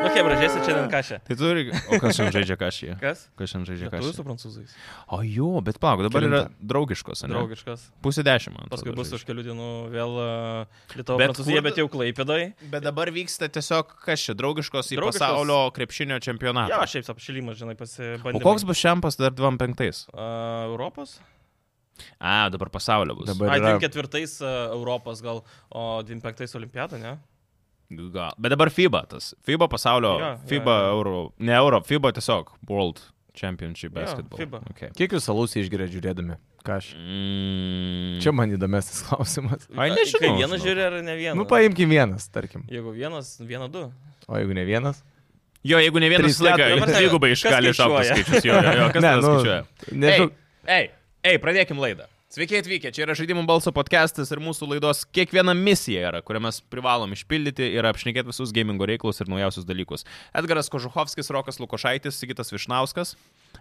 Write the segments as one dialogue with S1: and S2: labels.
S1: Nu, hebra, žaisit šiandien kažę.
S2: Tai turi. O kas šiandien žaidžia kažį?
S1: Kas?
S2: Kas šiandien žaidžia
S1: Lietuvių
S2: kažį?
S1: su prancūzais.
S2: O jo, bet palauk, dabar yra
S3: Kelintą?
S2: draugiškos, ne?
S1: Draugiškas.
S2: Pusė dešimt. man
S1: Paskui
S2: atrodo,
S1: bus
S2: žaidžia.
S1: už kelių dienų vėl Lietuva
S2: Bet
S1: prancūzija,
S2: kur-
S1: bet jau klaipėdai.
S2: Bet dabar vyksta tiesiog kas čia, draugiškos į
S1: Draugiškos-
S2: pasaulio krepšinio
S1: Jo,
S2: čempionatą.
S1: šiaip apšilimas, žinai,
S2: O
S1: pasibandė.
S2: koks bus šempas dar 25?
S1: Europos?
S2: A, dabar pasaulio bus.
S3: Dabar-
S1: Ai,
S3: yra-
S1: 24 Europos gal, o 25 olimpiada, ne?
S2: Gal. Bet dabar FIBA tas. FIBA pasaulio.
S1: Jo,
S2: Ja,
S1: jo,
S2: FIBA ja,
S1: jo.
S2: ja. Euro. Ne Euro, FIBA tiesiog. World Championship
S1: Jo,
S2: Basketball.
S1: FIBA.
S2: Okay.
S3: Kiek jūs alusiai išgeria žiūrėdami? Ką aš?
S2: Mm.
S3: Čia man įdomesnis klausimas.
S2: Ai,
S1: Ka-
S2: nežinau,
S1: Kai vienas
S2: žinok.
S1: žiūri ar ne vienas?
S3: Nu, paimkim vienas, tarkim.
S1: Jeigu vienas, vieną du.
S3: O jeigu ne vienas?
S2: Jo, jeigu ne vienas
S3: Trys, keturi.
S2: laikas,
S1: Dabar tai-
S2: dvigubai
S1: kas
S2: išgali išaukti
S1: skaičiuoja?
S2: skaičius. Jo, jo, jo, kas ne, nu, skaičiuoja?
S3: nežinau.
S2: Ei, ei, pradėkim laidą. Sveiki atvykę, čia yra žaidimų balso podcastas ir mūsų laidos kiekviena misija yra, kurią mes privalom išpildyti ir apšnekėti visus gamingo reikalus ir naujausius dalykus. Edgaras Kožuhovskis, Rokas Lukošaitis, Sigitas Višnauskas.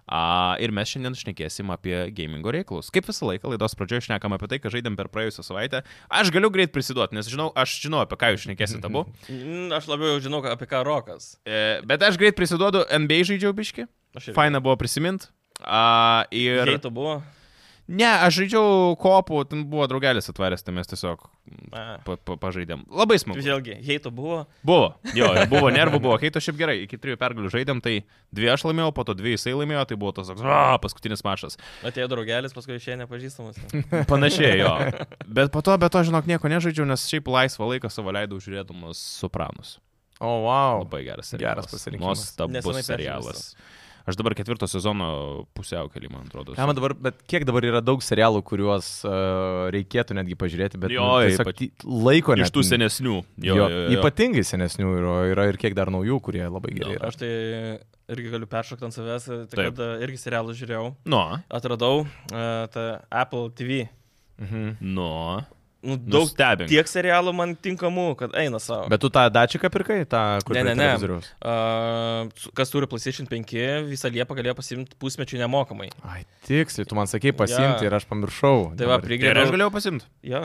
S2: A, ir mes šiandien šnekėsim apie gamingo reikalus. Kaip visą laiką laidos pradžioje šnekam apie tai, ką žaidėm per praėjusią savaitę. Aš galiu greit prisiduoti, nes žinau, aš žinau, apie ką jūs šnekėsite abu.
S1: Mm, Aš labiau jau žinau, ką- apie ką Rokas.
S2: E, bet aš greit prisiduodu, NBA žaidžiau biški.
S1: Aš irgi.
S2: Faina buvo prisimint. A, ir...
S1: Ir... Keito buvo.
S2: Ne, aš žaidžiau kopų, ten buvo draugelis atvaręs, tai mes tiesiog
S1: A.
S2: pa, pa, pažaidėm. Labai smagu.
S1: Vėlgi, heito buvo.
S2: Buvo, jo, jo, buvo nervų, buvo heito šiaip gerai, iki trijų pergalių žaidėm, tai dvi aš laimėjau, po to dvi jisai laimėjo, tai buvo tas toks, a, paskutinis mačas.
S1: Atėjo draugelis, paskui išėjo nepažįstamas.
S2: Panašiai jo. Bet po to, be to, žinok, nieko nežaidžiau, nes šiaip laisvą laiką savo leidau žiūrėdamas Supranus.
S3: O, wow.
S2: Labai geras serialas.
S3: Geras pasirinkimas.
S1: Nesenai
S2: Nuostabus serialas. Aš dabar ketvirto sezono pusiaukelį, man atrodo.
S3: Ką man dabar, bet kiek dabar yra daug serialų, kuriuos uh, reikėtų netgi pažiūrėti, bet nu,
S2: Jo,
S3: tiesiog
S2: ypač-
S3: ti- laiko
S2: Iš tų
S3: net-
S2: senesnių.
S3: Jo, jo, jo. Ypatingai senesnių yra, yra ir kiek dar naujų, kurie labai gerai yra.
S1: Aš tai irgi galiu peršokti ant savęs, tai
S2: Taip.
S1: kad e, irgi serialą žiūrėjau.
S2: Nu,
S1: Atradau uh, tą Apple TV.
S3: Mhm.
S2: nu.
S1: Nu, daug
S2: Nustebink.
S1: tiek serialų man tinkamų, kad eina savo.
S3: Bet tu tą dačiką pirkai, tą, kur
S1: Ne, ne,
S3: prie
S1: ne.
S3: televizoriaus?
S1: Uh, kas turi PlayStation 5, visą Liepą galėjo pasimti pusmečių nemokamai.
S3: Ai, tiksliai, tu man sakei pasimti
S1: Jo.
S3: ir aš pamiršau.
S1: Tai va,
S2: Ir
S3: Dabar-
S2: aš
S1: prigėriau.
S2: galėjau pasimti.
S1: Ja.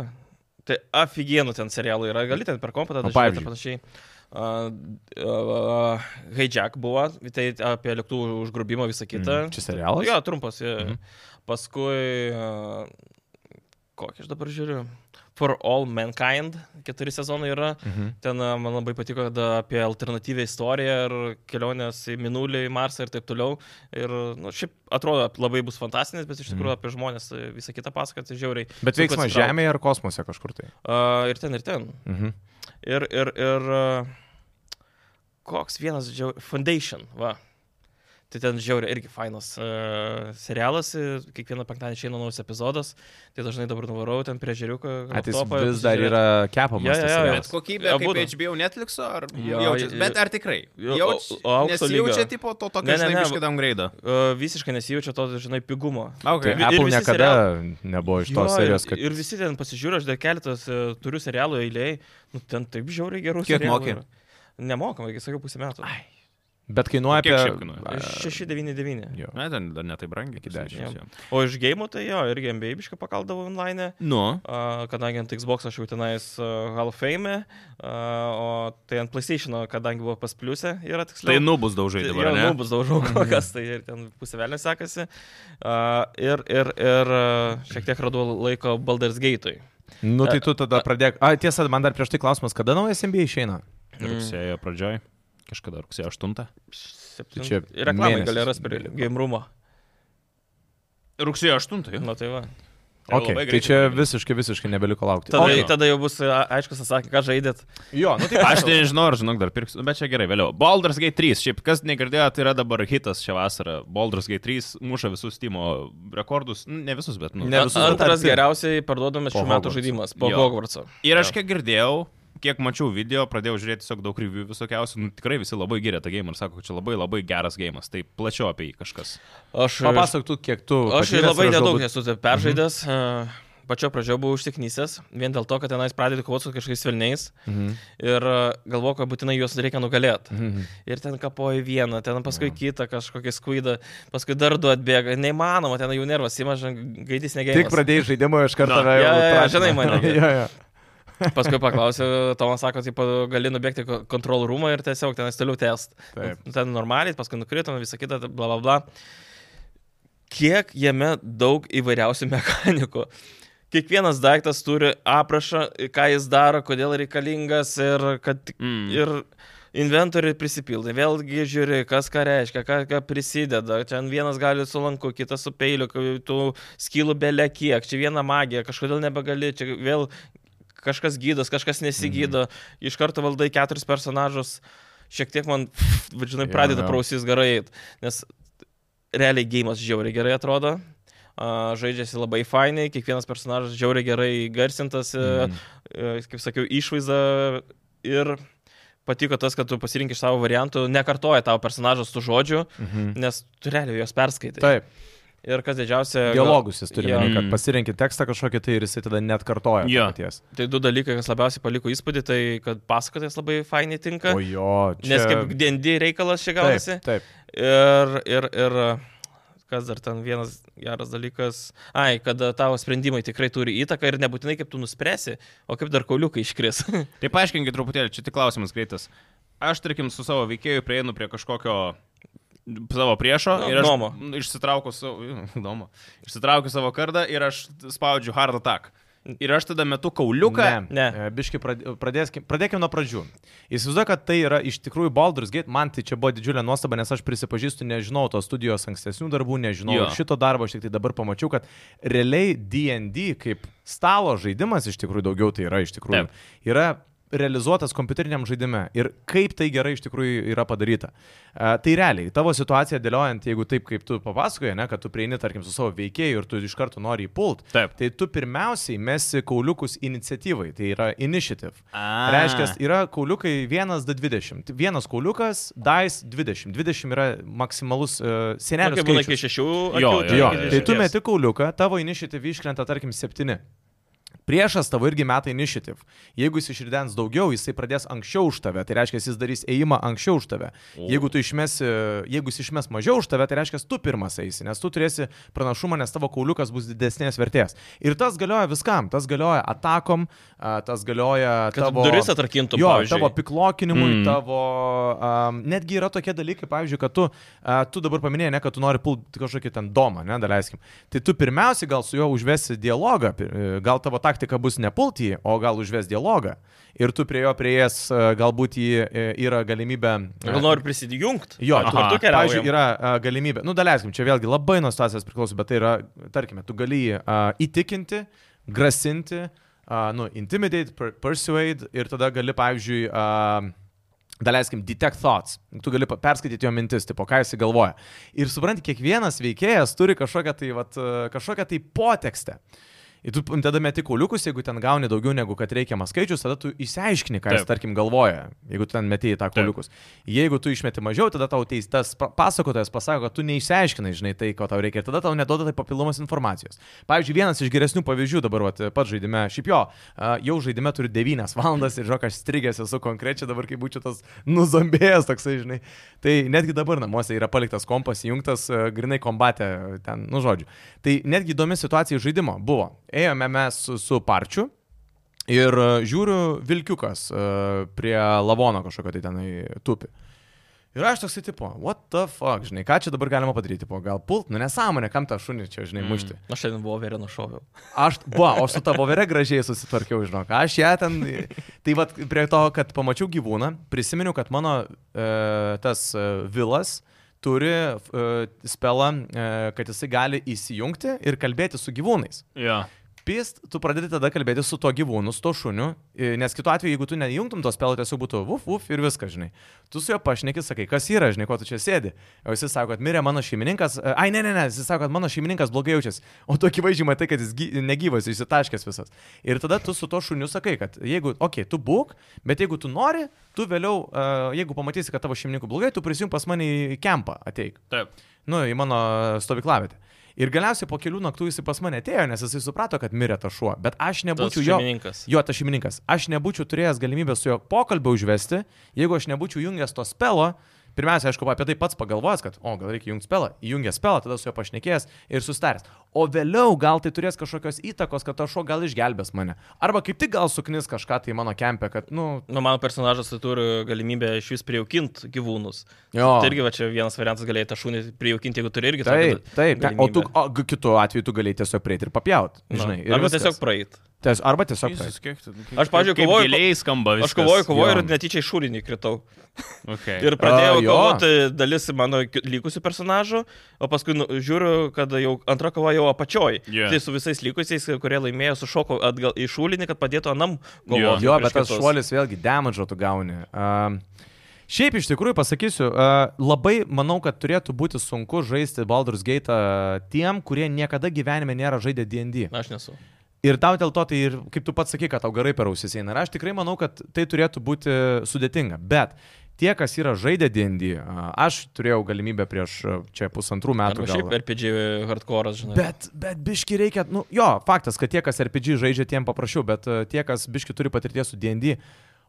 S1: Tai aфиgenų ten serialų yra, gali ten per kompą tada
S3: O
S1: žiūrėt
S3: Nu, pavyzdžiui?
S1: ir panašiai. Uh, uh, Hijack buvo, tai apie lėktuvų užgrobimą visą kitą.
S3: Mm, Čia serialas?
S1: Jo, trumpas. Mm
S3: Mhm.
S1: -hmm. Paskui, uh, kokį aš dabar žiūriu? For All Mankind, keturi sezonai yra.
S3: Mhm.
S1: Ten a, man labai patiko kada apie alternatyvę istoriją ir kelionės į Minulį, į Marsą ir taip toliau. Ir nu, šiaip atrodo labai bus fantastinis, bet iš tikrųjų apie žmonės e, visą kitą pasakot, tai žiauriai.
S3: Mhm. Bet veiksmas
S1: Sukasi
S3: Žemėje ar kosmose kažkur tai.
S1: Uh, ir ten, ir ten.
S3: Mhm.
S1: Ir, ir, ir a, koks vienas, džiau- Foundation, va. Tai ten žiauriai irgi fainas uh, serialas, ir kiekvieną penktadienį išeina naujas epizodas, tai dažnai dabar nuvarau ten prie žiūriuką.
S3: Atis
S1: laptopą ir
S3: tai vis dar
S1: pasižiūrėt.
S3: yra
S1: Jo,
S3: kepamas.
S1: jo,
S3: tas
S1: jo.
S3: serialas.
S2: Bet kokybė
S1: Ja,
S2: ja, kaip
S1: būna.
S2: HBO Netflixo, ar
S1: Jo,
S2: jo, jaučiasi?
S1: i-
S2: Bet ar tikrai?
S1: jo,
S2: Jauč,
S1: au- au- aukšto
S2: nesijaučia
S1: lygio.
S2: tipo to
S1: Ne,
S2: tokio,
S1: ne,
S2: žinai,
S1: ne.
S2: biškai downgrade'o.
S1: Uh, visiškai nesijaučia to, žinai, pigumo.
S3: Tai
S2: Okay.
S1: ir
S3: Apple
S1: visi
S3: niekada nebuvo iš tos
S1: Jo,
S3: serijos,
S1: ir,
S3: kad...
S1: ir visi ten pasižiūrė, aš dar keletas e, turiu serialų eiliai, nu ten taip žiauriai gerų.
S2: Kiek
S1: serialų
S2: moki?
S1: yra. Nemokamai, kai sakiau, pusę metų.
S3: Bet kainuoja
S2: Kiek
S3: apie...
S2: šiaip kainuoja?
S3: A,
S1: 699.
S3: jo.
S2: Na, ten dar netai brangiai, iki
S1: dešimt.
S2: 10.
S1: O iš gėjimų tai jo, irgi MBAbišką pakaldavau online.
S2: Nu,
S1: A, kadangi ant Xbox aš jau tenais a, Hall of Fame, a, o tai ant PlayStation, kadangi buvo pas pliusę, yra tiksliau.
S2: tai nubus daužai dabar,
S1: jau
S2: ne?
S1: nubus daužau
S3: Mhm.
S1: kol kas, tai ir ten pusivelė sekasi. A, ir, ir, ir a, šiek tiek radau laiko Baldur's Gate'ui.
S3: Nu tai tu tada pradėk. A, tiesa, man dar prieš tai klausimas, kada naujas NBA išeina?
S2: Rugsėjo pradžioj, kažkada rugsėjo 8.
S1: Septint...
S3: Tai čia
S1: Ir reklamai
S3: mėnesis
S1: gali rasti prie
S3: beliko.
S1: game roomo.
S2: Rugsėjo 8,
S1: Na tai va.
S2: Tai
S3: Okay,
S2: labai
S3: tai
S2: greitai
S3: čia
S2: pradėjo.
S3: visiškai, visiškai nebeliko laukti.
S1: Tada,
S2: Okay.
S1: okay. tada jau bus a, aiškus atsakymas, ką žaidėt.
S3: Jo, nu tai
S2: Aš tai nežinau, ar žinok, dar pirksiu, Nu, bet čia gerai, vėliau. Baldur's Gate 3, šiaip kas negirdėjo, tai yra dabar hitas šią vasarą. Baldur's Gate 3 muša visus Timo rekordus, Nu, ne visus, bet nu.
S3: Ne visus, bet
S1: Antras
S3: arti.
S1: geriausiai parduodamas
S3: Po
S1: šių metų
S3: Hogwartso.
S1: žaidimas po
S2: Jo.
S1: Hogwartso.
S2: Ir aš kiek girdėjau, kiek mačiau video, pradėjau žiūrėti tiesiog daug review visokiausių, nu, tikrai visi labai giria tą game ir sako, kad čia labai labai geras game, tai plačiau apie jį kažkas.
S1: Aš
S3: papasakok tu, kiek tu.
S1: Aš
S3: patyręs ir
S1: labai
S3: aš
S1: nedaug
S3: galbūt- Mhm.
S1: esu taip peržaidęs. e, Pačio pradžio buvau užsiknysęs, vien dėl to, kad tenais pradėjau kovoti su kažkokiais velniais
S3: Mhm.
S1: ir e, galvojau, kad būtinai juos reikia nugalėti.
S3: Mhm.
S1: Ir ten kapoju vieną, ten paskui kitą kažkokį skuidą, paskui dar du atbėga. Neįmanoma, ten jų nervas įmaža, gaidys negėja.
S3: Tik pradėjai žaidimą, iš karto
S2: Na,
S3: tave
S1: jo,
S3: jau
S1: jo, jo,
S3: prašymą.
S1: žinai mane.
S3: jo, jo.
S1: Paskui paklausė, Tomas sako, taip, gali nubėgti į kontrol rūmą ir tiesiog ten toliau test.
S3: Taip.
S1: Nu, Ten normaliai, paskui nukritom, visą kitą, ta- bla bla bla. Kiek jame daug įvairiausių mechanikų. Kiekvienas daiktas turi aprašą, ką jis daro, kodėl reikalingas ir kad
S2: Mm.
S1: ir inventorių prisipildai. Vėlgi žiūri, kas ką reiškia, ką, ką prisideda. Čia vienas gali su lanku, kitas su peiliu, kai tų skylų belė kiek, čia viena magija, kažkodėl nebegali, čia vėl kažkas gydos, kažkas nesigydo, mhm. iš karto valdai keturis personažus, šiek tiek man, va, žinai,
S3: Jo,
S1: pradeda
S3: jo.
S1: prausys gerai, eit, nes realiai gėjimas žiauriai gerai atrodo. a, Žaidžiasi labai fainai, kiekvienas personažas žiauriai gerai garsintas, mm.
S3: Mhm.
S1: kaip sakiau, išvaizda ir patiko tas, kad tu pasirinkti iš savo variantų, nekartoja tavo personažas tų žodžių,
S3: Mhm.
S1: nes tu realiai juos perskaitai.
S3: Taip,
S1: Ir kas didžiausia...
S3: dialogus jis turi,
S1: Jo.
S3: omeny, kad
S2: Mm.
S3: pasirenki tekstą kažkokį tai ir jisai tada net kartoja. to
S2: Jo.
S3: paties.
S1: Tai du dalykai, kas labiausiai paliko įspūdį, tai kad pasakotojas labai fainai tinka.
S3: O jo, čia...
S1: Nes kaip DND reikalas čia gaunasi.
S3: Taip, taip.
S1: Ir, ir, ir kas dar ten vienas geras dalykas. Ai, kad tavo sprendimai tikrai turi įtaką ir nebūtinai kaip tu nuspręsi, o kaip dar kauliukai iškris.
S2: Tai paaiškinkit truputėlį, čia tik klausimas greitas. Aš, tarkim, su savo veikėju prieinu prie kažkokio savo priešo
S1: Nu,
S2: ir aš
S1: Domo.
S2: išsitraukiu savo, domo, išsitraukiu savo kardą ir aš spaudžiu hard attack. Ir aš tada metu kauliuką.
S1: Ne.
S3: ne. E, Biški pradėkime nuo pradžių. Įsivaizduoju, kad tai yra iš tikrųjų Baldur's Gate, man tai čia buvo didžiulė nuostaba, nes aš prisipažįstu, nežinau tos studijos ankstesnių darbų, nežinau
S2: Jo.
S3: ir šito darbo, aš tik tai dabar pamačiau, kad realiai D&D kaip stalo žaidimas iš tikrųjų daugiau tai yra iš tikrųjų.
S2: Taip.
S3: Yra realizuotas kompiuteriniam žaidime ir kaip tai gerai iš tikrųjų yra padaryta. E, tai realiai, tavo situaciją dėliojant, jeigu taip kaip tu papasakoji, ne, kad tu prieini, tarkim, su savo veikėju ir tu iš karto nori įpult,
S2: Taip.
S3: tai tu pirmiausiai mesi kauliukus iniciatyvai, tai yra initiative.
S2: A.
S3: Reiškia, yra kauliukai 1D20. Vienas kauliukas, dice 20. 20 yra maksimalus uh,
S1: Na,
S3: senelio
S1: kaip būna
S3: skaičius.
S1: iki šešių,
S2: Jo,
S1: akių,
S2: jo,
S3: Jo,
S1: iki
S2: jo.
S3: tai tu
S1: dešimties.
S3: meti kauliuką, tavo initiatyvi iškrenta, tarkim, septyni. Priešas tavo irgi meta initiatyv. Jeigu jis išridens daugiau, jisai pradės anksčiau už tave, tai reiškia, jis darys ėjimą anksčiau už tave.
S2: O.
S3: Jeigu, tu išmesi, jeigu jis išmes mažiau už tave, tai reiškia, tu pirmas eisi, nes tu turėsi pranašumą, nes tavo kauliukas bus didesnės vertės. Ir tas galioja viskam, tas galioja atakom, a, tas galioja
S1: Kad
S3: tavo...
S1: duris atrakintum,
S3: Jo,
S1: pavyzdžiui.
S3: tavo piklokinimui,
S2: Mm.
S3: mm. tavo... Um, netgi yra tokie dalykai, pavyzdžiui, kad tu, uh, tu dabar paminėjai, ne, kad tu nori pulti kažkokį ten domą, ne, daleiskim. Tai tu pirmiausiai gal su juo užvesi dialogą, pi- e, gal tavo taktika bus ne pulti jį, o gal užves dialogą. Ir tu prie jo prieėjęs, e, galbūt jį e, yra galimybė... e,
S1: Gal noriu prisidijungti?
S3: Jo,
S1: tu
S3: tu,
S2: Aha.
S1: kartu
S3: pavyzdžiui,
S1: keliauji.
S3: yra a, galimybė, nu, daleiskim, čia vėlgi labai nuo situacijos priklauso, bet tai yra, tarkime, tu gali jį a, įtikinti, grasinti, a, nu, intimidate, per, persuade ir tada gali, pavyzdžiui, a, daleiskim, detect thoughts. Tu gali pa- perskaityti jo mintis, tipo, ką jis galvoja. Ir supranti, kiekvienas veikėjas turi kažkokią tai, vat, a, kažkokią tai potekstę. Ir tu tada meti kauliukus, jeigu ten gauni daugiau negu kad reikiamas skaičius, tada tu išsiaiškini, ką jis,
S2: Taip.
S3: tarkim, galvoja, jeigu tu ten meti į tą kauliukus. Jeigu tu išmeti mažiau, tada tau teistas pa- pasakotojas pasako, kad tu neišsiaiškinai, žinai, tai, ko tau reikia, ir tada tau neduoda tai papildomos informacijos. Pavyzdžiui, vienas iš geresnių pavyzdžių dabar, vat, pats žaidime, šiaip jo, a, jau žaidime turi 9 valandas ir, žinok, aš strigęs esu konkrečiai dabar, kai būčiau tas nuzombėjęs toksai, žinai. Tai netgi dabar namuose yra paliktas kompas įjungtas, e, grinai kombate, e, ten, nu žodžiu. Tai netgi įdomi situacija iš žaidimo buvo. Ėjome mes su, su parčiu. Ir e, žiūriu, vilkiukas e, prie lavono kažkokio tai tenai tupi. Ir aš toksai tipo, what the fuck, žinai, ką čia dabar galima padaryti, tipo, gal pult, nu nesąmonė, kam tą šunį čia, žinai, mušti.
S1: Aš šiandien buvau vėrė nušoviau.
S3: Aš, va, o su tavo vere gražiai susitvarkiau, žinok. Aš ją ten. Tai vad, prie to, kad pamačiau gyvūną, prisiminiau, kad mano e, tas e, vilas turi e, spelą, e, kad jisai gali įsijungti ir kalbėti su gyvūnais.
S2: Jo.
S3: Pist, tu pradedi tada kalbėti su tuo gyvūnu, su tuo šuniu, i- nes kitu atveju, jeigu tu neįjungtum tos spelo, tiesiog būtų vuf, vuf ir viskas, žinai. Tu su juo pašneki, sakai, kas yra, žinai, ko tu čia sėdi. O jis sako, kad mirė mano šeimininkas, e, ai ne, ne, ne, jis sako, kad mano šeimininkas blogai jaučiasi, o tu akivaizdžiai matai, kad jis gy- negyvas, išsitaškęs visas. Ir tada tu su tuo šuniu sakai, kad jeigu, okei, okay, tu būk, bet jeigu tu nori, tu vėliau, e, jeigu pamatysi, kad tavo šeimininkų blogai, tu prisijung pas mane į kempą, ateik
S2: Taip.
S3: nu, į mano stovyklavietę. Ir galiausiai po kelių naktų jis pas mane atėjo, nes jisai suprato, kad mirė ta šuo, bet aš
S1: Tas
S3: nebūčiau jo...
S1: šeimininkas.
S3: Jo, tas šeimininkas. Aš nebūčiau turėjęs galimybę su juo pokalbį užvesti, jeigu aš nebūčiau jungęs to spelo. Pirmiausia, aišku, apie tai pats pagalvojęs, kad, o, gal reikia jungti spelą, įjungęs spelą, tada su juo pašnekėjęs ir sustaręs. o vėliau gal tai turės kažkokios įtakos, kad tas šuo gal išgelbės mane. Arba kaip tik gal suknis kažką tai į mano kempę, kad, nu,
S1: Nu, mano personažas tai turi galimybę iš vis prijaukinti gyvūnus.
S3: Jo.
S1: Tai irgi va čia vienas variantas galėjai tą šunį prijaukinti, jeigu turi tai irgi
S3: Taip,
S1: tokią
S3: taip.
S1: galimybę.
S3: Galimybę. O tu, o g- kitu atveju tu galėjai tiesiog prieiti ir papjauti.
S1: Nu,
S3: Žinai, ir
S1: Arba
S3: viskas.
S1: tiesiog praeit.
S3: Ties, arba tiesiog praeit.
S2: Jesus, kiek tu- kaip-
S1: Aš, pavyzdžiui,
S2: kaip
S1: kovoju-
S2: Giliai skamba viskas.
S1: Aš kovoju, kovoju
S3: jo.
S1: ir netyčia į šūrinį kritau.
S2: Okay.
S1: Ir pradėjau
S3: A, jo.
S1: kovoti dalis mano ki- likusių personažų, o paskui nu, žiūriu, kad jau antra kova jau apačioj.
S2: Jo.
S1: Tai su visais likusiais, kurie laimėjo, sušoko atgal į šūlinį, kad padėtų anam
S2: Jo.
S1: kovoti.
S3: Jo,
S1: prieš
S3: bet tas
S1: kitus.
S3: šuolis vėlgi damage tu gauni. Um, Šiaip iš tikrųjų pasakysiu, a, labai manau, kad turėtų būti sunku žaisti Baldur's Gate a, tiem, kurie niekada gyvenime nėra žaidę DD.
S1: Na, aš nesu.
S3: Ir tau dėl to tai ir, kaip tu pats sakai, kad tau gerai per ausis eina. Ir aš tikrai manau, kad tai turėtų būti sudėtinga. Bet tie, kas yra žaidę DD, a, aš turėjau galimybę prieš a, čia pusantrų metų.
S1: Arba
S3: gal-
S1: šiaip RPG hardcore, žinai.
S3: Bet, bet biški reikia, nu jo, faktas, kad tie, kas RPG žaidžia, tiem paprašiau, bet e, tie, kas biški turi patirties su DND,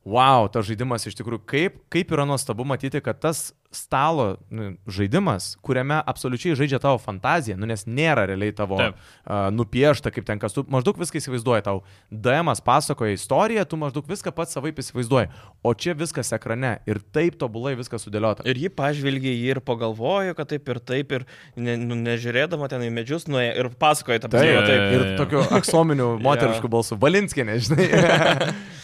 S3: wow, tas žaidimas iš tikrųjų, kaip, kaip yra nuostabu matyti, kad tas stalo nu, žaidimas, kuriame absoliučiai žaidžia tavo fantazija, nu nes nėra realiai tavo uh,
S2: Taip.
S3: nupiešta, kaip ten kas, tu maždaug viską įsivaizduoji, tau DM pasakoja istoriją, tu maždaug viską pats savaip įsivaizduoji, o čia viskas ekrane ir taip tobulai viskas sudėliota.
S1: Ir jį pažvelgė, jį ir pagalvojo, kad taip ir taip, ir ne, nu, nežiūrėdama ten į medžius, nuėjo ir pasakojo tą
S3: Taip,
S2: Jo,
S1: pasakojimą.
S2: jo,
S3: taip, ir
S2: jo.
S3: tokiu aksominiu moterišku balsu. Valinskė, nežinai.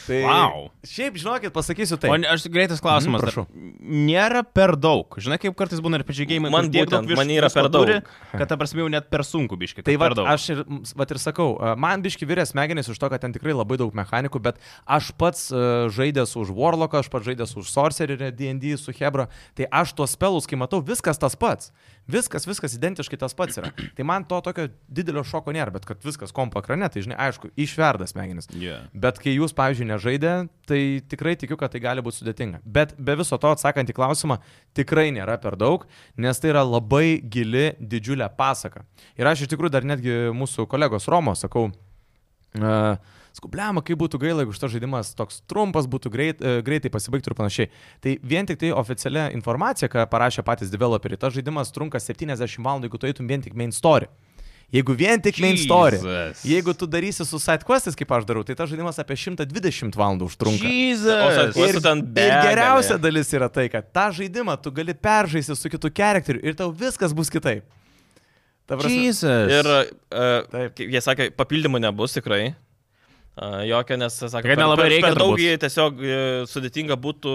S3: tai,
S2: Vau.
S3: Šiaip, žinokit, pasakysiu
S2: O
S3: tai.
S2: ne- aš greitas klausimas.
S3: Mhm,
S2: dar.
S3: prašau.
S2: Nėra per daug. Žinai, kaip kartais būna ir pačiagėjimai.
S1: Man būtent, man yra per daug.
S2: kad ta prasme jau net per sunku biškai.
S3: Tai
S2: kad
S3: va,
S2: per daug.
S3: aš ir, vat ir sakau, a, man biški vyrės smegenys už to, kad ten tikrai labai daug mechanikų, bet aš pats a, žaidęs už Warlocką, aš pats žaidęs už Sorcererį, D&D, su Hebra, tai aš tuos spelus, kai matau, viskas tas pats. Viskas, viskas identiškai tas pats yra. tai man to tokio didelio šoko nėra, bet kad viskas kompo ekrane, tai žinai, aišku, išverdas smegenys.
S2: Yeah.
S3: Bet kai jūs, pavyzdžiui, nežaidė, tai tikrai tikiu, kad tai gali būti sudėtinga. Bet be viso to, atsakant į klausimą, tikrai nėra per daug, nes tai yra labai gili, didžiulė pasaka. Ir aš iš tikrųjų dar netgi mūsų kolegos Romo sakau, Uh, Skubliama, kaip būtų gaila, jeigu šitas žaidimas toks trumpas, būtų greit, uh, greitai pasibaigtų ir panašiai. Tai vien tik tai oficialia informacija, ką parašė patys developeriai, tas žaidimas trunka 70 valandų, jeigu tu eitum vien tik main story. Jeigu vien tik main story.
S2: Jesus.
S3: Jeigu tu darysi su sidequestais, kaip aš darau, tai tas žaidimas apie 120 valandų užtrunka.
S1: O
S2: Jesus.
S1: sako,
S2: Ir...
S1: Ir- tu ten
S3: ir
S1: begalė.
S3: geriausia dalis yra tai, kad tą žaidimą tu gali peržaisti su kitu charakteriu ir tau viskas bus kitaip. Ta prasme,
S2: Jesus.
S1: Ir uh,
S3: Taip.
S1: jie sakė, papildymų nebus tikrai. Uh, jokio, nes, sakė,
S2: Kad nelabai reikia
S1: per daug
S2: turbūt.
S1: jį tiesiog e, sudėtinga būtų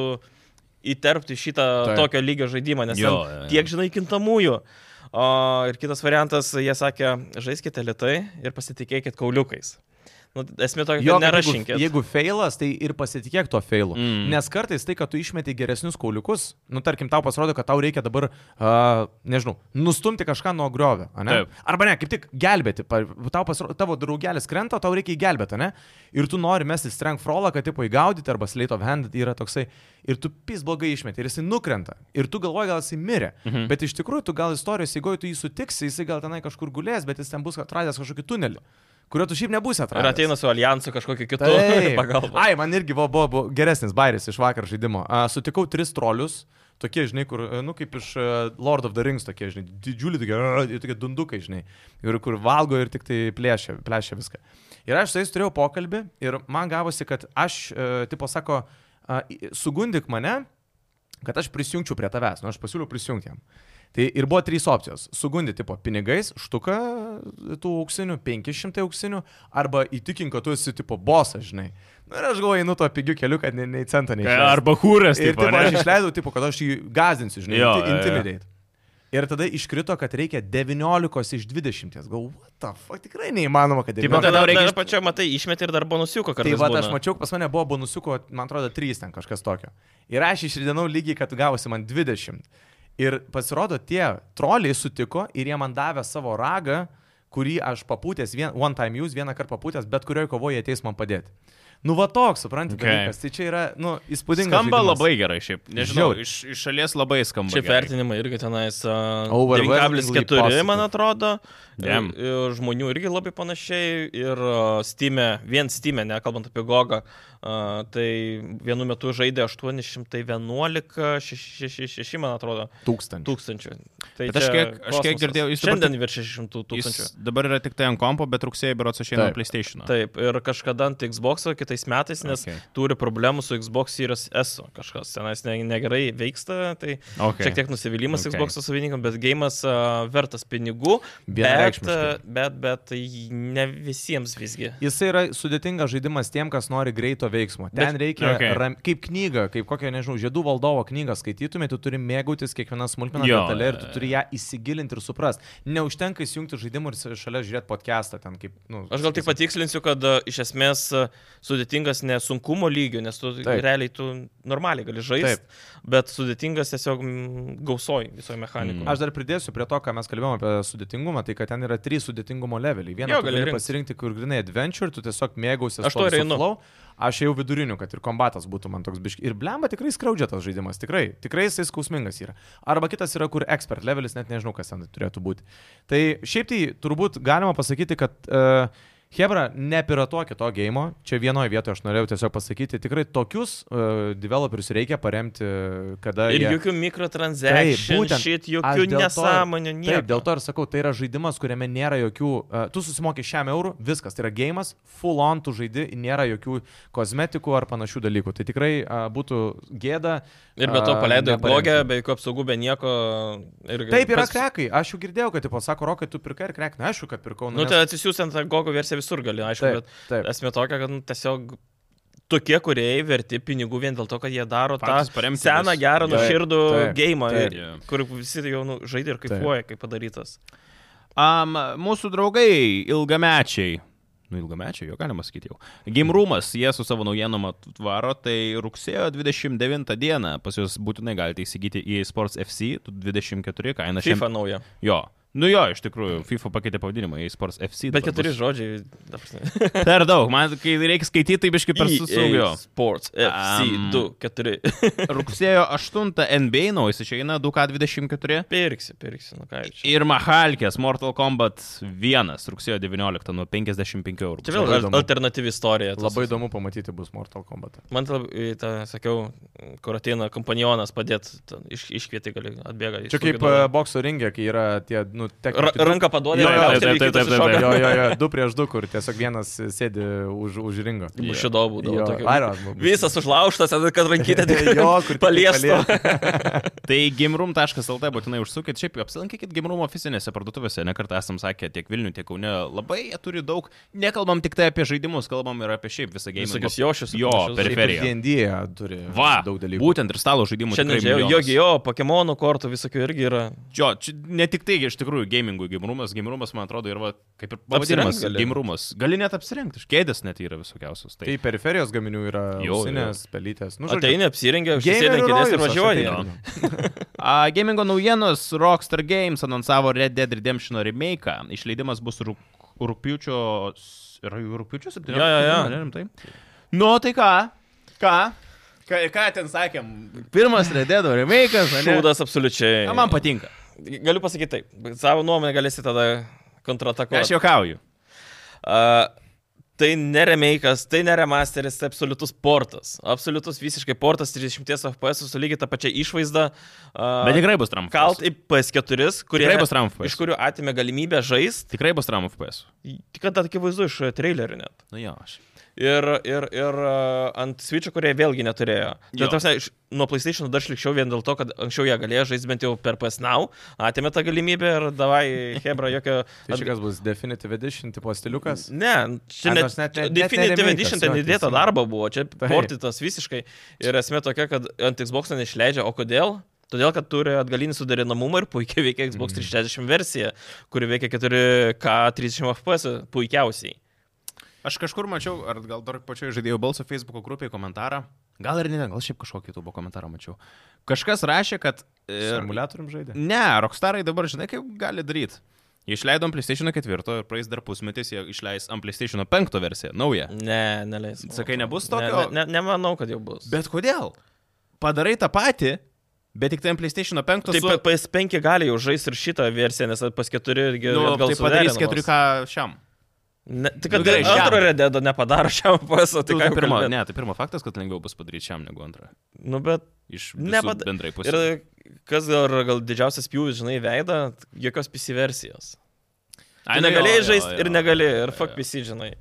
S1: įterpti šitą
S3: Taip.
S1: Taip. tokio lygio žaidimą, nes
S2: Jo,
S1: jo,
S2: jo, jo.
S1: tiek, žinai, kintamųjų. O, ir kitas variantas, jie sakė, žaiskite lietai ir pasitikėkit kauliukais. Nu, esmė tokia, kad
S3: jo, kad
S1: nerašinkit.
S3: Jeigu, jeigu feilas, tai ir pasitikėk tuo feilu.
S2: Mm.
S3: Mm. Nes kartais tai, kad tu išmeti geresnius kauliukus, nu tarkim, tau pasirodo, kad tau reikia dabar, uh, nežinau, nustumti kažką nuo griovio, ne?
S2: Taip.
S3: Arba ne, kaip tik gelbėti. Pa- Tau pasirodo, tavo draugelis krenta, tau reikia įgelbėti, ne? Ir tu nori mesti strength rollą, kad tipo įgaudyti, arba slate of hand yra toksai. Ir tu pis blogai išmeti, ir jisai nukrenta. Ir tu galvoji, gal jisai mirė. Mhm. Bet iš tikrųjų, tu gal istorijos, jeigu tu jį sutiksi, jisai gal tenai kažkur gulės, bet jis ten bus atradęs kažkokį tunelį, kurio tu šiaip nebūsi atradęs.
S1: Ir ateina su alijansu kažkokiu kitu
S3: Taip.
S1: pagalba.
S3: Ai, man irgi buvo, buvo, buvo geresnis bairis iš vakar žaidimo. A, sutikau tris trolius, tokie, žinai, kur, e, nu, kaip iš e, Lord of the Rings, tokie, žinai, didžiuliai, tokie, e, ir tokie dundukai, žinai, ir kur valgo ir tik tai plėšia, plėšia viską. Ir aš su jais turėjau pokalbį ir man gavosi, kad aš, e, tipo, sako, a, i- sugundyk mane, kad aš prisijungčiau prie tavęs, nu aš pasiūliau prisijungti jam. Tai ir buvo trys opcijos. Sugundyti po pinigais, štuką tų auksinių, 500 auksinių, arba įtikink, kad tu esi tipo bosas, žinai. Na ir aš galvoju, einu tuo pigiu keliu, kad nei, nei centą nei.
S2: E, Arba hūras.
S3: Ir
S2: tipo,
S3: taip
S2: ne?
S3: aš išleidau, tipo, kad aš jį gazinsiu, žinai,
S2: Jo,
S3: jo,
S2: jo, jo.
S3: intimidate. Ir tada iškrito, kad reikia 19 iš 20. Galvoju, what the fuck, tikrai neįmanoma, kad
S2: Tipo, kad-
S1: Bet
S3: 19.
S1: tada
S2: tau reikia
S1: reikia...
S2: iš-
S1: Pačio, matai, išmeti ir dar bonusiuko
S3: Tai
S1: kartais.
S3: va,
S1: būna.
S3: aš mačiau, pas mane buvo bonusiuko, man atrodo, 3 ten kažkas tokio. Ir aš išridinau lygiai, kad gavosi man 20. Ir pasirodo, tie troliai sutiko ir jie man davė savo ragą, kurį aš papūtęs, vien, one time use, vieną kartą papūtęs, bet kurioje kovoje ateis man padėti. Nu, va toks, supranti,
S2: Okay.
S3: okay. dalykas. Tai čia yra, nu, įspūdingas.
S2: Skamba
S3: žaidimas.
S2: labai gerai šiaip. Nežinau,
S3: Žiauriai.
S2: iš, iš šalies labai skamba.
S1: Šiaip
S2: gerai.
S1: vertinimai irgi tenais a,
S3: Overwhelmingly
S1: 9,4, man
S3: positive.
S1: atrodo.
S2: Damn.
S1: Ir- ir Žmonių irgi labai panašiai. Ir a, Steam'e, vien Steam'e, nekalbant apie Gogą, a, tai vienu metu žaidė 811, 6, man atrodo,
S3: Tūkstančių.
S1: tūkstančių. Tai
S2: Bet aš
S1: čia
S2: kiek- aš kiek
S1: kosmosas.
S2: girdėjau, jis dabar
S1: Šiandien virš 600 tūkstančių.
S2: Jis dabar yra tik tai ant kompo, bet rugsėjai berots išeina
S3: Taip.
S2: PlayStation.
S1: Taip, ir kažkada ant Xbox, kitais metais, nes
S2: Ah. Okay.
S1: okay. turi problemų su Xbox Series S, o. kažkas tenais ne- negerai veiksta, tai
S2: Okay.
S1: Šiek tiek nusivylimas
S2: Okay.
S1: okay. Xbox savininkam, bet gėjimas uh, vertas pinigų. Bet,
S3: Vienareikšmiškai.
S1: a, bet, bet tai ne visiems visgi.
S3: Jis yra sudėtingas žaidimas tiem, kas nori greito veiksmo. Ten Bet, reikia,
S2: Okay.
S3: okay. ram, kaip knyga, kaip kokią, nežinau, žiedų valdovo knygą skaitytumėte, tu turi mėgautis kiekvieną smulkmeną
S2: Jo,
S3: detalę ir tu
S2: jo,
S3: turi ją įsigilinti ir suprasti. Neužtenka įsijungti žaidimą ir s- šalia žiūrėti podcastą ten kaip, nu,
S1: Aš gal tik
S3: sakysim.
S1: patikslinsiu, kad a, iš esmės a, sudėtingas ne sunkumo lygio, nes tu
S3: Taip.
S1: Taip. realiai tu normaliai gali žaisti, bet sudėtingas tiesiog mm, gausoj visoje mechanikoje.
S2: Mm.
S3: Aš dar pridėsiu prie to, ką mes kalbėjome apie sudėtingumą, tai kad ten yra trys sudėtingumo leveliai. Vieną
S1: Jo,
S3: tu
S1: gali
S3: gali
S1: rinktis.
S3: pasirinkti, kur grinai adventure, tu tiesiog mėgausies.
S1: Aš
S3: tuo
S1: to ir
S3: visu
S1: einu.
S3: flow. Aš jau viduriniu, kad ir kombatas būtų man toks biški. Ir blemba tikrai skaudžia tas žaidimas, tikrai, tikrai jisai skausmingas yra. Arba kitas yra, kur expert levelis, net nežinau, kas ten turėtų būti. Tai šiaip tai turbūt galima pasakyti, kad... Uh, Hebra, nepiratuokit to gėjimo, čia vienoje vietoje aš norėjau tiesiog pasakyti, tikrai tokius uh, developerius reikia paremti, kada...
S1: Ir
S3: jie...
S1: jokių mikrotransakcijų,
S3: būtent.
S1: šit,
S3: Aš
S1: jokių
S3: dėl to-
S1: nesąmonių, nieko.
S3: Taip, dėl to ir sakau, tai yra žaidimas, kuriame nėra jokių... Uh, tu susimokė šiam eurų, viskas, tai yra gėjimas, full on tu žaidi, nėra jokių kozmetikų ar panašių dalykų. Tai tikrai uh, būtų gėda. e,
S1: Ir be to
S3: a,
S1: paleido į
S3: neparemti.
S1: blogę, be jokių apsaugų, be nieko. irgi
S3: Taip, yra
S1: pas-
S3: krekai, aš jau girdėjau, kad, tipo, sako, rokai, tu pirkai ir krek, na, aišku, kad pirkau.
S1: Nu, tai atsisiųsiant tą gogo versiją visur gali, aišku, bet
S3: taip, taip.
S1: Esmė tokia, kad nu, tiesiog tokie kuriejai verti pinigų vien dėl to, kad jie daro
S2: Patys
S1: tą
S2: paremti
S1: seną
S2: vis.
S1: gerą
S3: Taip,
S1: nuširdų
S3: taip,
S1: gėjimą,
S3: taip.
S2: Yeah.
S1: kur visi jau nu, žaidė ir kaipuoja, kaip padarytas.
S2: Um, mūsų draugai, ilgamečiai. Nu, ilgamečiai, jo galima sakyti jau. Gimrumas, jie su savo naujienom atvaro, tai rugsėjo 29 dieną pas jūs būtinai galite įsigyti į Sports FC, tu 24 kaina
S1: FIFA nauja.
S2: Jo. Nu jo, iš tikrųjų, FIFA pakeitė pavadinimą į Sports FC. dabar
S1: Bet keturi
S2: bus.
S1: žodžiai. ta prasme.
S2: Per daug, man kai reikia skaityti, tai biškai per susaugiau.
S1: EA Sports
S2: Am.
S1: FC2, 4.
S2: Rugsėjo 8 NBA naujas išeina 2K24.
S1: Pirksi, pirksi, nu ką jūs čia.
S2: Ir Mahalkės Mortal Kombat 1 rugsėjo 19 nuo 55 eurų.
S1: Čia vėl
S3: Labai
S1: al-
S3: įdomu.
S1: alternatyvi istorija. tos-
S3: Labai įdomu pamatyti bus Mortal Kombat.
S1: Man tai labai, tą sakiau, kur ateina kompanionas padėti, iš, iškvieti gali, atbėga.
S3: Čia kaip e, bokso ringė, kai yra tie, nu, tek...
S1: Ra ranka paduoda,
S2: Jo, jo,
S1: ir
S2: taip, taip, taip,
S1: kitas
S2: taip,
S1: iššoka.
S2: taip.
S3: Jo, jo, jo, du prieš du, kur tiesiog vienas sėdi už, už ringo.
S1: Bušido būdavo.
S3: Jo,
S1: tokio-
S3: Iron Man.
S1: Visas užlauštas, tada kad rankytė tik tai
S3: Jo, kur tik
S1: paliesto.
S2: Tai gimrum.lt būtinai užsukit, šiaip apsilankykit gimrumo oficinėse parduotuvėse, nekartą esam sakę tiek Vilnių, tiek Kaune, labai jie turi daug, nekalbam tik tai apie žaidimus, kalbam ir apie šiaip visą gėjimą.
S1: Visokius jošius ir
S2: Jo,
S1: panašius
S2: per
S1: dalykus.
S2: periferiją.
S3: DND turi
S2: Va,
S3: daug dalykų.
S2: būtent ir stalo žaidimų.
S1: Šiandien
S2: tikrai
S1: žiūrėjau,
S2: milijonas.
S1: jogi jo, Pokemonų kortų visokių irgi yra.
S2: Jo, čia ne tik tai, iš tikrųjų, gamingų gimrumas, gimrumas, man atrodo, yra va, kaip ir pavadinimas.
S1: gali.
S2: Gimrumas. Gali net apsirengti, iš kėdės net yra visokiausios.
S3: Tai
S2: Tai,
S3: periferijos gaminių yra
S2: Jo,
S3: ausinės, pelytės. Nu, žodžiu,
S1: Ateini, apsirengia,
S3: gamerių
S1: užsėdė kėdės ir
S3: rojus, aš
S1: važiuoja.
S3: ateinu.
S2: a, gamingo naujienos, Rockstar Games anonsavo Red Dead Redemption remake. Išleidimas bus rūk, rūpiučio... Yra jau rūpiučio 17?
S1: Jo, jo, jo.
S2: Ne, rimtai. Nu, tai ką? Ką? Ką, ką ten sakėm? Pirmas Red Dead remake'as, ane?
S1: Šūdas absoliučiai.
S2: Na, man patinka.
S1: Galiu pasakyti taip, bet savo nuomonę galėsi tada
S2: Aš
S1: kontratakuoti.
S2: juokauju.
S1: A, Tai neremeikas, tai neremasteris, tai absoliutus portas. Absoliutus visiškai portas, 30 FPS su lygiai tą pačią išvaizdą. a,
S2: Bet tikrai bus Trump.
S1: Kalt į PS4, kurie,
S2: Tikrai bus Trump.
S1: iš kurių atėmė galimybę žaisti,
S2: Tikrai bus Trump FPS.
S1: tik kad akivaizdu iš trailerių net.
S2: Nu jo, aš.
S1: Ir, ir, ir a, ant Switch'o, kurie vėlgi neturėjo.
S2: Jo.
S1: Tai tarsi, iš, nuo PlayStation dar šlikščiau vien dėl to, kad anksčiau jie galėjo žaisti bent jau per PS Now, atėmė tą galimybę ir davai Hebra jokio...
S3: Tai čia kas bus Definitive Edition tipo stiliukas?
S1: Ne, čia
S3: Ai,
S1: net,
S3: nors net- net- net
S1: Definitive
S3: ne
S1: Edition
S3: remake'as,
S1: ten
S3: jo, Tai.
S1: įdėta
S3: teisingai.
S1: darbo buvo, čia
S3: Taip.
S1: portitas visiškai. Ir esmė tokia, kad ant Xbox neišleidžia, o kodėl? Todėl, kad turi atgalinį suderinamumą ir puikiai veikia Xbox
S3: Mhm.
S1: 360 versija, kuri veikia 4K 30 FPS puikiausiai.
S2: Aš kažkur mačiau, ar gal dar pačioje žaidėjų balso Facebook grupėje komentarą. Gal ir ne, gal šiaip kažkokį YouTube komentarą mačiau. Kažkas rašė, kad... e,
S3: Simuliatorium žaidė?
S2: Ne, Rockstarai dabar žinai, kaip gali daryti. Jie išleido ant PlayStation 4 ir praeis dar pusmetis, jie išleis ant PlayStation 5 versiją, naują.
S1: Ne, neleis. man
S2: Sakai,
S1: atrodo.
S2: nebus
S1: Ne-
S2: tokio?
S1: Ne, ne, nemanau, kad jau bus.
S2: Bet kodėl? Padarai tą patį, bet tik tai ant PlayStation 5
S1: Taip,
S2: su...
S1: PS5 gali jau žaisti ir šitą versiją, nes pas 4 irgi
S2: Nu,
S1: gal
S2: tai padarys
S1: suderinamos.
S2: 4K šiam.
S1: Ne, tai kad
S2: Nu, gerai,
S1: nu, antro
S2: šiam.
S1: rededo nepadaro šiam paso, tai
S2: Tu
S1: ką jau
S2: pirma,
S1: kalbėt.
S2: ne, tai pirmas faktas, kad lengviau bus padaryti šiam negu antrą.
S1: Nu, bet
S2: Iš
S1: Nepada-
S2: Nepada... bendrai pusės.
S1: ir kas gal, gal didžiausias pjūvis, žinai, veidą, jokios PC versijos. Ai,
S2: nu
S1: negalėjai žaisti ir negalėjai, ir fuck PC, žinai.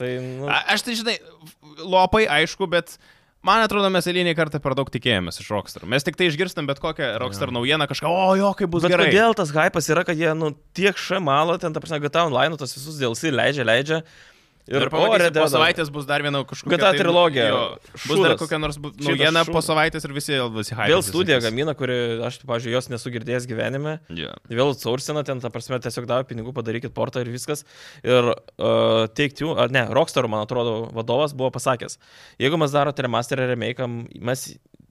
S1: Tai, nu,
S2: A, aš tai žinai, lopai aišku, bet man atrodo, mes eilinį kartą per daug tikėjomės iš Rockstar. Mes tik tai išgirstam bet kokią Rockstar naujieną kažką, o jo, kaip bus
S1: bet
S2: gerai.
S1: kodėl tas hypas yra, kad jie, nu, tiek šamalo, ten, ta prasme, GTA Online, tos visus DLC leidžia, leidžia.
S2: Ir, ir
S1: o, Red
S2: po
S1: Dead-
S2: savaitės bus dar viena kažkokia... tai
S1: GTA trilogija.
S2: Jo, bus dar
S1: Šūdas.
S2: kokia nors bu-
S1: Šitas
S2: naujiena po
S1: šūdas.
S2: savaitės ir visi visi hype.
S1: Vėl studija gamina, kuri, aš, pažiūrėjau, jos nesu girdėjęs gyvenime.
S2: Yeah.
S1: Vėl sourcina, ten, ta prasme, tiesiog davė pinigų, padarykit portą ir viskas. Ir uh, teikti, ar ne, Rockstar, man atrodo, vadovas buvo pasakęs, jeigu mes darote remasterį remake, mes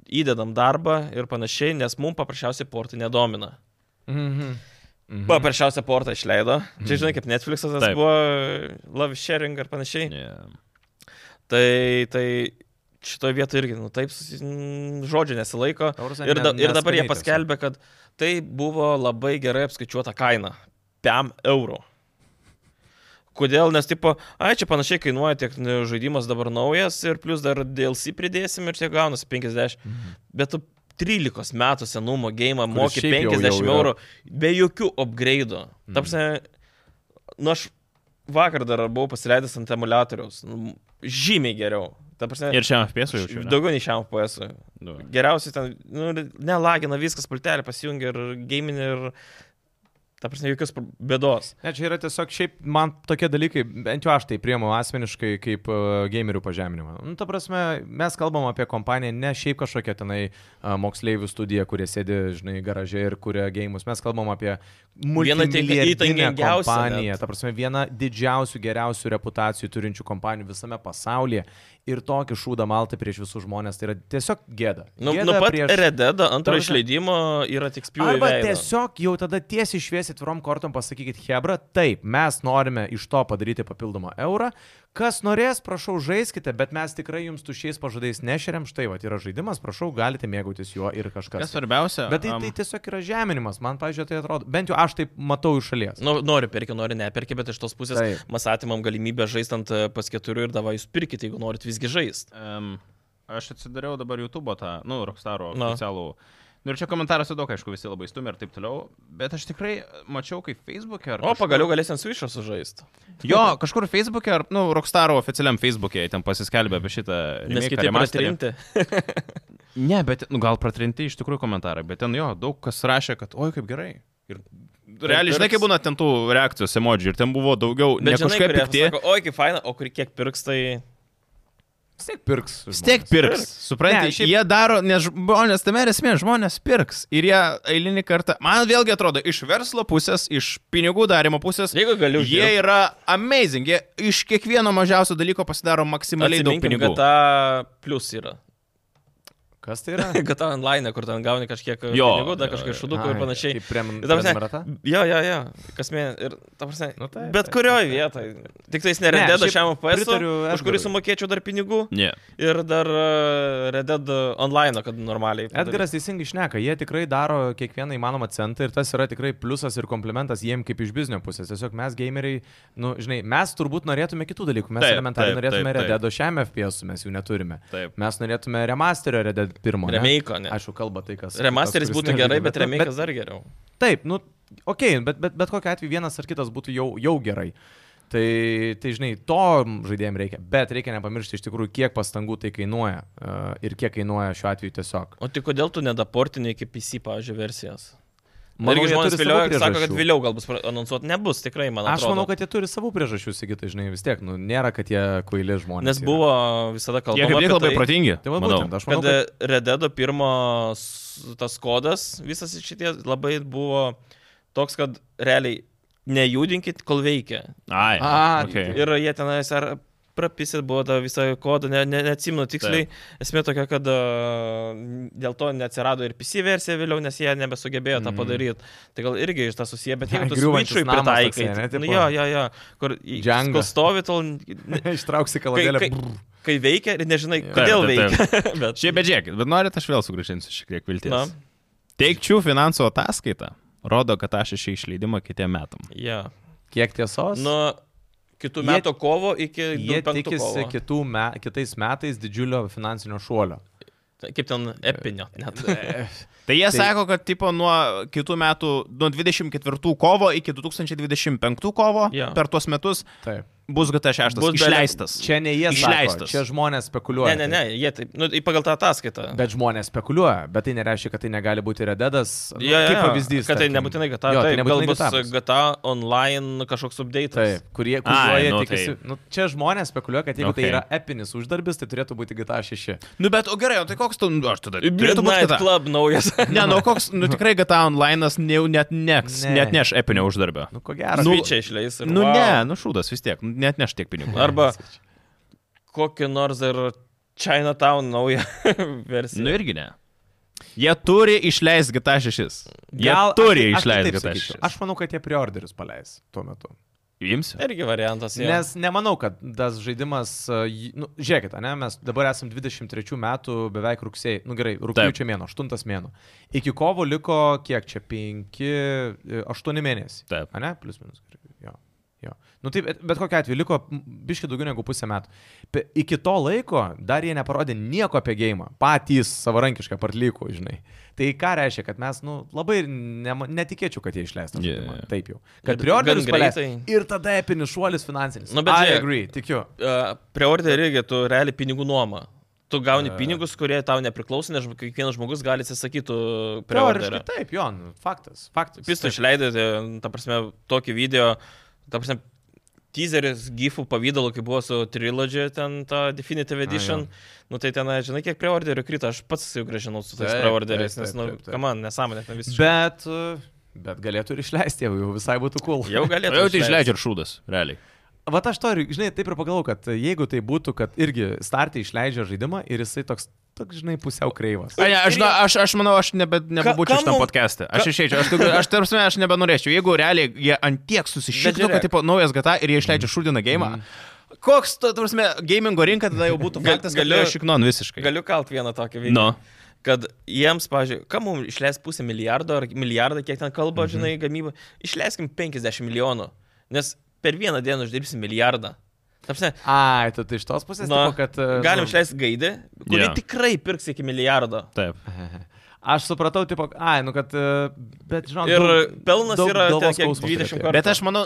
S1: įdedam darbą ir panašiai, nes mums paprasčiausiai portai nedomina.
S3: Mhm.
S1: Mhm. Paprasčiausią portą išleido. Čia, žinai, kaip Netflix'as tas
S2: Taip.
S1: buvo Love Sharing ar panašiai.
S2: Yeah.
S1: Tai, tai šitoje vietoje irgi, nu taip, susi- n- žodžių nesilaiko.
S3: Ta prasme,
S1: Ir, da,
S3: ne-
S1: ir dabar jie
S3: neskaniai
S1: paskelbė, kad tai buvo labai gerai apskaičiuota kaina. 5 eurų. Kodėl? Nes, tipo, ai, čia panašiai kainuoja tiek nu, žaidimas dabar naujas ir plus dar DLC pridėsim ir čia gaunasi 50. Mhm. Bet tu 13 metų senumo game
S3: Kuris
S1: moki
S3: šiaip jau- jau
S1: 50
S3: yra.
S1: eurų be jokių upgrade'ų. Mhm. Tapsne, nu aš vakar dar buvau pasileidęs ant emulatoriaus. Nu, Žymiai geriau. Ta prasme,
S2: Ir šiam FPS
S1: š-
S2: jaučiu. ne?
S1: daugiau nei šiam PS. -ui.
S2: Nu.
S1: Geriausiai ten, nu, nelagina viskas, pultelį pasijungia ir gaming ir, ta prasme, jokios pr- bėdos.
S3: Ne, čia yra tiesiog šiaip man tokie dalykai, bent jau aš tai priemu asmeniškai kaip uh, gamerių pažeminimą. Nu, ta prasme, mes kalbam apie kompaniją, ne šiaip kažkokią tenai uh, moksleivių studiją, kurie sėdi, žinai, garaže ir kuria gėjimus. Mes kalbam apie
S1: Vieną tik-
S3: multimilijardinę
S1: įtakingiausią
S3: kompaniją.
S1: net.
S3: Ta prasme, viena didžiausių, geriausių reputacijų turinčių kompanijų visame pasaulyje. Ir tokį šūdą maltą prieš visus žmonės, tai yra tiesiog gėda.
S1: Nu,
S3: Gėda
S1: nu pat
S3: prieš-
S1: prieš... Rededo antro
S3: Ta prasme-
S1: išleidimo yra tik spjūviai.
S3: Arba tiesiog jau tada tiesiai šviesiai tvirom kortom pasakykit, Hebra, taip, mes norime iš to padaryti papildomą eurą. Kas norės, prašau, žaiskite, bet mes tikrai jums tušiais pažadais nešeriam. Štai, va, yra žaidimas, prašau, galite mėgautis juo ir
S2: Kas
S3: kažkas.
S2: svarbiausia? um,
S3: Bet tai,
S2: am,
S3: tai tiesiog yra žeminimas, man, pažiūrėjau, tai atrodo, bent jau aš taip matau iš šalies.
S1: Nu, nori perki, nori neperki, bet iš tos pusės
S3: Taip.
S1: Taip. mes atimam galimybę žaistant e, pas keturių ir davai jūs pirkite, jeigu norit visgi žaisti.
S2: Em, aš atsidariau dabar YouTube tą, nu, Rockstaro
S1: Na.
S2: oficialų. Nu, ir čia komentaruose daug, aišku, visi labai stumia ir taip toliau, bet aš tikrai mačiau, kaip Facebook'e ar...
S1: O pagaliau galėsim su išrašu žaisti.
S2: Jo, kažkur Facebook'e ar, nu, Rockstaro oficialiam Facebook'e jie ten pasiskelbė apie šitą...
S1: Nes
S2: remake'ą,
S1: kitaip
S2: remasterį.
S1: pratrinti.
S2: Ne, bet, nu, gal pratrinti iš tikrųjų komentarai, bet ten jo, daug kas rašė, kad, oi, kaip gerai. Ir realiai, žinai,
S1: pirks.
S2: kaip būna ten tų reakcijų emoji, ir ten buvo daugiau, ne
S1: Bet žinai,
S2: kažkaip
S1: kurie
S2: pikti.
S1: sako, Oi, kaip faina, o kur kiek pirks, tai...
S3: Vis tiek pirks.
S2: Vis tiek pirks. Suprantate,
S3: Ne,
S2: šiaip...
S3: šiaip-
S2: jie daro, nes žmonės, tame ir esmė, žmonės pirks. Ir jie eilinį kartą, man vėlgi atrodo, iš verslo pusės, iš pinigų darimo pusės,
S1: Jeigu galiu,
S2: jie yra amazing. Jie iš kiekvieno mažiausio dalyko pasidaro maksimaliai daug pinigų.
S1: GTA plus yra.
S3: Kas tai yra?
S1: GTA online, kur ten gauni kažkiek
S2: Jo, jo,
S1: pinigų, dar kažkiek
S2: jo.
S1: šudukų ir panašiai.
S3: Kaip prem,
S1: Ir ta prasme-
S3: prenumerata?
S1: Jo, jo, jo. Kasmė, ir, ta prasme,
S3: Nu
S1: nu,
S3: taip,
S1: taip, bet
S3: taip,
S1: kurioje vietoje. Tik tais neredėda
S3: šiaip
S1: šiam PS,
S3: pritariu
S1: už kurį
S3: Edgarui.
S1: sumokėčiau dar pinigų
S2: Ne.
S1: ir dar redėda online, kad normaliai. padaryt.
S3: Edgaras teisingai šneka, jie tikrai daro kiekvieną įmanomą centą ir tas yra tikrai pliusas ir komplimentas jiem kaip iš biznio pusės. Tiesiog mes gameriai, nu, žinai, mes turbūt norėtume kitų dalykų, mes
S2: Taip,
S3: taip, elementariai
S2: taip,
S3: taip, norėtume
S2: taip, taip.
S3: Rededo šiam FPS, mes jų neturime.
S2: Taip.
S3: Mes norėtume remasterio Rededo pirmo. ne?
S1: Remake'o, ne.
S3: Aišku, kalba tai, kas.
S1: Remasteris
S3: tas, kuris
S1: būtų
S3: nežaidė,
S1: gerai, bet
S3: bet,
S1: remake'as dar geriau.
S3: Taip, nu, okei, okay, bet, bet, bet kokiu atveju vienas ar kitas būtų jau, jau gerai. Tai, tai, žinai, to žaidėjim reikia, bet reikia nepamiršti iš tikrųjų, kiek pastangų tai kainuoja uh, ir kiek kainuoja šiuo atveju tiesiog.
S1: O tai kodėl tu nedaportini iki PC, pavyzdžiui, versijos?
S3: Manau,
S1: Irgi
S3: jie
S1: žmonės
S3: turi
S1: vilioja
S3: savo
S1: ir sako, kad
S3: priežasčių.
S1: vėliau gal bus anonsuot. Nebus, tikrai, man atrodo.
S3: Aš manau, kad jie turi savų priežasčių, sakytai, žinai, vis tiek, nu, nėra, kad jie kvaili žmonės.
S1: Nes
S3: yra.
S1: buvo
S2: Jie
S1: visada
S2: kaip
S1: kalbama
S2: tik
S1: apie
S2: labai
S1: tai,
S2: protingi.
S3: Tai va,
S2: manau.
S3: būtent, aš manau,
S1: kad
S3: kad...
S1: Rededo pirmo s- tas kodas, visas šitie labai buvo toks, kad realiai nejudinkit, kol veikia.
S2: Ai.
S3: A,
S2: okay.
S1: Ir jie tenais ar prapisit buvo tą visą kodą, ne, ne, neatsimenu tiksliai. Esmė tokia, kad a, dėl to neatsirado ir PC versija vėliau, nes jie nebesugebėjo tą
S3: Mm.
S1: padaryti. Tai gal irgi iš tą susiję, bet
S3: Ja,
S1: jeigu tu
S3: griūvantis
S1: Switch'ui
S3: namas
S1: pritaikai.
S3: toksai, ne,
S1: tai- Nu,
S3: tipo-
S1: jo, jo, jo, kur į-
S3: Django.
S1: kol stovi, tol ne-
S3: Ištrauksi
S1: kai,
S3: kaladėlę.
S1: e, kai, kai veikia ir nežinai,
S3: Jo.
S1: kodėl
S2: Taip, taip,
S1: veikia. bet,
S2: Šiaip bedžiakit, bet norit, aš vėl sugrįžinsiu šiek tiek vilties.
S1: na,
S2: Teikčių finansų ataskaita rodo, kad aš šį išleidimą kitiem metam.
S1: ja.
S3: Kiek tiesos?
S1: Nuo kitų
S3: Jie-
S1: metų kovo iki
S3: Jie
S1: 25
S3: tikisi
S1: kovo.
S3: kitų me, kitais metais didžiulio finansinio šuolio.
S1: Tai Kaip ten epinio. Net.
S2: Tai jie tai...
S3: Tai-
S2: sako, kad tipo nuo kitų metų, nuo 24 kovo iki 2025 kovo
S1: Jo.
S2: per tuos metus
S3: Taip.
S2: bus GT6
S1: Bus bele-
S2: išleistas.
S3: Čia ne jie sako,
S2: Išleistas.
S3: čia žmonės spekuliuoja.
S1: Ne, ne, ne, jie taip, nu, į- pagal tą ataskaitą.
S3: Bet žmonės spekuliuoja, bet tai nereiškia, kad tai negali būti rededas. Nu,
S1: Jo, jo,
S3: kaip
S1: jo,
S3: pavyzdys.
S1: Kad tai
S3: tarkim.
S1: nebūtinai GTA.
S3: Jo,
S1: Jo,
S3: tai
S1: taip,
S3: nebūtinai
S1: gal bus
S3: GTA bus.
S1: GTA online kažkoks update.
S3: Taip, kurie, kurie
S2: Ai, nu,
S3: tikisi.
S2: tai-
S3: Nu, čia žmonės spekuliuoja, kad jeigu okay. tai
S2: Okay.
S3: yra epinis uždarbis, tai turėtų būti GTA 6.
S2: Nu bet, o gerai, o tai koks tu, nu, aš tada. Turėtų būti
S1: Midnight
S2: kita.
S1: Club naujas.
S2: Ne, nu koks, nu tikrai GTA online'as ne, net neks,
S3: Ne.
S2: ne. net neš epinio uždarbio.
S3: Nu, ko gero.
S2: Nu,
S1: Nu, čia išleis. Ir,
S2: Nu
S1: wow.
S2: ne, nu šūdas vis tiek, nu, net neš tiek pinigų.
S1: Arba kokį nors ir Chinatown naują versiją.
S2: Nu irgi ne. Jie turi išleisti GTA 6. Jie
S3: Gal-
S2: Gal, turi
S3: aš tai- aš tai
S2: išleisti
S3: taip
S2: GTA
S3: sakyčiau.
S2: 6.
S3: Aš manau, kad jie preorderius paleis tuo metu.
S2: Jums?
S1: Irgi variantas. jo.
S3: Nes nemanau, kad tas žaidimas, uh, jį- nu, žiūrėkit, ne, mes dabar esam 23 metų beveik rugsėjai, nu gerai, rūpiučio mėno, 8 mėno. Iki kovo liko kiek čia, 5, 8 mėnesiai.
S2: Taip.
S3: Ne, plus minus. Jo. Jo. Nu taip, bet- bet kokia atveju liko biški daugiau negu pusę metų. Pe, iki to laiko dar jie neparodė nieko apie gėjimą. Patys savarankiškai partlykų, žinai. Tai ką reiškia, kad mes, nu, labai nema- netikėčiau, kad jie išleistų.
S2: Yeah.
S3: žaidimą. Taip jau. Kad
S1: Ir
S3: prioritetas
S1: gan
S3: paleis.
S1: greitai.
S3: Ir tada epinis šuolis finansinis.
S1: Nu, bet
S3: I
S1: žiūrėk.
S3: agree, tikiu.
S1: Uh, Preorderį irgi tu realiai pinigų nuoma. Tu gauni
S3: E.
S1: pinigus, kurie tau nepriklauso, nes žmo- kiekvienas žmogus gali atsisakyti preorderio.
S3: Teoriškai taip, jo, nu, faktas. faktas.
S1: Pisto
S3: Taip.
S1: išleidai, tai, ta prasme, tokį video, ta prasme, teaseris gifų pavydalu, kai buvo su Trilogy, ten ta Definitive
S3: A, jo.
S1: Edition, nu tai ten, žinai, kiek preorderių krito, aš pats jau gražinau su tais
S3: Taip,
S1: preorderiais,
S3: taip,
S1: nes,
S3: taip,
S1: nu,
S3: taip, taip.
S1: kam man, nesąmonė, ten visi.
S3: Bet, uh, bet galėtų ir išleisti, jeigu jau visai būtų cool.
S1: Jau galėtų.
S2: Jau tai
S1: išleist.
S2: išleidžia ir šūdas, realiai.
S3: Vat aš to ir, žinai, taip ir pagalvoju, kad jeigu tai būtų, kad irgi startai išleidžia žaidimą ir jisai toks, toks žinai, pusiau kreivas.
S2: A, ne, aš, na, aš, aš manau, aš nebe, nebebūčiau
S1: kam
S2: šitam
S1: mum-
S2: podcast'e. Aš išeičiau, aš, tik- aš tarpsime, aš nebenorėčiau. Jeigu realiai jie antiek susišyptų,
S1: žiūrėk.
S2: kad tipo naujas GTA ir jie išleidžia šūdiną gėjimą. Koks, tu, tarpsime, gamingo rinka tada jau būtų
S1: Gal-
S2: faktas,
S1: galiu-
S2: galiu šiknon visiškai.
S1: Galiu kalt vieną tokį video.
S2: Nu,
S1: kad jiems, pažiūrėjau, kam mums išleis pusę milijardo ar milijardą, kiek ten kalba,
S2: Mhm.
S1: žinai, gamyba, išleiskim 50 milijonų, nes per vieną dieną uždirbsim milijardą. Tapsne,
S3: Ai, tu tai iš tos pusės,
S1: Na,
S3: tipo, kad... e,
S1: galim
S3: nu,
S1: išleisti gaidę, kuri
S2: Jo.
S1: tikrai pirks iki milijardo.
S2: taip.
S3: Aš supratau, tipo, ai, nu kad... e, Bet, žinau,
S1: Ir pelnas yra ten kiek 20 kartų.
S2: Bet aš manau,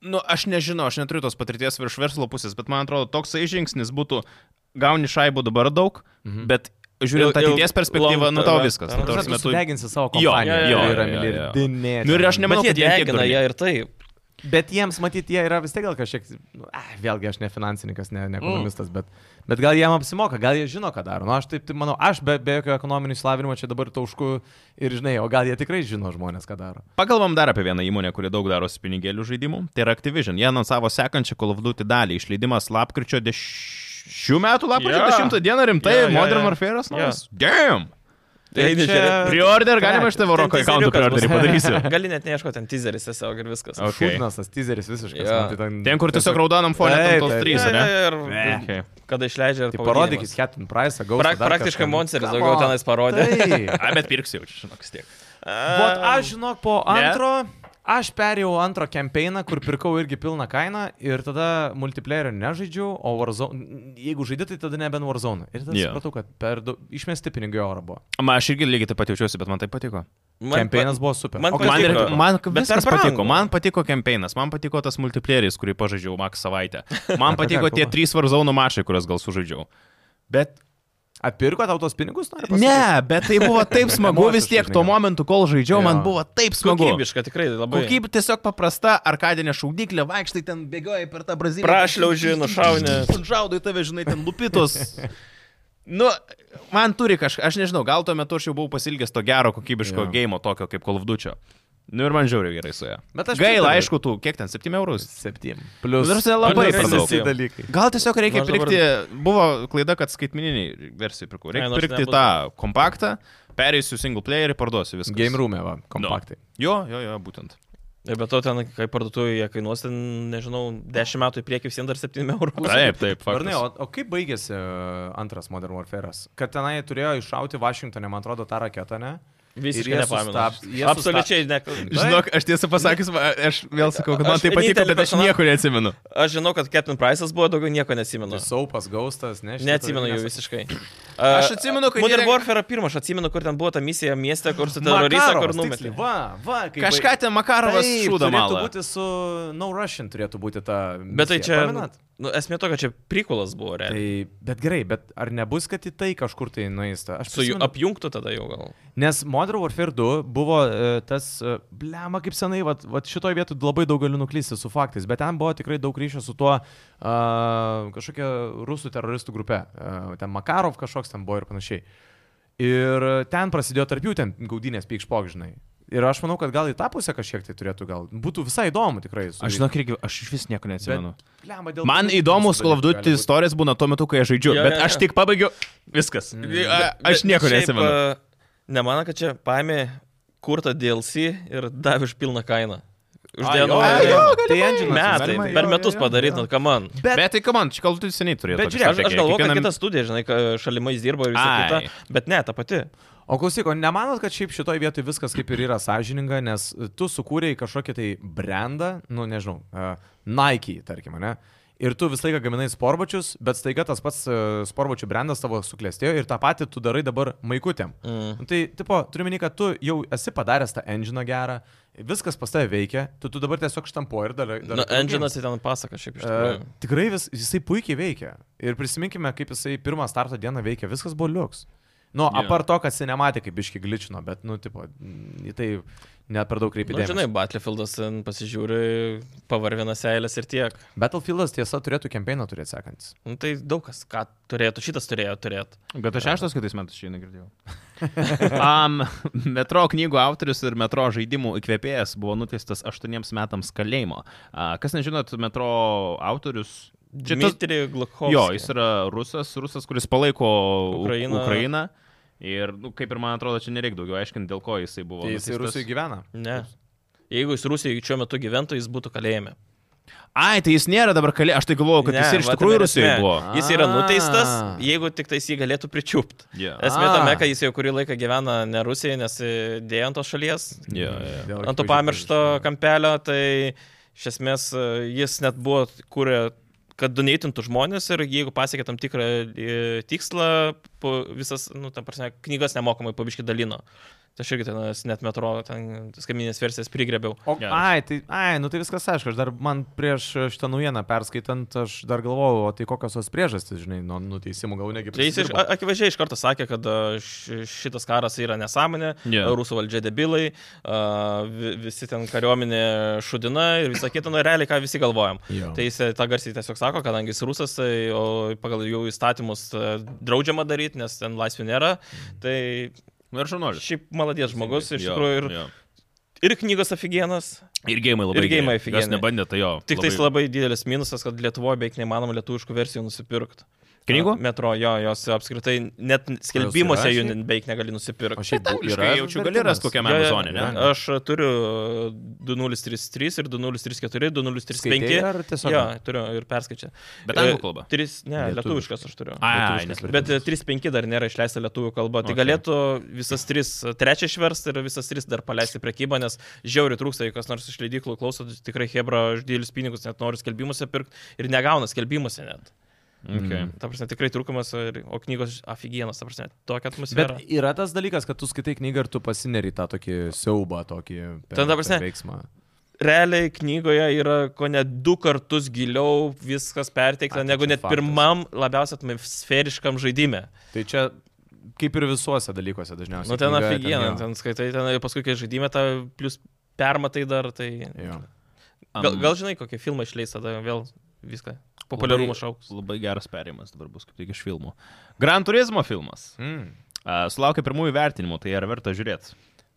S2: nu, aš nežinau, aš neturiu tos patirties virš verslo pusės, bet man atrodo, toksai žingsnis būtų, gauni šaibų dabar daug,
S3: Mhm.
S2: mhm. bet žiūrint
S1: Il- il-
S2: ateities perspektyvą,
S1: long
S2: nu tau
S1: term,
S2: viskas.
S1: ta
S2: Nu, ta
S1: prasme,
S2: prasme,
S3: Tu
S2: tu-
S3: deginsi savo
S2: Jo,
S3: kompaniją.
S1: jo,
S3: kuri
S1: jo,
S3: yra
S2: jo, jo.
S3: milijardinė.
S2: Nu ir aš nemanau,
S1: Nemanau,
S2: kad
S1: bet jie
S2: jie tiek
S1: degina
S2: durni.
S1: ją ir taip.
S3: Bet jiems, matyt, jie yra vis tiek gal kažkiek... nu, ai, Vėlgi, aš ne finansininkas, ne, ne ekonomistas,
S1: Mm.
S3: bet, bet gal jiem apsimoka, gal jie žino, ką daro. Nu, aš taip, taip manau, aš be, be jokio ekonominio išsilavinimo čia dabar taušku ir žinai, o gal jie tikrai žino žmonės, ką daro.
S2: Pakalbam dar apie vieną įmonę, kuri daug daro su pinigėlių žaidimu. Tai yra Activision. Jie anonsavo sekančią Call of Duty dalį. Išleidimas lapkričio 10. Šių metų lapkričio
S1: Jo.
S2: 10 dieną rimtai.
S1: Jo, jo,
S2: Modern
S1: jo.
S2: Warfare'as
S1: Jo.
S2: naujas. Damn!
S1: Tai
S3: čia-
S1: čia-
S2: Preorder galima iš tavo
S1: ten
S2: roko
S1: teaseriukas
S2: akauntų preorderį
S1: bus.
S2: padarysiu. Oh,
S1: Gali net neieškoti, ten teaseris tiesiog ir viskas.
S2: O, Okay.
S3: Šūdnas tas teaseris visiškas.
S1: Jo.
S3: man tai
S2: Ten, kur tiesiog raudonam fonė,
S3: Taip,
S2: ten tos
S3: taip.
S2: trys, ne?
S1: Ir
S2: Okay.
S1: kada išleidžia ir
S3: Tai
S1: pavadinimas.
S3: parodykit Captain Price, gaus.
S1: Pra- Praktiškai Monsteris daugiau tenais parodė.
S3: Tai.
S2: A, bet pirksiu, žinok, vis tiek.
S3: Vot aš žinok po
S2: Ne?
S3: antro. Aš perėjau antro kampeiną, kur pirkau irgi pilną kainą ir tada multiplayerio nežaidžiau, o Warzone, jeigu žaidži, tai tada neben Warzone. Ir
S2: Jo.
S3: tada yeah. supratau, kad per daug išmesti pinigai oro buvo.
S2: Man aš irgi lygiai taip pat jaučiuosi, bet man tai patiko.
S1: Man pa-
S3: Kampeinas buvo super.
S1: man
S3: O
S1: patiko.
S2: Man, ir, man
S1: tai Bet
S2: viskas
S1: per brangu.
S2: patiko, man patiko kampeinas, man patiko tas multiplėris, kurį pažaidžiau Max savaitę. Man
S3: Apie ką
S2: patiko tie
S3: kalba?
S2: trys Warzone mačai, kuriuos gal sužaidžiau. Bet
S3: Atpirko tau tos pinigus, nori pasakyti?
S2: Ne, bet tai buvo taip smagu vis tiek tuo
S3: Emociškai, jo.
S2: momentu, kol žaidžiau,
S3: Jo.
S2: man buvo taip smagu.
S1: Kokybiška, tikrai labai.
S2: Kokybė tiesiog paprasta, arkadinė šaudyklė, vaikštai ten bėgioja per tą Braziliją.
S1: Prašliauži, nušauni.
S2: Žaudai tave, žinai, ten lupitos. Nu, man turi kažką, aš nežinau, gal tuo metu aš jau buvau pasilgęs to gero kokybiško
S3: Jo.
S2: jo. game, tokio kaip Kolvdučio. Nu ir man žiauriai gerai su ja.
S3: Bet aš
S2: Gaila,
S3: pritariu.
S2: aišku, tų, kiek ten, 7 eurus?
S3: 7. Plus.
S2: Nu, ta prasme, labai
S3: plus
S1: per daug.
S3: visi dalykai.
S2: Gal tiesiog reikia
S1: Nors dabar-
S2: pirkti, buvo klaida, kad skaitmininiai versijai pirkau.
S1: Ai,
S2: Reikia
S1: nors
S2: pirkti
S1: nebus.
S2: tą kompaktą, pereisiu single player ir parduosiu viską.
S3: Game room, va, kompaktai.
S2: Jo, jo, jo, būtent.
S1: Ir be to ten, kai parduotuvėje kainuos, ten, nežinau, 10 metų į priekį visiems dar 7 eurų.
S2: Taip, taip,
S3: Varnai, o,
S2: faktas.
S3: o kaip baigėsi e, antras Modern Warfare'as? Kad tenai turėjo iššauti Vašingtonė, man atrodo, tą raketą, ne?
S1: Visiškai
S3: jie
S1: nepamenu.
S3: sustab- jie
S1: Absoliučiai ne.
S2: Žinok, aš tiesą pasakius, va, aš vėl sakau, kad man
S1: Aš
S2: tai patiko,
S1: vienintelį
S2: bet aš
S1: personažą-
S2: nieko neatsimenu.
S1: Aš žinau, kad Captain Price'as buvo, daugiau nieko nesimenu.
S3: Saupas, gaustas, ne? šitą
S1: Neatsimenu
S3: dalyką,
S1: jų
S3: nes-
S1: visiškai.
S2: Aš atsimenu, kai
S1: Modern
S2: jie-
S1: Warfare pirmas, aš atsimenu, kur ten buvo ta misija mieste, kur su teroriste,
S3: Makarovas,
S1: kur
S3: tiksliai,
S1: numetė.
S3: va, va, kaip
S2: Kažką ten Makarovas
S3: Taip,
S2: šūdą
S3: Turėtų
S2: malą.
S3: būti su No Russian, turėtų būti ta.
S1: Bet tai
S3: misija,
S1: čia...
S3: pamenat?
S1: Nu, esmė to, kad čia prikulas buvo,
S3: Tai,
S1: realiai.
S3: bet gerai, bet ar nebus, kad į tai kažkur tai nueista? Aš
S1: Su jų
S3: prisimenu-
S1: apjungtų tada jau gal.
S3: Nes Modern Warfare 2 buvo e, tas, e, blema kaip senai, vat, vat šitoje vietoje labai daug galiu nuklysti su faktais, bet ten buvo tikrai daug ryšio su tuo uh, kažkokia rusų teroristų grupė. Uh, ten Makarov kažkoks ten buvo ir panašiai. Ir e, ten prasidėjo tarp jų ten gaudynės pykšpokžinai. Ir aš manau, kad gal į tą pusę kažkiek tai turėtų gal. Būtų visai įdomu tikrai. su-
S2: Aš žinok, irgi, aš iš vis nieko neatsimenu.
S3: blemba, dėl
S2: Man
S3: politinių
S2: įdomus
S3: dalykų gali
S2: klavduti
S3: būt.
S2: istorijas būna tuo metu, kai aš žaidžiu,
S1: Jo,
S2: bet
S1: jo, jo. Mm.
S2: aš tik pabaigiu. Viskas. A- Aš
S1: Bet
S2: nieko
S1: šiaip, uh,
S2: neatsimenu.
S1: a, Nemano, kad čia paėmė kurtą DLC ir davė už pilną kainą.
S2: Ai, jo,
S1: Uždėjo naują.
S2: ai,
S1: DLC.
S2: jo,
S1: Metai,
S3: galimai.
S1: metai,
S3: Galima,
S1: per
S3: jo,
S1: metus
S3: jo, jo,
S1: padaryt,
S3: jo.
S1: nu, kam man.
S3: Bet,
S2: Bet tai, kam man, čia kalbant, seniai turėtų.
S3: Bet
S2: tokią
S3: žiūrėk,
S1: Aš, aš
S2: strategiją.
S1: galvoju, kad
S2: Kiekvienam-
S1: kita studija, žinai, ka- šalimai jis dirbo ir visą
S2: Ai.
S1: kitą, bet ne, ta pati.
S3: O klausyk, o nemanot, kad šiaip šitoje vietoje viskas kaip ir yra sąžininga, nes e, tu sukūrėjai kažkokį tai brandą, nu nežinau, uh, Nike, tarkim, ne? Ir tu visą laiką gaminai sporbačius, bet staiga tas pats uh, sporbačių brandas tavo suklestėjo ir tą patį tu darai dabar maikutėm.
S1: Mm.
S3: Nu, Tai, tipo, turiu minį, kad tu jau esi padaręs tą enginą gerą, viskas pas tave veikia, tu, tu dabar tiesiog štampuoji ir darai.
S1: Na, Enginas Nu, į ten pasako šiaip
S2: E,
S1: iš tikrųjų. Nu,
S3: Uh, tikrai vis, jisai puikiai veikia. Ir prisiminkime, kaip jisai pirmą starto dieną veikia. Viskas buvo liuks. Nu,
S2: Jo.
S3: yeah. apart to, kad cinematė kaip biški gličino, bet, nu, tipo, mm, į tai net per daug kreipė
S1: Na, Nu, žinai,
S3: dėmesį.
S1: Battlefieldas ten pasižiūri, pavarvina seilės ir tiek.
S3: Battlefieldas tiesa turėtų kampainą turėti sekantis.
S1: Nu, tai daug kas, ką turėtų, šitas turėjo turėti.
S2: Bet aš šeštas kitais metais šį negirdėjau. um, metro knygų autorius ir metro žaidimų įkvėpėjas buvo nuteistas aštuoniems metams kalėjimo. Uh, kas nežinot, metro autorius. Čia tas-
S1: Dmitri Glukhovskis.
S2: Jo, jis yra rusas, rusas, kuris palaiko Ukrainą.
S1: Ukrainą.
S2: Ukrainą. Ir, nu, kaip ir man atrodo, čia nereikia daugiau aiškinti, dėl ko jisai buvo.
S3: Tai
S1: nu,
S3: jisai
S2: nuteistas.
S3: Rusijoje gyvena.
S1: Ne. Jeigu jis Rusijoje šiuo metu gyventų, jis būtų kalėjime.
S2: Ai, tai jis nėra dabar kalė, aš tai galvojau, kad ne,
S1: Ne,
S2: jis ir iš
S1: va
S2: tikrųjų
S1: tame ir
S2: Rusijoje
S1: esmė.
S2: buvo.
S1: Jis yra nuteistas,
S3: Ah.
S1: jeigu tik tais jį galėtų pričiupti.
S2: Yeah.
S1: Esmė
S3: Ah.
S1: tame, kad jis jau kurį laiką gyvena ne Rusijoje, nes e, dėjo ant tos šalies,
S2: Yeah, yeah.
S3: Dėl
S1: ant to
S3: akivaizdžių
S1: pamiršto
S3: priežasčių.
S1: kampelio, tai iš esmės e, jis net buvo kūrė kad donėtintų žmonės ir jeigu pasiekia tam tikrą e, tikslą, po visas, nu, tam prasme, knygas nemokamai pabiškai dalino. Tai aš irgi ten e, net metro, ten skaminės versijas prigrebiau.
S3: O,
S2: Geras.
S3: ai, tai, ai, nu tai viskas aišku, aš dar man prieš šitą naujieną perskaitant, aš dar galvojau, o tai kokios tos priežastys, žinai, nuo nuteisimo gal negi.
S1: Tai jis iš,
S3: prisidirbo.
S1: a- akivaizdžiai iš karto sakė, kad a, š- šitas karas yra nesąmonė,
S2: Jo.
S1: yeah. rusų valdžia debilai, a, vi- visi ten kariuomenė šudina ir visą kitą, nu realiai ką visi galvojam.
S3: Jo.
S1: Tai jis e, tą garsiai tiesiog sako, kadangi jis rusas, tai o pagal jų įstatymus e, draudžiama daryti, nes ten laisvė nėra.
S3: Mhm.
S1: Tai
S2: Ir šunolis.
S1: šiaip maladės žmogus iš tikrųjų ir, ir knygos aфиgenas.
S2: Ir gėjimai labai.
S1: Ir geimai
S2: geri. Jos
S1: afigieni.
S2: nebandė, tai jo.
S1: Tik tais labai didelis minusas, kad Lietuvoje beveik neįmanoma lietuviškų versijų nusipirkti.
S2: Knygų?
S1: A, Metro, jo, jos apskritai net skelbimuose jų ne- beveik negali
S3: O
S1: nusipirkti.
S3: šiaip
S2: Angliškai jaučiu, gali rast kokiam- šiame
S1: Jo, jo,
S2: Amazone, ne?
S1: jo, Aš turiu e, 2033 ir 2034, 2035.
S3: Skaitei ar tiesiog
S1: Jo, turiu ir perskaičiau.
S2: Bet anglų kalba.
S1: 3, ne,
S3: Lietuviškas.
S1: lietuviškas aš turiu.
S2: Ai,
S3: Lietuviškas
S2: nes
S1: Bet e, 3.5 dar nėra išleista lietuvių kalba. Tai
S2: Okay.
S1: okay. galėtų visas 3, trečią išversti ir visas 3 dar paleisti prekybą, nes žiauriai trūksta, jeigu kas nors iš leidyklų klauso, tai tikrai Hebra už dėlius pinigus net nori skelbimuose pirkti ir negauna skelbimuose net. Mm.
S2: Okay.
S1: Ta prasme, tikrai trūkumas, ir- o knygos afigienas, ta prasme, tokia atmosfera.
S3: Bet yra tas dalykas, kad tu skaitai knygą ir tu pasineri tą tokį siaubą, tokį per,
S1: Ten, ta prasme,
S3: per veiksmą.
S1: Realiai knygoje yra ko ne du kartus giliau viskas perteikta,
S3: A, tai
S1: negu
S3: čia
S1: net
S3: faktas.
S1: pirmam labiausiai atmosferiškam žaidime.
S3: Tai čia kaip ir visuose dalykuose dažniausiai.
S1: Nu, ten
S3: knyga,
S1: afigieną,
S3: jo.
S1: ten skaitai, ten ir paskui, kai žaidime tą plus permatai dar, tai...
S3: Jo.
S1: Gal, gal žinai, kokie filmai išleis, tada vėl viską.
S2: Labai-
S1: Populiarumas šauks.
S2: Labai geras perėjimas dabar bus kaip tik iš filmų. Gran turizmo filmas.
S3: Mm.
S2: Uh, sulaukė pirmųjų vertinimų, tai ar verta žiūrėti?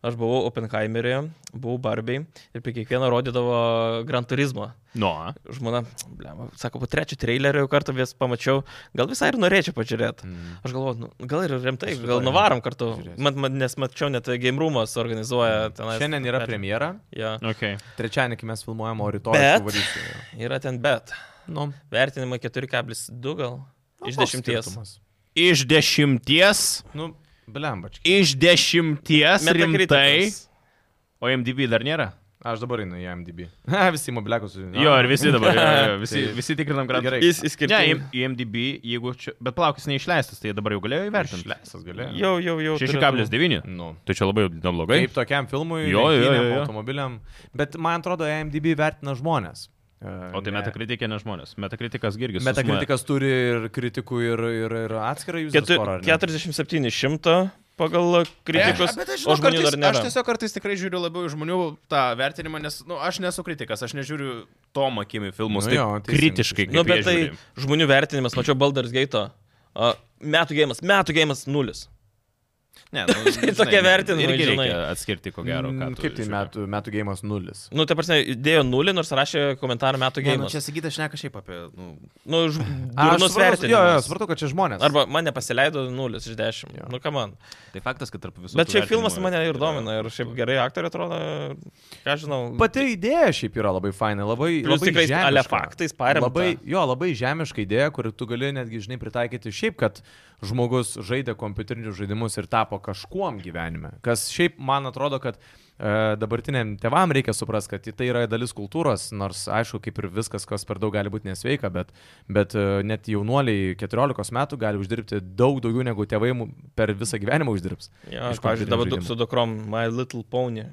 S1: Aš buvau Oppenheimeryje, buvau Barbei ir prie kiekvieno rodydavo Gran Turismo.
S2: Nu,
S1: Žmona, blema, sako, po trečio trailerio jau kartą vis pamačiau, gal visai ir norėčiau pažiūrėti.
S3: Mm.
S1: Aš galvoju, nu, gal ir rimtai,
S3: Aš
S1: gal
S3: rytoj
S1: nuvarom kartu,
S3: žiūrėsiu. Mm.
S1: mat, mat, nes mačiau net Game Roomas organizuoja ten.
S3: Šiandien yra premjera,
S1: Ja.
S2: okay.
S3: trečiadienį kai mes filmuojam, o rytoj
S1: Bet-
S3: suvarysiu.
S1: Yra ten bet.
S3: Nu,
S1: Vertinimai 4,2 gal.
S3: nu,
S1: Iš
S3: koks
S1: dešimties.
S3: skirtumas?
S2: Iš dešimties,
S3: Nu, blembački.
S2: iš dešimties rimtai.
S1: Metakritikas.
S2: O MDB dar nėra?
S3: Aš dabar einu į MDB. Ha, visi mobiliakus sužinojau.
S2: Jo, ir visi dabar. Jo, jo, visi,
S3: Tai-
S2: visi tikrinam grantą.
S3: Gerai.
S1: Jis
S2: Ne,
S1: išskirtinis.
S2: į- į MDB, jeigu čia... Bet plaukis neišleistas, tai dabar jau galėjo įvertinti.
S3: Išleistas galėjo.
S1: Jau, jau, jau. turėtų-
S2: 6,9.
S3: Nu.
S2: Tai čia labai neblogai.
S3: Kaip tokiam filmui,
S2: Jo, jo, jo,
S3: lenktynėm,
S2: jo.
S3: automobiliam. Bet man atrodo, AMDB vertina žmonės.
S2: O tai metakritikė ne žmonės. Metakritikas irgi. susumuoja.
S3: Metakritikas turi ir kritikų, ir, ir, ir atskirą jų
S1: Ketu- 47 šimtą pagal kritikus.
S2: Bet aš,
S1: o
S2: žinau,
S1: žmonių
S2: kartais,
S1: dar nėra.
S2: aš tiesiog kartais tikrai žiūriu labiau į žmonių tą vertinimą, nes nu, aš nesu kritikas, aš nežiūriu to makimi filmus.
S3: Nu
S2: Nu,
S3: jo, teisingai,
S2: kritiškai.
S3: teisingai.
S1: Nu,
S2: kaip jie
S1: bet tai
S2: žiūri.
S1: žmonių vertinimas, mačiau Baldur's Gate. Metų gėjimas, metų gėjimas nulis.
S2: Ne, nu, žinai,
S1: tokie vertinimai,
S2: irgi
S1: žinai.
S2: reikia Atskirti, ko gero. ką tu
S3: Kaip tai
S2: žiūri.
S3: metų, metų gėjimas nulis?
S1: Nu, tai prasme, idėjo nulį, nors rašė komentarą metų
S2: Ne, nu,
S1: gėjimas.
S2: čia sakyti, aš ne kažkaip apie... Nu,
S1: Nu, ž...
S3: Aš
S1: durnus
S3: suprantu- Jo, jo,
S1: vertinimas.
S3: svartu, kad čia žmonės.
S1: Arba mane pasileido nulis iš dešimt.
S3: Jo.
S1: Nu, ką man.
S2: tai faktas, kad tarp visų...
S1: Bet
S2: tų
S1: čia filmas
S2: vertinimų
S1: mane ir
S2: yra-
S1: domina. Ir šiaip gerai aktoriai atrodo, ką aš žinau.
S3: Pati idėja šiaip yra labai faina, labai...
S1: Plius
S3: labai
S1: tikrai
S3: žemiška.
S1: ale faktais paremta.
S3: Labai, jo, labai žemiška idėja, kur tu gali netgi, žinai, pritaikyti šiaip, kad žmogus žaidė kompiuterinius žaidimus ir tapo kažkuom gyvenime. Kas šiaip man atrodo, kad e, dabartiniam tevam reikia suprasti, kad tai yra dalis kultūros, nors aišku, kaip ir viskas, kas per daug gali būti nesveika, bet, bet e, net jaunuoliai 14 metų gali uždirbti daug daugiau negu tėvai mu- per visą gyvenimą uždirbs.
S1: Ja,
S3: iš
S1: aš, pavyzdžiui,
S3: kompiuterio
S1: dabar du,
S3: žaidimų.
S1: su dukrom My Little Pony.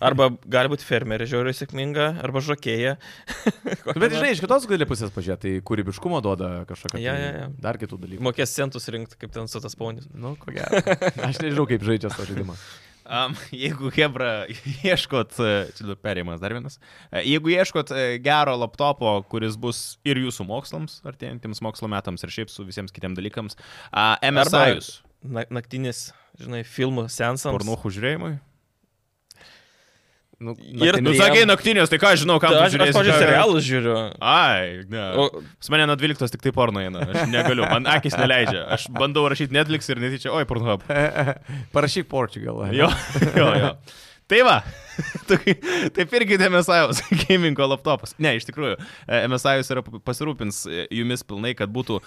S1: Arba gali būti fermerė, žiauriai sėkminga, arba žokėja. Kokia
S3: Nu, Bet
S1: nors-
S3: žinai, iš kitos gali pusės pažiūrėti, tai kūrybiškumo duoda kažkokią.
S1: Jo,
S3: tai
S1: jo, jo.
S3: Dar kitų dalykų.
S1: Mokės centus rinkti, kaip ten su tas ponis.
S3: Nu, ko gero. Aš nežinau, kaip žaidžia tą žaidimą.
S2: Um, jeigu Hebra ieškot, e, čia dabar perėjimas dar vienas, E, jeigu ieškot e, gero laptopo, kuris bus ir jūsų mokslams, artėjantiems mokslo metams ir šiaip su visiems kitiems dalykams, uh, MSI, jūs,
S1: Na, naktinis, žinai, filmų sensams.
S2: pornuchų žiūrėjimui.
S3: Nu,
S1: Ir-
S3: naktinė-
S2: Nu, sakai, naktinės, tai ką aš žinau, kam
S1: Aš,
S2: tu
S1: aš, aš,
S2: žiūrėsi.
S1: pavyzdžiui,
S2: ką-
S1: serialus žiūriu.
S2: Ai, ne.
S1: O,
S2: Pas mane nuo 12 tik tai porno eina, aš negaliu, man akis neleidžia. Aš bandau rašyti Netflix ir netyčia, oi, porno.
S3: Parašyk Portugal. ane?
S2: Jo, jo, jo. Tai va, toki- taip irgi tai MSI'os gamingo laptopas. Ne, iš tikrųjų, e, MSI'os yra pasirūpins e, jumis pilnai, kad būtų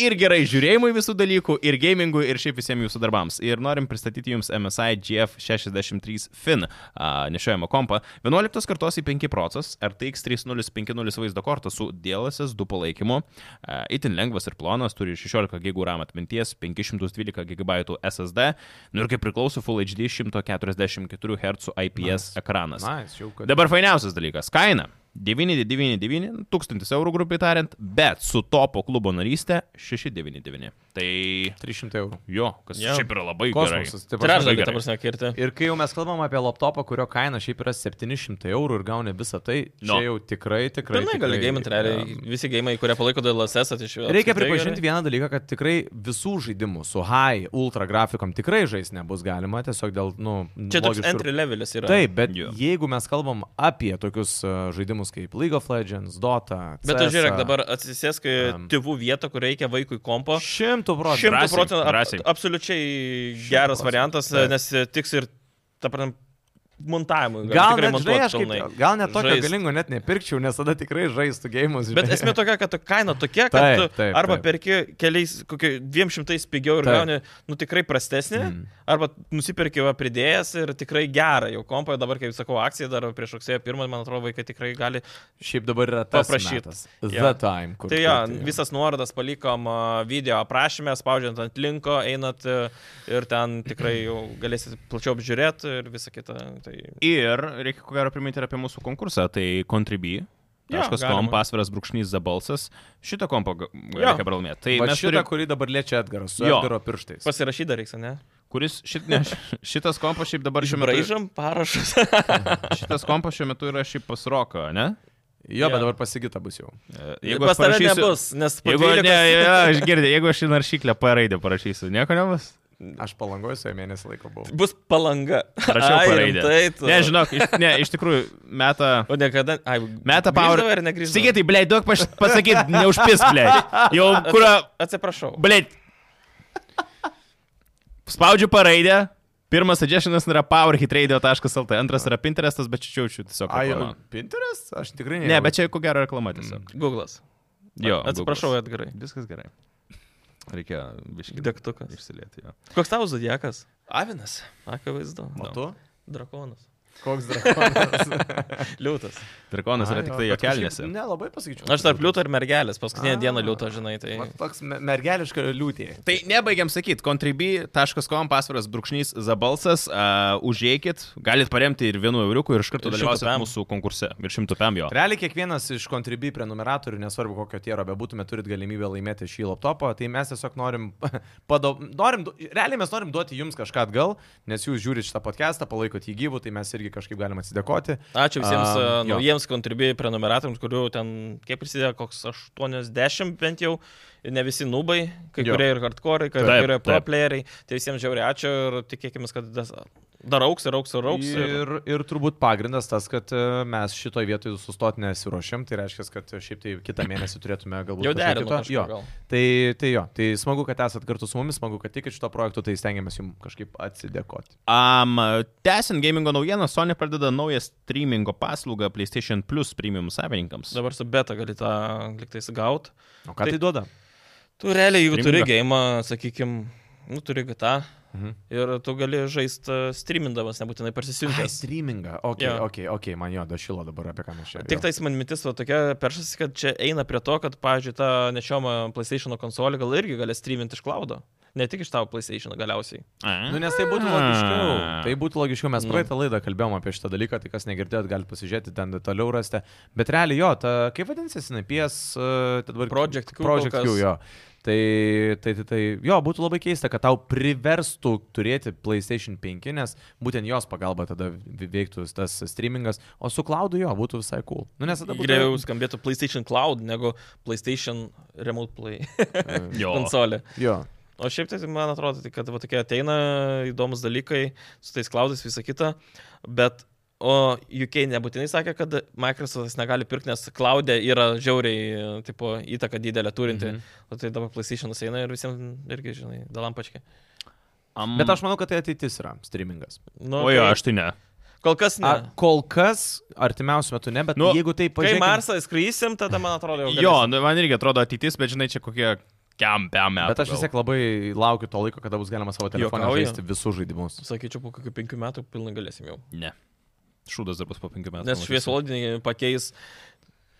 S2: ir gerai žiūrėjimui visų dalykų, ir gamingui, ir šiaip visiems jūsų darbams. Ir norim pristatyti jums MSI GF63 Fin a, nešiojamą kompą. 11 kartos į 5 procesas RTX 3050 vaizdo kortą su DLSS 2 palaikymu. A, itin lengvas ir plonas, turi 16 GB RAM atminties, 512 GB SSD. Nu ir kaip priklauso Full HD 144 Hz IPS ekranas.
S3: Nice, jau kad.
S2: Dabar fainiausias dalykas - kaina. 999, 1000 eurų grupiai tariant, bet su topo klubo narystė 699. Tai
S3: 300 eurų.
S2: jo, kas
S1: Jo.
S2: yeah. šiaip yra labai
S3: Kosmosas. ta prasme. tai
S2: labai
S1: Trečdalį,
S2: gerai.
S1: ta prasme, kirti.
S3: Ir kai jau mes kalbam apie laptopą, kurio kaina šiaip yra 700 eurų ir gauni visą tai,
S2: No.
S3: čia jau tikrai, tikrai.
S1: Pilnai gali
S3: tikrai,
S1: gėjiminti, realiai.
S3: um,
S1: Visi gėjimai, kurie palaiko DLSS, atišėjo.
S3: Reikia pripažinti vieną dalyką, kad tikrai visų žaidimų su high ultra grafikom tikrai žais nebus galima, tiesiog dėl, nu,
S1: Čia toks
S3: logiškų ir
S1: entry levelis yra.
S3: Taip, bet
S2: Jo.
S3: yeah. jeigu mes kalbam apie tokius uh, žaidimus kaip League of Legends, Dota,
S1: Bet tu žiūrėk,
S3: CS,
S1: dabar atsisėsk į
S3: Am.
S1: tėvų vietą, kur reikia vaikui kompo.
S3: Šimtų procentų.
S1: Šimtų
S2: Drąsiai,
S1: procentų.
S2: drąsiai.
S1: ab- Absoliučiai geras
S3: procentų,
S1: variantas,
S3: taip.
S1: nes tiks ir, ta prasme, montavimui. gali
S3: Gal
S1: tikrai
S3: net, žinai,
S1: montuot
S3: aš kaip,
S1: pilnai.
S3: gal net tokio
S1: Žaist.
S3: galingo net nepirkčiau, nes tada tikrai žaistų gėjimus.
S1: Bet esmė tokia, kad ta kaina tokia, kad
S3: Taip,
S1: tu
S3: taip,
S1: arba
S3: taip.
S1: perki keliais, kokiu dviem šimtais pigiau ir
S3: Taip.
S1: gauni, nu tikrai prastesnį,
S3: Mm.
S1: arba nusipirki va pridėjęs ir tikrai gerą jau kompą, dabar, kaip sakau, akcija dar prieš rugsėjo pirmą, man atrodo, vaikai tikrai gali.
S3: Šiaip dabar yra tas
S1: Paprašyt.
S3: metas.
S1: Jo.
S3: The time. kur
S1: Tai
S3: tu
S1: jo,
S3: turi.
S1: visas nuorodas palikom a, video aprašymę, spaudžiant ant linko, einat e, ir ten tikrai jau galėsit plačiau apžiūrėti ir visą kitą. Tai
S2: Ir reikia ko gero priminti ir apie mūsų konkursą, tai contribui.
S1: Jo,
S2: .com,
S1: galima.
S2: pasviras brūkšnys zabalsas. Šitą kompą ga-
S1: Jo.
S2: reikia pralaimėti. Tai
S3: Va
S2: mes
S3: šitą,
S2: turime,
S3: kurį dabar liečia Edgaras, su
S2: Jo.
S3: Edgaro pirštais.
S1: pasirašyti dar reiks, ne?
S2: kuris šit, ne, š- šitas kompas šiaip dabar šiuo metu,
S1: Braižam parašus.
S2: šitas kompas šiuo metu yra šiaip pasroka, ne?
S3: Jo,
S1: Jo.
S3: bet dabar pasigita bus jau.
S2: E,
S1: Pas tave nebus, nes po
S2: Jeigu, ne,
S1: 12
S2: ne, aš girdėjau, jeigu aš į naršyklę P raidę parašysiu, nieko nebus?
S3: Aš palangoju su juo mėnesį laiko buvau.
S1: Bus palanga.
S2: Rašiau paraidę.
S1: Taip,
S2: Nežinau, iš, ne, iš tikrųjų, meta...
S1: O niekada. Ai,
S2: Meta power.
S1: grįždavai Ar negrįždavai?
S2: Sigitai, blei, duok paš- pasakyt, neužpis, blei. Jau kurio,
S1: Atsiprašau.
S2: blei. Spaudžiu paraidę. Pirmas suggestionas yra powerhitradio.lt, antras yra Pinterestas, bet čia jaučiu tiesiog.
S3: Ai,
S2: reklama.
S3: Pinterest? Aš tikrai
S2: Ne, bet čia ko gero reklama tiesiog.
S1: Google'as.
S2: Jo,
S1: Atsiprašau,
S2: Google'as.
S1: Edgarai.
S2: Viskas gerai. Reikia biškai
S1: Degtukas.
S2: išsilieti. jo.
S1: Koks tavo zodiakas?
S2: Avinas.
S1: Akivaizdu.
S3: O tu?
S1: Drakonas.
S3: Koks drakonas?
S1: Liūtas.
S2: Drakonas yra
S3: Ai,
S2: tik
S3: jo,
S2: tai
S3: bet
S2: jo
S3: kažkaip
S2: kelnėse.
S3: Nelabai pasakyčiau.
S1: Aš tarp liūto ir mergelės. Paskutinę
S3: Mhm. A.
S1: dieną liūto, žinai, tai...
S3: Va, Toks me- mergeliška liūtė.
S2: Tai nebaigiam sakyti, contribui.com pasvaras brūkšnys zabalsas, uh, užėjkit, galit paremti ir vienu euriuku ir iš karto
S1: Ir
S2: dalyvausit
S1: šimtu pem.
S2: mūsų konkurse. Ir šimtų pem jo.
S3: Realiai kiekvienas iš kontribui prenumeratorių, nesvarbu kokio tiero bebūtume, turit galimybę laimėti šį laptopą, tai mes tiesiog norim, pado, norim, du- realiai mes norim duoti jums kažką atgal, nes jūs žiūrite šitą podcastą, palaikot jį gyvų, tai mes irgi kažkaip galime atsidėkoti.
S1: Ačiū visiems
S3: A,
S1: a,
S3: jo.
S1: naujiems kontribijai prenumeratams, kurių ten, kiek prisidėjo, koks 80 bent jau, ir ne visi nubai, kai
S3: Jo.
S1: jo. kurie ir hardcore, kai
S2: Taip,
S1: kurie pro
S2: taip.
S1: playeriai, tai visiems žiauriai ačiū ir tikėkime, kad tas dar auks ir auks ir auks. Ir...
S3: Ir, ir turbūt pagrindas tas, kad e, mes šitoje vietoje sustoti nesiuošėm, tai reiškia, kad šiaip tai kitą mėnesį turėtume galbūt
S1: Jau
S3: kažką
S1: derinu.
S3: kito.
S1: kažką
S3: Jo.
S1: gal.
S3: Tai, tai jo, tai smagu, kad esat kartu su mumis, smagu, kad tikit šito projektu, tai stengiamės jums kažkaip atsidėkoti.
S2: Um, Tęsiant gamingo naujieną, Sony pradeda naują streamingo paslaugą PlayStation Plus premium savininkams.
S1: Dabar su beta gali tą liktais gaut.
S3: O ką tai, tai duoda?
S1: Tu realiai, jeigu turi
S2: Streamingą.
S1: gėjimą, sakykime, nu, turi gitą
S3: Mhm.
S1: ir tu gali žaisti streamindamas, nebūtinai
S3: Ai,
S1: parsisiuntęs.
S3: streamingą. Ok,
S1: Jo.
S3: ok, ok, man jo, dašilo dabar apie ką mes čia.
S1: Tik tai-
S3: jo.
S1: tais man mintis va tokia peršasi, kad čia eina prie to, kad, pavyzdžiui, ta nešioma PlayStation konsolė gal irgi gali streaminti iš klaudo. Ne tik iš tavo PlayStation galiausiai.
S2: A?
S3: Nu, nes tai
S1: Ah.
S3: būtų logiškiau.
S2: A.
S3: Tai būtų logiškiau, mes
S1: Nu.
S3: praeitą laidą kalbėjom apie šitą dalyką, tai kas negirdėjot, galite pasižiūrėti, ten toliau rasti. Bet realiai jo, ta, kaip vadinsis, NPS, e, dabar...
S1: Project Q
S3: Project
S1: kol
S3: Q,
S1: kas.
S3: jo. Tai, tai, tai, tai, jo, būtų labai keista, kad tau priverstų turėti PlayStation 5, nes būtent jos pagalba tada veiktų tas streamingas, o su klaudu jo, būtų visai cool. Nu, nes tada būtų...
S1: Geriau skambėtų PlayStation Cloud negu PlayStation Remote Play
S2: Jo.
S1: konsolė.
S3: Jo.
S1: O šiaip tai man atrodo, tai, kad va tokie ateina įdomus dalykai su tais klaudais visą kitą, bet o UK nebūtinai sakė, kad Microsoftas negali pirkti, nes klaudė yra žiauriai tipo, įtaka didelė turinti.
S3: Mhm.
S1: Mhm. O tai dabar PlayStation eina ir visiems irgi, žinai, dalampačkė.
S2: Am...
S1: Mm.
S3: Bet aš manau, kad tai ateitis yra streamingas.
S1: Nu,
S2: O jo,
S1: tai-
S2: aš tai ne.
S1: Kol kas ne.
S3: A, kol kas, artimiausiu metu ne, bet nu,
S2: Nu,
S3: jeigu tai
S1: Kai
S3: pažiūrėsim.
S1: Marsą skrysim, tada man atrodo jau.
S2: Jo, nu, man irgi atrodo ateitis, bet žinai, čia kokie kempiam metai.
S3: Bet aš vis tiek labai laukiu to laiko, kada bus galima savo telefoną
S1: Juokauji?
S3: žaisti visus žaidimus.
S1: Sakyčiau, po kokių penkių metų pilnai galėsim jau.
S2: Ne. Šūdas dar bus po penkių metų.
S1: Nes
S2: pamatysim.
S1: šviesolodinį pakeis.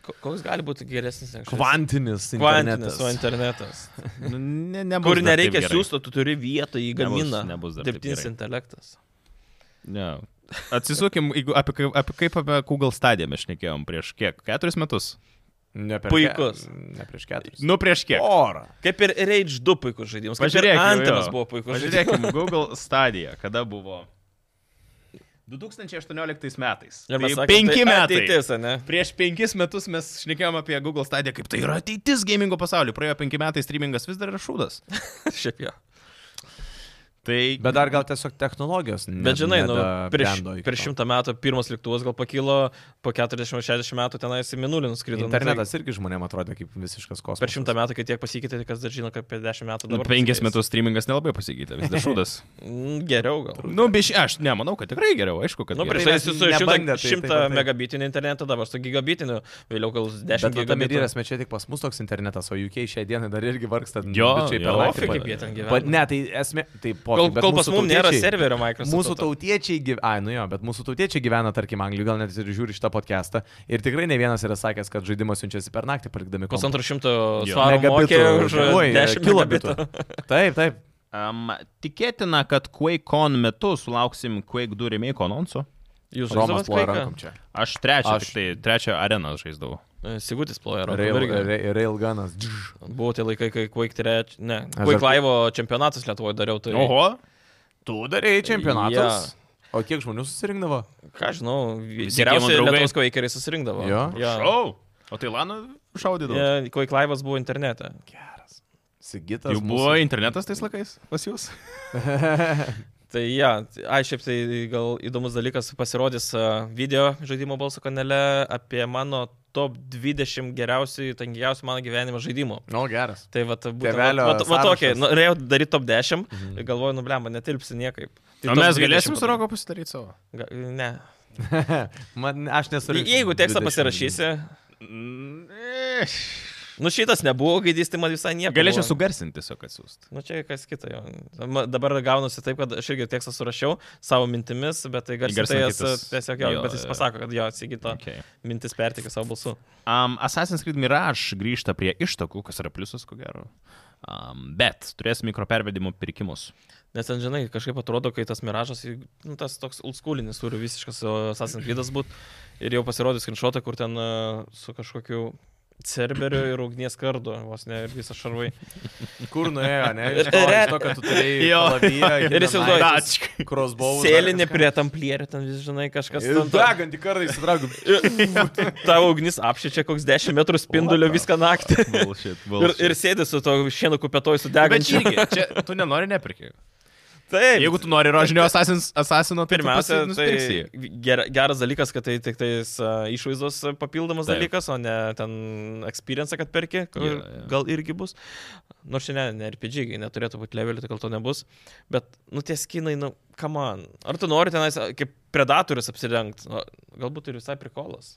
S1: ko- Koks gali būti geresnis? negu šis?
S3: Kvantinis. internetas.
S1: Kvantinis su internetas.
S2: Nu, Ne, nebus
S1: Kur
S2: dar taip
S1: nereikia
S2: gerai.
S1: siūsto, tu turi vietą į gaminą.
S2: nebus dar taip
S1: Dirbtinis
S2: gerai.
S1: intelektas.
S2: Ne. Atsisukim, jeigu apie, kaip- apie kaip apie Google Stadia mes šnekėjom prieš kiek? Keturis metus?
S3: Ne prieš
S1: Puikus.
S3: ke- Ne prieš keturis.
S2: Nu, prieš kiek?
S3: Porą.
S1: Kaip ir Rage 2 puikus žaidimas. Kaip ir
S2: Pažiūrėk, jo,
S1: Antinas
S2: jo.
S1: buvo puikus žaidimas.
S2: Pažiūrėkime, Google Stadia, kada buvo? 2018 metais.
S1: Ir mes
S2: Tai
S1: sakėm,
S2: penki
S1: tai
S2: metai.
S1: Ateitis, ne?
S2: Prieš penkis metus mes šnekėjom apie Google Stadia, kaip tai yra ateitis gamingo pasauliu. Praėjo penki metai, streamingas vis dar yra šūdas.
S1: Šiaip jo.
S2: Tai...
S3: Bet dar gal tiesiog technologijos. Ne,
S1: Bet žinai, nu, prieš,
S3: nedabrendo iki
S1: prieš
S3: to.
S1: šimtą metų pirmas lėktuvas gal pakilo, po 40-60 metų tenais į minulį nuskrido. Nu, tai-
S3: Internetas irgi žmonėms atrodė kaip visiškas kosmosas.
S1: Per šimtą metų, kai tiek pasikeitė, tai kas dar žino, kad per dešimt metų
S2: Nu,
S1: dabar.
S2: penkis
S1: pasikeis.
S2: metus streamingas nelabai pasikeitė, vis dar šūdas.
S1: Mm, Geriau gal.
S2: nu, biš, aš nemanau, kad tikrai geriau, aišku, kad...
S1: Nu,
S2: geriau.
S1: prieš
S3: Tai
S1: tai
S3: mes
S1: su
S3: nebandė,
S1: 100,
S3: tai-
S1: 100
S3: tai va taip.
S1: megabitinį internetą, dabar su gigabitiniu, vėliau gal su 10
S3: Bet tada
S1: gigabitiniu.
S3: medyras, mes čia tik pas mus toks internetas, o UK šią dieną dar irgi vargsta.
S2: Jo,
S3: bičiai per
S2: jo.
S3: naktį
S1: Ofik,
S3: pa-
S1: kaip jie ten
S3: pa-
S1: gyvena.
S3: Ne, tai esmė. Tai po,
S1: Kol,
S3: bet
S1: kol
S3: mūsų
S1: pas mums nėra
S3: tautiečiai-
S1: serverio Microsoft.
S3: Mūsų tautiečiai, gyv... ai, nu jo, bet mūsų tautiečiai gyvena, tarkim, Anglijoje, gal net ir žiūri šitą podcastą. Ir tikrai ne vienas yra sakęs, kad žaidimas siunčiasi per naktį, palikdami kompą.
S1: Pusantro šimto
S2: Jo.
S1: svarų mokė už
S3: Oi, e,
S1: 10 kilobitų.
S3: kilobitų. Taip, taip.
S2: Um, tikėtina, kad QuakeCon metu sulauksim Quake 2 remake anonso.
S1: Jūs
S3: Romas
S1: žaisdavot
S3: ploja
S1: Quake'ą?
S3: rankom čia.
S2: Aš trečią,
S3: Aš-
S2: aš... tai trečią areną žaisdavau.
S1: E, Sigutis ploja
S3: Rail,
S1: rankom.
S3: ra- railgunas. Dž.
S1: Buvo tie laikai, kai Quake 3, ne,
S3: dar-
S1: Quake Live čempionatas Lietuvoje dariau. Tai,
S2: Oho,
S3: Tu darėjai čempionatus. O kiek žmonių susirinkdavo?
S1: ką žinau, vi-
S2: Visi
S1: geriausi
S2: kiemo draugai.
S1: Lietuvos Quake'eriai susirinkdavo. E,
S3: Jo?
S2: šau. O tai Lanu šaudydavo.
S1: Quake Live'as buvo internete.
S3: Geras. Sigitas.
S2: Jau buvo internetas tais laikais pas jūs?
S1: Tai ja, ai šiaip tai gal įdomus dalykas pasirodys a, video žaidimo balso kanale apie mano top 20 geriausių, tangiausių mano gyvenimo žaidimų.
S3: O, geras.
S1: Tai va, būtent,
S3: Tėvelio
S1: va, va, va tokia,
S3: sąrašas.
S1: nu, norėjau daryti top 10 ir galvoju, nublemba, netilpsi niekaip.
S2: O
S1: Tai top
S2: mes
S1: 20
S2: galėsim su
S1: padarau.
S2: Roko pasidaryti savo.
S1: Ga- Ne.
S3: Man, aš nesu.
S1: Jeigu tekstą pasirašysi, nu šitas nebuvo, kai jis tai man visai nieko.
S2: Galėčiau sugarsinti tiesiog atsiųsti.
S1: Na nu, čia kas kita jo. Ma- Dabar gaunasi taip, kad aš irgi tekstą surašiau savo mintimis, bet tai
S2: Įgarsina
S1: garsiai
S2: kitas.
S1: tiesiog jo,
S2: Jo,
S1: bet jis
S2: jo.
S1: pasako, kad jo atsigito
S2: Okay.
S1: mintis pertikė savo balsu.
S2: Um, Assassin's Creed Mirage grįžta prie ištakų, kas yra pliusas, ko gero. Um, bet turės mikropervedimų pirkimus.
S1: Nes ten, žinai, kažkaip atrodo, kai tas miražas, nu, tas toks ulskulinis turi visiškas o, Assassin's Creed'as būt. Ir jau pasirodė screenshotą, kur ten a, su kažkokiu cerberiu ir ugnies kardu, vos ne ir visas šarvai.
S3: Kur nuėjo, ne?
S1: Ir-
S3: Iš to,
S1: ir-
S3: iš to, kad tu turėjai.
S2: Jo.
S3: kalaviją,
S1: Ir įsivaizduoju,
S3: knife,
S1: tas
S3: Crossbow.
S1: Sėlinė prie tamplierio, ten vis, žinai, kažkas. ten to-
S3: Dagantį kartą įsitraukiu.
S1: Tavo ugnis apšyčia koks 10 metrų spindulio viską naktį.
S2: Bullshit,
S1: Ir,
S2: bullshit.
S1: ir sėdi su to šienu kupetoju
S2: Bet čia
S1: sudegančiu.
S2: irgi, čia tu nenori nepirkti.
S1: Taip.
S2: Jeigu tu nori rožinio asasins- asasino, tai
S1: Pirmiausia,
S2: tu pasi- nusipirksi
S1: tai
S2: jį.
S1: ger, geras dalykas, kad tai tik tais uh, išvaizdos a, papildomas
S2: Taip.
S1: Taip. dalykas, o ne ten experience, kad perki, kur
S2: Jo,
S1: yeah,
S2: jo.
S1: yeah. gal irgi bus. Nors šiandien ne RPG, gi neturėtų būti levelių, tai gal to nebus. Bet, nu, tie skinai, nu, come on. Ar tu nori tenais a, kaip predatorius apsirengti? Galbūt ir visai prikolas.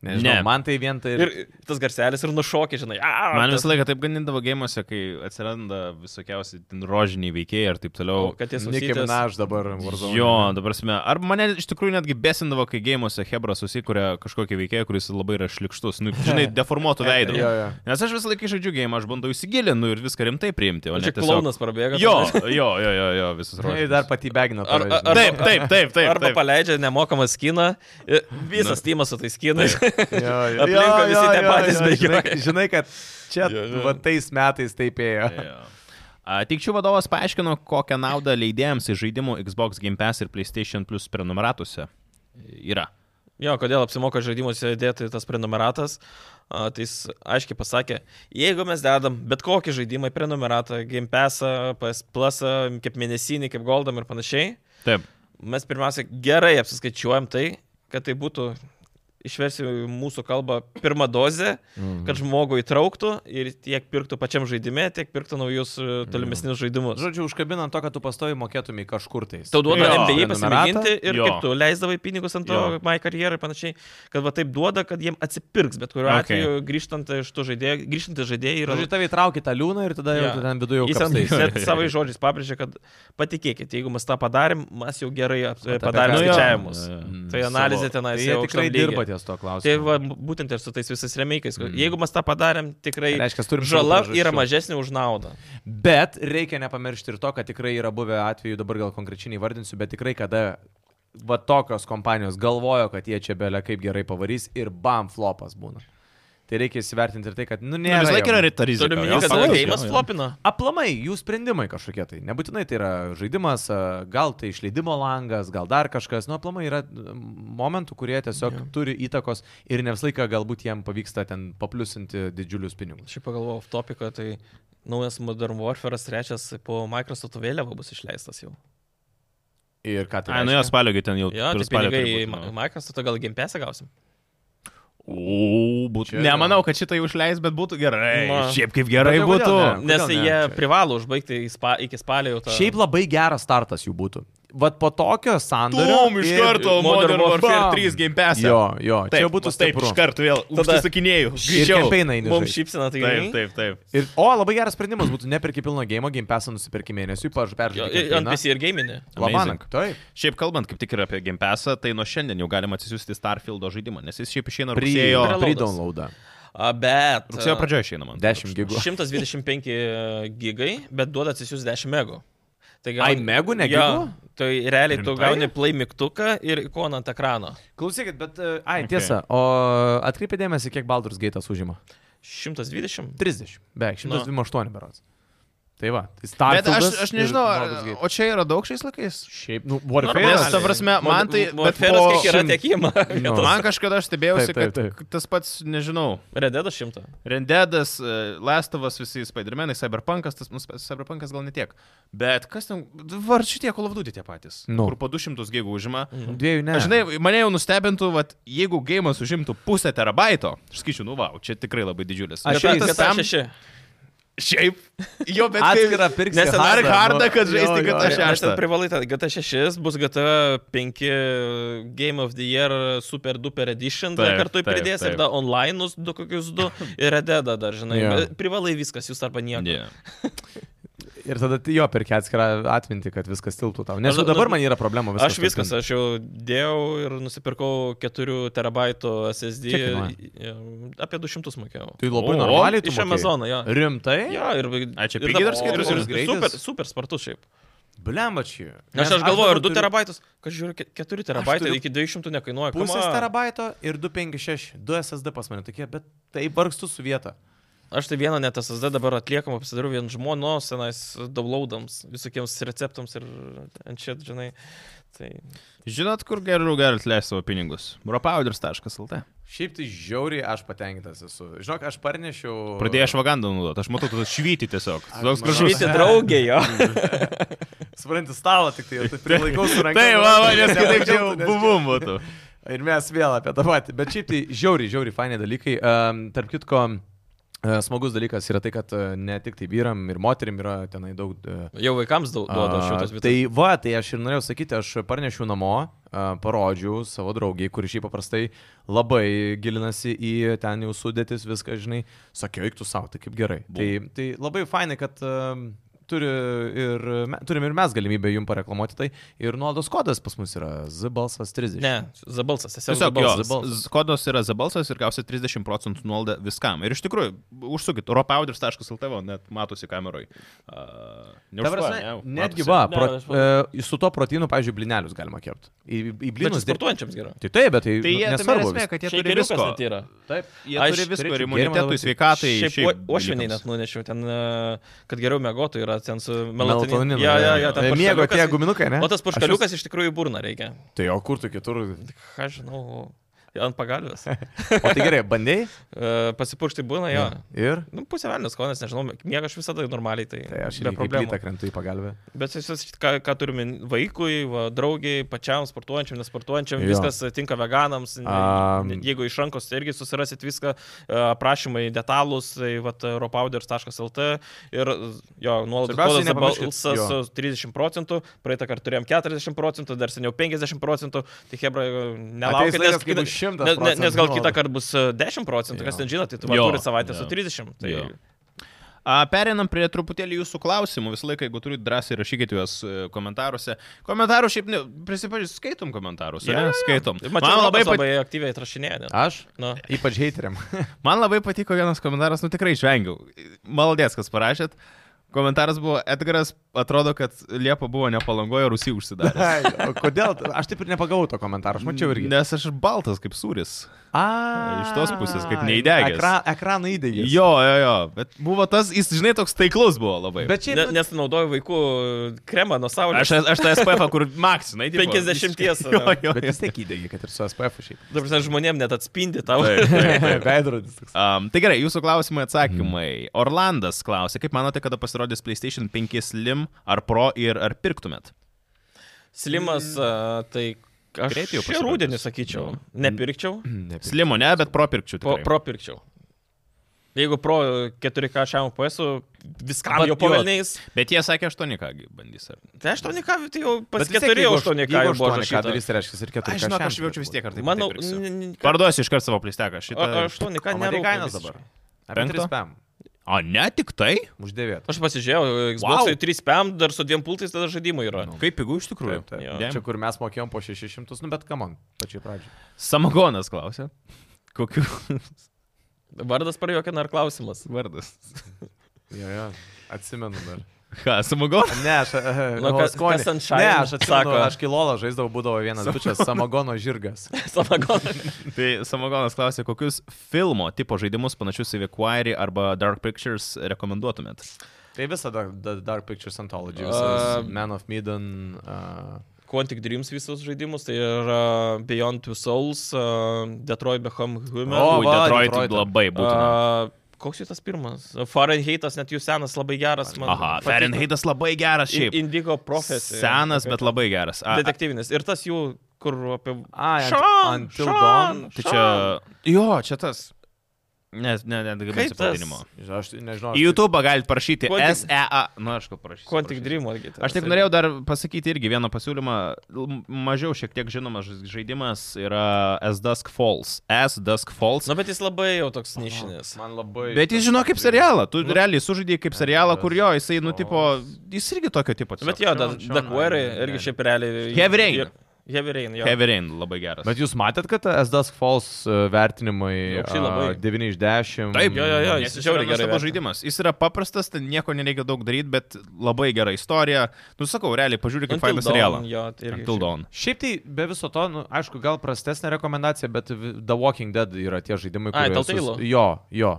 S3: Nežinau,
S2: Ne.
S3: ne. man tai vien tai.
S1: Ir tas garselis ir nušokė, žinai. A,
S2: Man visą laiką taip ganindavo gėjimuose, kai atsiranda visokiausi ten rožiniai veikėjai ir taip toliau.
S1: kad jis
S3: Nikė Minaž dabar Warzone.
S2: Jo, dabar smė. Ar mane iš tikrųjų netgi besindavo, kai gėjimuose Hebra susikuria kažkokį veikėją, kuris labai yra šlikštus, nu, žinai, deformuotų veidų.
S3: Jo, jo.
S2: Nes aš visą laiką žaidžiu gėjimą, aš bandau įsigilinti nu, ir viską rimtai priimti. o ne
S1: Čia
S2: tiesiog-
S1: klaunas prabėga.
S2: Jo,
S1: tada-
S2: jo, jo, jo, jo visas
S3: Ir
S2: rožinius.
S3: dar pati begina.
S1: Ar-
S3: tave,
S1: ar-
S3: žinai.
S2: Taip, taip, taip, taip.
S1: Arba
S2: taip. Nu.
S1: paleidžia nemokamą skiną. ir Visas tymas su tais skinais.
S3: Jo, jo.
S1: Aplinkui
S3: Jo,
S1: visi
S3: jo,
S1: tie
S3: jo,
S1: patys
S3: jo, žinai-
S1: bėgioja.
S3: Žinai, kad čia
S1: Jo, jo.
S3: va tais metais taip ėjo.
S2: Jo. A, Teikčių vadovas paaiškino, kokią naudą leidėjams iš žaidimų Xbox Game Pass ir PlayStation Plus prenumeratuose yra.
S1: Jo, kodėl apsimoka žaidimuose dėti tas prenumeratas, a, tai jis aiškiai pasakė, jeigu mes dedam bet kokį žaidimą į prenumeratą, Game Pass, PS Plus, kaip mėnesinį, kaip Goldam ir panašiai,
S2: Taip.
S1: mes pirmiausia gerai apsiskaičiuojam tai, kad tai būtų, išversiu į mūsų kalbą, pirma dozė, kad žmogų įtrauktų ir tiek pirktų pačiam žaidime, tiek pirktų naujus e, tolimesnius žaidimus.
S3: Žodžiu, užkabinant to, kad tu pastovi mokėtumai kažkur tais.
S1: Tau duoda
S2: Jo.
S1: MBA
S3: Prenumeratą.
S1: pasimėginti
S2: Jo.
S1: ir jo. kaip tu leisdavai pinigus ant to,
S2: Jo.
S1: my karjerą ir panašiai, kad va taip duoda, kad jiem atsipirks, bet kuriuo
S2: Okay.
S1: okay. atveju grįžtant iš tų žaidėjų, grįžtant iš žaidėjų yra...
S3: Žodžiu, tave įtraukia tą liūną ir tada jau
S1: Jo.
S3: tu ten viduje jau
S1: Jis ten Mm.
S3: kapstaisi.
S1: net savo žodžiais pabrėžė, kad patikėkit, jeigu mes tą padarėm, mes jau gerai ap-
S3: Vat apie
S1: padarėm
S3: ką-
S1: skaičiavimus.
S2: Nu Jo, jo, jo.
S1: Tai analizė
S3: Savo-
S1: tenai.
S3: Tai Jie tikrai dirba ties to
S1: Tai
S3: klausimu.
S1: va, būtent ir su tais visais remikais. Mm. Jeigu mes tą padarėm, tikrai
S3: Tai Reiškia, turim savo
S1: žala yra
S3: priežasčių.
S1: mažesnė už naudą.
S3: Bet reikia nepamiršti ir to, kad tikrai yra buvę atvejų, dabar gal konkrečiai įvardinsiu, bet tikrai kada va tokios kompanijos galvojo, kad jie čia belė kaip gerai pavarys ir bam flopas būna. Tai reikia įsivertinti ir tai, kad, nu,
S2: Ne,
S3: nėra.
S2: vis laiką
S3: jam-
S2: yra ta rizika.
S1: Turiu
S2: jo,
S1: minėti, kad
S2: savo
S3: savaip,
S1: gėjimas
S2: jo, jo.
S1: flopina.
S3: Aplamai, jų sprendimai kažkokie tai. Nebūtinai tai yra žaidimas, a, gal tai išleidimo langas, gal dar kažkas. Nu, aplamai yra m, momentų, kurie tiesiog yeah. turi įtakos ir ne visą laiką galbūt jiem pavyksta ten papliusinti didžiulius pinigus.
S1: Šiaip pagalvojau, off topico, tai naujas Modern Warfare trečias po Microsoft vėliava bus išleistas jau.
S3: Ir ką tai
S2: Ai, nu jo, spalio gi ten jau.
S1: Jo,
S2: per
S1: tai
S2: spalį
S1: pinigai
S2: turi
S1: į
S2: būt,
S1: Ma-
S2: nu.
S1: Microsoftą gal gimpesą gausim.
S2: O, būtų.
S3: Čia-
S2: Nemanau, kad šitą jau išleis, bet būtų gerai.
S1: Na.
S2: Šiaip kaip gerai
S3: Bet tai
S2: būtų.
S3: kodėl ne?
S1: Nes
S3: Kodėl
S1: jie
S3: Čia-
S1: privalo užbaigti į spa, iki spalio jau tą.
S3: Šiaip labai geras startas jų būtų. Vat po tokio sandorio.
S2: Tom iš
S3: ir-
S2: karto
S1: Modern
S2: Modern Warfare
S3: Warfare
S2: 3 Game Pass.
S3: Jo, jo, taip,
S2: Taip,
S3: čia būtų
S2: va taip,
S3: stipru.
S2: iš karto vėl.
S1: Tada-
S2: Užsakinėjau.
S3: Ir kampeinai
S1: mums
S3: nežaidžia.
S1: šypsina tai.
S2: Taip, taip, taip.
S3: Ir, o, labai geras sprendimas būtų, nepirki pilno game, game pesą nusipirki
S1: Jo,
S3: mėnesiui, pažiūrėjau,
S1: i- Ant PC ir gaiminį.
S3: Labanink,
S2: Amazing.
S3: taip.
S2: Šiaip kalbant, kaip tik ir apie Game Passą, tai nuo šiandien jau galima atsisiųsti Starfieldo žaidimą, nes jis šiaip išeina rugsėjo,
S1: Pre-
S3: Pre-downloadą.
S1: Bet. e, a,
S2: rugsėjo pradžioje išeina man.
S3: 10 gigų.
S1: 125 e, gigai, bet duoda atsisius 10 megų. Tai
S3: Ai, megų, ne
S1: Jo,
S3: gigų?
S1: Tai realiai tu
S2: Rimtai?
S1: gauni play mygtuką ir ikoną ant ekrano.
S3: Klausykit, bet, e, ai,
S2: Okay.
S3: okay. tiesa, o atkreipė dėmesį, kiek Baldur's Gate'as užima?
S1: 120.
S3: 30, beveik 128 no. berots. Tai va,
S2: Bet aš,
S3: Starfieldas.
S2: aš nežinau,
S3: ir Baldur's
S2: ar,
S3: Gate.
S2: o čia yra daug šiais laikais?
S3: Šiaip, nu,
S2: Nes,
S3: Warface.
S2: Tai ta prasme, man tai... bet
S1: Warfare'as
S2: po
S1: kiek yra
S2: šim-
S1: tiekima.
S3: Nu.
S1: vietos?
S2: Man kažkada aš stebėjausi,
S3: Taip, taip,
S2: kad tas pats, nežinau,
S1: Red Dead 100.
S2: Rendedas, e, Lestovas, visi Spider-Manai, Cyberpunkas, tas nu, Cyberpunkas gal netiek. Bet kas ten, var šitie kolovdūti tie patys,
S3: Nu.
S2: kur po 200 gigų užima.
S1: Mhm.
S3: Dviejų ne.
S2: Aš žinai, mane jau nustebintų, vat, jeigu gėjimas užimtų pusę terabaito, aš skaičiu, nu wow, čia tikrai labai didžiulis.
S3: Aš
S2: Bet
S3: irgi
S2: tas tam-
S1: 6.
S2: Šiaip, jo, bet tai-
S3: atskirą nu,
S2: kaip-
S3: pirksiu.
S1: nes
S2: Ar
S1: hardą,
S2: hardą, kad žaisti, kad aš
S1: Aš aš ten
S2: šeštą.
S1: privalai, ten GTA 6 bus GTA 5 Game of the Year Super Duper Edition, dar
S2: Taip,
S1: kartu
S2: taip,
S1: pridės
S2: taip.
S1: ir da online du kokius du ir Red Dead dar, žinai.
S3: Jo.
S1: bet Privalai viskas, jūs arba nieko.
S2: Yeah.
S3: Ir tada t- jo perkia atskirą atmintį, kad viskas tilptų tau. Nes
S1: Aš-
S3: jau dabar
S1: nu,
S3: man yra problema viskas.
S1: Aš viskas,
S3: talpint.
S1: aš jau dėjau ir nusipirkau 4 terabaitų SSD.
S3: Kiek kainuoja?
S1: ir- Apie 200 mokėjau.
S3: Tai labai
S2: O,
S3: normaliai. tu
S1: Iš
S3: mokėjai.
S1: Amazono, jo.
S3: Rimtai?
S1: Jo, ir,
S2: A, čia
S1: ir
S2: pigiai dar
S1: dabar-
S2: skaitomas
S1: ir- ir
S3: greitis?
S1: Super, super spartus šiaip.
S3: Blemačiai.
S1: Aš, aš galvoju, ir 2 terabaitus, kad žiūriu, 4 terabaitai
S3: turiu
S1: iki 200 nekainuoja.
S3: Pusės
S1: come on.
S3: terabaito ir 256, 2 SSD pas mane tokie, bet tai vargstu su vieta.
S1: Aš tai vieną net SSD dabar atliekamą pasidariau vien žmonos senais downloadams, visokiems receptams ir ant šit, žinai. Tai
S2: Žinot, kur geriau galit leisti savo pinigus? Ropowders.lt.
S3: Šiaip tai žiauriai aš patenkintas esu. Žinok, aš parnešiau.
S2: Pradėjai švagandą naudoti, aš matau, tu švyti tiesiog.
S3: Ai,
S2: Toks
S3: mano-
S2: gražus.
S1: žuvyti draugė jo.
S3: Supranti, stalą tik tai, tai prilaikau su ranka.
S2: Taip, va, va, nes kitaip čia jau
S3: Nes-
S2: buvum būtų.
S3: Ir mes vėl apie tą patį. Bet šiaip tai žiauriai, žiauriai fainai dalykai. Um, tarp kitko, uh, smagus dalykas yra tai, kad uh, ne tik tai vyram ir moterim yra tenai daug... Uh,
S1: Jau vaikams dau- duoda šitas
S3: A,
S1: vietas.
S3: Tai va, tai aš ir norėjau sakyti, aš parnešiau namo, a, parodžiau savo draugiai, kuri šiaip paprastai labai gilinasi į ten jau sudėtis, viską, žinai, sakiau, eik tu savo, tai kaip gerai. Tai, tai labai fainai, kad a, turi ir, me, turim ir mes galimybę jums pareklamuoti tai. Ir nuolaidos kodas pas mus yra zbalsas 30.
S1: Ne, zabalsas, esi
S2: Tiesiog jo,
S1: zabalsas.
S2: z- kodas yra zabalsas ir gausi 30 procentų nuolaidą viskam. Ir iš tikrųjų, užsukit, ropowders.lt, va, net matosi kameroj. Uh,
S3: Ta prasme, netgi va,
S1: Ne,
S3: pro,
S1: aš
S3: e, su to proteinu, pavyzdžiui, blinelius galima kepti. Į, į
S1: Bet
S3: blinus.
S1: čia sportuojančiams gerai.
S3: Tai taip, bet tai,
S2: Tai jie
S3: nu,
S2: tame ir
S3: nesvarbu.
S2: esmė,
S3: vis-
S2: kad jie turi
S1: Šeikeriukas
S2: visko.
S1: net yra.
S3: Taip.
S2: Jie
S1: Aš
S2: turi visko ir
S3: turėčiau gėrimą
S2: imunitetui,
S3: dabar.
S2: sveikatai.
S1: Šiaip o-
S2: dalykams.
S1: ošviniai net nunešiau ten, e, kad geriau mėgotų yra ten su melatoninu.
S3: Melatoninu.
S1: Ja, ja, ja, ten
S3: E, Miego tie
S1: purškaliukas-
S3: guminukai, ne?
S1: O tas puškaliukas iš tikrųjų į burną reikia.
S3: Tai o kur tu kitur?
S1: Ką aš žinau, ant E, pagalbės.
S3: O tai gerai, bandėjai?
S1: Pasipuršti būna, jo.
S3: Ir?
S1: Nu, pusė velnės skonis, nežinau, miega aš visada normaliai, tai,
S3: Tai aš
S1: be
S3: irgi kaip
S1: problemų.
S3: plyta krentu į pagalbę.
S1: Bet jis, jis, ką, ką turime vaikui, va, draugiai, pačiam, sportuojančiam, nesportuojančiam,
S3: Jo.
S1: jo. viskas tinka veganams.
S3: Am.
S1: Um, jeigu iš rankos tai irgi susirasit viską, e, aprašymai detalūs, tai ropauders.lt ir jo, nuolaidos
S3: Svarbiausia,
S1: kodas
S3: nepamirškit,
S1: balsas
S3: jo.
S1: 30 procentų, praeitą kartą turėjom 40 procentų, dar seniau 50 procentų, tai Hebra
S3: Ateis
S1: nelaukit,
S3: laikas,
S1: nes,
S3: kai bus
S1: kita-
S3: 100
S1: ne- ne- nes gal
S3: procentų
S1: kitą kartą bus e, 10 procentų,
S3: Jo.
S1: kas ten žino, tai tu
S2: Jo.
S1: turi savaitę
S2: Jo.
S1: su 30. Tai,
S2: Jo. A, Perinam prie truputėlį jūsų klausimų. Visą laiką, jeigu turite drąsiai, rašykite juos e, komentaruose. Komentarų šiaip, ne, prisipažįstu, skaitom komentarus.
S1: Jo,
S2: Yeah,
S1: jo,
S2: yeah. Skaitom.
S1: Mačiau,
S2: Man labai, pat...
S1: labai aktyviai atrašinėję. net.
S3: Aš?
S1: Nu.
S3: Ypač heiteriam.
S2: Man labai patiko vienas komentaras, nu tikrai išvengiau. Maldės, kas parašėt. Komentaras buvo, Edgaras atrodo, kad Liepa buvo nepalangoja, Rusija užsidarė.
S3: Ai, o Kodėl? Aš taip ir nepagavau to komentaro, aš mačiau irgi.
S2: Nes aš baltas kaip sūris.
S3: A,
S2: Iš tos pusės, kad neįdegęs.
S3: Ekra, ekraną įdegęs.
S2: Jo, jo, jo. Bet buvo tas, jis, žinai, toks taiklus buvo labai.
S3: Bet nu- čia...
S1: Ne, nes naudoju vaikų kremą nuo saulės.
S2: Aš, aš tą SPF, kur maksimai.
S1: 50-ies,
S2: Jo,
S1: ane.
S2: jo.
S3: Bet vis tiek įdegė, kad ir su SPF šiaip.
S1: Dabar prasme, žmonėm net atspindi tau.
S2: Taip, taip, taip.
S3: Veidrodis toks.
S2: Um, tai gerai, jūsų
S3: Mhm.
S2: klausimai atsakymai. Hmm. Orlandas klausė, kaip manote, kada pasirodys PlayStation 5 Slim ar Pro ir ar pirktumėt?
S1: Slimas, a, tai aš
S2: Greitai jau
S1: šį
S2: pasirodys. Mm.
S1: rūdienį sakyčiau. Nepirkčiau,
S2: Slimo ne, bet Pro pirkčiau.
S1: po,
S2: tikrai.
S1: pro pirkčiau. Jeigu pro 4K šiam PS, viskam
S2: Bet
S1: jau
S2: jo.
S1: pavelniais.
S2: Bet jie sakė 8K gi bandys. Ar...
S1: Tai 8K, tai jau pas
S3: Bet vis tiek,
S1: 4
S3: jeigu aš-
S1: 8K
S3: jeigu
S1: jau buvo
S3: 8K
S1: rašyta.
S3: darys, tai reiškia, ir 4K.
S2: Aš žinau, aš jaučiu vis tiek, ar tai
S1: Manau,
S2: pirksiu.
S1: n- n-
S2: Parduosiu iš karto savo plisteką šitą.
S1: a- 8K
S3: Ką
S1: ne
S3: nėra kainos dabar? Apie
S2: Penkto?
S3: 3 PM.
S2: O ne tik tai?
S3: Uždėvėt.
S1: Aš pasižiūrėjau, Xbox wow. 3 PM dar su dviem pultais tada žaidimų yra.
S3: Nu.
S2: Kaip pigu iš tikrųjų.
S3: Taip, taip.
S1: Jo.
S3: Čia, kur mes mokėjom po 600, nu bet kam man, pačiai pradžiai.
S2: Samagonas klausė. Kokiu
S1: Vardas parjokina ar klausimas?
S2: vardas?
S3: Jo, jo, atsimenu dar.
S2: Ką, Samagonas?
S3: Ne, aš.
S1: Nu,
S3: Nu,
S1: kas-
S3: skonį.
S1: kas ant šalmo
S3: Ne, aš atsako,
S1: sako?
S3: aš kilolą žaisdavau, būdavo vienas bičias, samagono žirgas.
S1: Samagonas.
S2: Tai Samagonas klausė, kokius filmo tipo žaidimus panašius į Vequire arba Dark Pictures rekomenduotumėt?
S3: Tai visą dar, dar, dar Pictures Anthology,
S1: A,
S3: visas Man of Medan. Uh,
S1: Quantic Dreams visus žaidimus, tai yra Beyond Two Souls, uh, Detroit Become Human.
S3: O,
S2: Ui,
S3: va,
S2: Detroit
S3: Detroitą.
S2: labai būtų.
S1: A, koks jų tas pirmas? Fahrenheitas, net jų senas, labai geras. Man
S2: Aha,
S1: patiko.
S2: Fahrenheitas labai geras
S1: In-
S2: šiaip.
S1: Indigo Prophecy.
S2: Senas, bet labai geras. A, a,
S1: Detektyvinis. Ir tas jų, kur apie...
S3: ai, ant,
S1: Sean,
S3: Until
S1: Sean.
S3: Dawn.
S2: tai čia. Jo, čia tas. Ne, ne, ne,
S1: Kaip
S2: gaminsiu
S1: tas? tai-
S2: pavadinimo.
S3: Žinau, Aš nežinau.
S2: Į YouTube galite parašyti E,
S1: Kuo tik-
S2: SEA. Na, aš ko Nu, parašysiu.
S1: Quantic
S2: parašysiu.
S1: Dream. Tai-
S2: Aš tik norėjau dar pasakyti irgi vieną pasiūlymą. M- Mažiau šiek tiek žinomas ža- žaidimas yra S Dusk Falls. S Dusk Falls.
S1: Na, Nu, tai bet jis labai jau toks nišinis.
S3: Man labai. Nu,
S2: Bet jis žino kaip serialą. Tu
S1: Nu-
S2: realiai sužaidėjai kaip serialą, kur jo, jisai
S3: Falls.
S2: nutipo. Jis irgi tokio tipo. tiesiog.
S1: Nu, Bet jo,
S3: Sean, Sean,
S1: Dakwarai
S3: ai, ne,
S1: irgi
S3: ne.
S1: šiaip realiai.
S2: Heavy Rain.
S1: jie- Heavy Rain, jo.
S2: Heavy Rain labai geras.
S3: Bet jūs matėt, kad S Dusk Falls e, vertinimai
S1: Aukštai labai.
S3: a, 9 iš 10.
S2: Taip,
S1: jo, jo, jo,
S2: Nes
S1: jis
S2: jis
S1: žiauriai
S2: yra
S1: gerai
S2: nuostabus
S1: vertina.
S2: žaidimas. Jis yra paprastas, ten nieko nereikia daug daryti, bet labai gera istorija. Nu, sakau, realiai, pažiūrėk kaip
S1: Until
S2: fainą
S1: Dawn,
S2: serialą.
S1: Jo, tai irgi.
S2: Until Dawn.
S3: Šiaip tai be viso to, nu, aišku, gal prastesnė rekomendacija, bet vi- The Walking Dead yra tie žaidimai,
S1: Ai,
S3: kurie...
S1: Telltale'o.
S3: Jo, jo.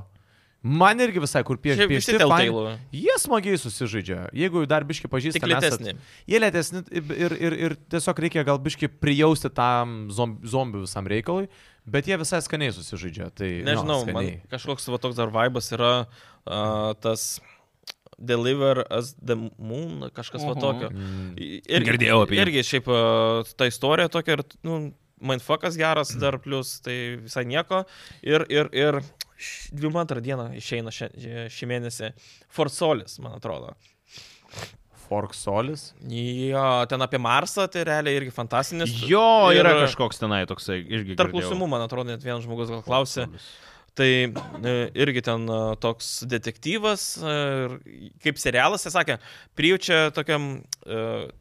S3: Man irgi visai, kur pie-
S1: Šiaip visi
S3: piešti faini-
S1: Telltale'o.
S3: Jie smagiai susižaidžia. Jeigu dar biški pažįstate,
S1: Tik lėtesni.
S3: Jie lėtesni ir, ir, ir tiesiog reikia gal biški prijausti tam zom- zombių visam reikalui, bet jie visai skaniai susižaidžia. Tai,
S1: Nežinau,
S3: jo,
S1: man
S3: skaniai.
S1: kažkoks va toks dar vaibas yra uh, tas Deliver as the Moon, kažkas va
S2: Oho.
S1: tokio.
S3: Mm.
S1: Ir,
S2: Girdėjau apie jį.
S1: Irgi šiaip a, ta istorija tokia ir, nu, mindfuckas geras dar
S2: Mm.
S1: plus, tai visai nieko. Ir, ir, ir 22 dieną išeina šia, šį mėnesį Forsolis, man atrodo.
S3: Fork Solis.
S1: Jo, ten apie Marsą, tai realiai irgi fantastinis.
S2: Jo,
S1: Ir-
S2: yra kažkoks tenai toksai irgi.
S1: Tarp
S2: girdėjau.
S1: klausimų, man atrodo, net vienas žmogus gal klausė. Tai e, irgi ten e, toks detektyvas, e, ir kaip serialas, jis sakė, prijaučia tokiam, e,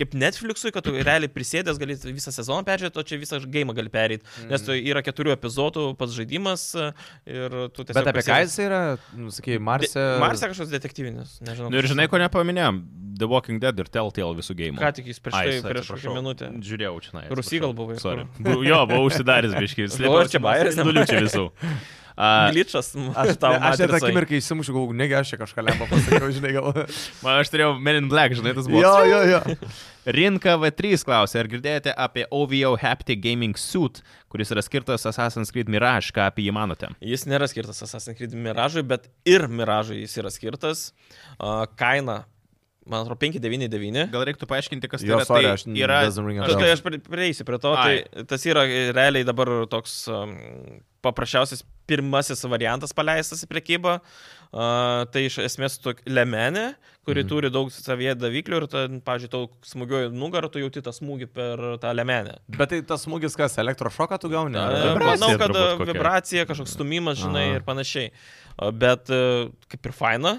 S1: kaip Netflixui, kad tu realiai prisėdęs gali visą sezoną peržiūrėti, o čia visą žaidimą gali perėti. Nes tu yra keturių epizodų pats žaidimas e, ir tu tiesiog...
S3: Bet apie ką
S1: prisėdi-
S3: jis yra, nu, sakėjai, Marse.
S1: De- Marse kažkoks detektyvinis, nežinau.
S2: Nu ir
S1: kas
S2: žinai,
S1: jis-
S2: ko nepaminėjom. The Walking Dead ir Telltale visų gėjimų.
S1: Ką tik jis prieš tai,
S2: Ai,
S1: prieš
S2: atsiprašau.
S1: kokią minutę.
S2: Žiūrėjau čia.
S1: Rūsy gal buvai,
S2: Sorry. Bu, jo, buvau užsidaręs biškai.
S1: Galvoju, čia bajeris.
S2: Nuliučiu visų. A,
S1: Gličas,
S3: Aš,
S1: aš
S3: ne,
S1: tau
S3: aš net
S1: matricai.
S3: akimirkai įsimušiu, galvoju, negi aš čia kažką lemą pasakiau, žinai, gal.
S2: man, aš turėjau Men in Black, žinai, tas buvo.
S3: jo, jo, jo.
S2: Rinka V3 klausė, ar girdėjote apie OVO Haptic Gaming Suit, kuris yra skirtas Assassin's Creed Mirage, ką apie jį manote?
S1: Jis nėra skirtas Assassin's Creed Miražui, bet ir Miražui jis yra skirtas. A, Kaina, man atrodo, 599.
S2: Gal reiktų paaiškinti, kas tai
S3: Jo,
S2: yra.
S3: sorry,
S2: tai
S3: aš n-
S2: yra...
S3: doesn't ring a
S1: Aš,
S3: bell.
S1: kai aš pri- prieisiu prie to, tai tas yra realiai dabar toks um, paprasčiausias pirmasis variantas paleistas į priekybą. Uh, tai iš esmės tokia lemenė, kuri mm. turi daug savyje daviklių ir, ten, pavyzdžiui, tau smūgiuoju nugarą, tu jauti tą smūgį per tą lemenę.
S3: Bet tai tas smūgis, kas elektrošoką tu gauni?
S1: Ne,
S3: ar-
S2: vibracija
S1: Manau, kad
S2: turbūt kokia.
S1: vibracija, kažkoks stumimas, žinai,
S3: Aha.
S1: ir panašiai. O, Bet e, kaip ir faina,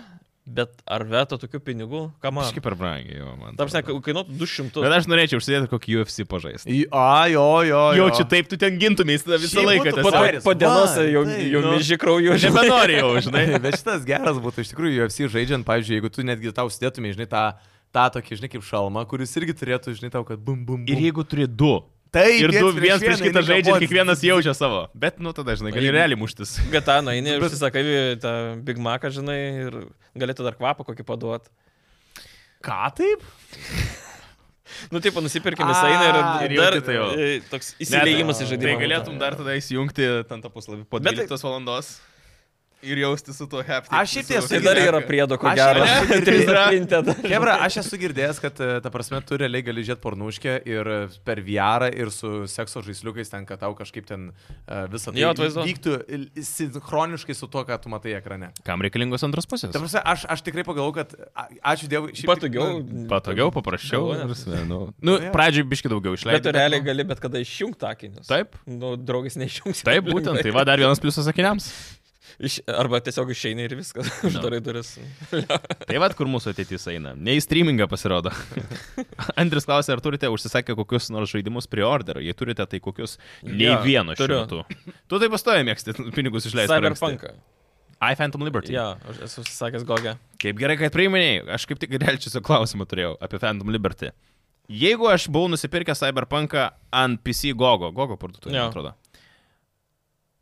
S1: bet ar veto tokių pinigų, ką man?
S2: Kažkaip per brangiai, jo, man.
S1: Tam, žinai,
S2: atrodo.
S1: kainuotų 200.
S2: Bet aš norėčiau užsidėti kokį UFC pažaisti.
S3: Į- A, jo, jo.
S2: Jau čia taip, tu ten gintumės tada visą
S3: Šiaip
S2: laiką.
S3: būtų
S1: Po,
S2: tiesiog.
S3: padaryta.
S1: po dienos
S3: Va,
S1: jau,
S3: tai,
S1: jau
S2: nu.
S1: myži krauju, žinai.
S2: Nebenorėjau, žinai.
S3: Bet šitas geras būtų, iš tikrųjų, UFC žaidžiant, pavyzdžiui, jeigu tu netgi tau sudėtumai, žinai, tą, tą tokį, žinai, kaip šalmą, kuris irgi turėtų, žinai, tau, kad bum, bum. bum.
S2: Ir jeigu turi du.
S3: Taip,
S2: Ir du vienas
S3: vieną
S2: prieš kitą
S3: eini
S2: žaidžia,
S3: kovot.
S2: ir kiekvienas jaučia savo. Bet, nu, tada, žinai, gali
S1: Jeigu-
S2: realiai muštis.
S1: Gatano, eini, užsisakai tą Big Macą, žinai, ir galėtų dar kvapą kokį paduot.
S3: Ką taip?
S1: Nu, taip, nusipirkime visą eina
S3: A,
S1: ir,
S2: ir
S1: dar
S2: jauti tai jau.
S1: e, toks įsileidimas į
S3: tai
S1: žaidimą.
S2: Tai galėtum dar tada įsijungti ten tą puslapį po
S1: Bet tai-
S2: 12 valandos ir jausti su tuo happy.
S3: Aš šiaip tiesą
S1: Tai dar yra priedo, ko
S3: Aš
S1: gero.
S3: ir ne, ir
S1: Trys
S2: yra.
S1: printe dar.
S3: Kebra, aš esu girdėjęs, kad, e, ta prasme, tu realiai gali žiūrėti pornuškę ir e, per VR ir su sekso žaisliukais ten, kad tau kažkaip ten e, visą tai
S1: Jo, atvaizduoju.
S3: vyktų il- sinchroniškai su tuo, ką tu matai ekrane.
S2: Kam reikalingos antros pusės?
S3: Ta prasme, aš, aš tikrai pagalvoju, kad a- ačiū Dievui. šiaip tik,
S1: Patogiau.
S3: nu,
S2: Patogiau, paprasčiau.
S1: Galvoju, nes-
S2: prasme, Nu, nu
S3: Jo.
S2: pradžioj biški daugiau
S1: Bet tu
S2: išleidai.
S1: realiai gali bet kada išjungti
S2: nu.
S1: akinius.
S2: Taip.
S1: Nu, draugis neišjungs.
S2: Taip, būtent. Tai va dar vienas pliusas akiniams.
S1: Iš, arba tiesiog išeini ir viskas. Uždarai duris.
S2: Tai vad, kur mūsų ateitis eina. Ne į streamingą pasirodo. Andris klausė, ar turite užsisakę kokius nors žaidimus pre-orderą. Jei turite, tai kokius nei
S1: Jo,
S2: vieno šiuo
S1: turiu.
S2: metu. Tu tai pastoja mėgsti pinigus išleisti. per anksti.
S1: Cyberpunk.
S2: I Phantom Liberty.
S1: Ja, aš esu sakęs Gogę.
S2: Kaip gerai, kad priminėjai. Aš kaip tik realčiusio klausimą turėjau apie Phantom Liberty. Jeigu aš buvau nusipirkęs Cyberpunką ant PC Gogo, Gogo parduotuvėje,
S1: Jo.
S2: man atrodo.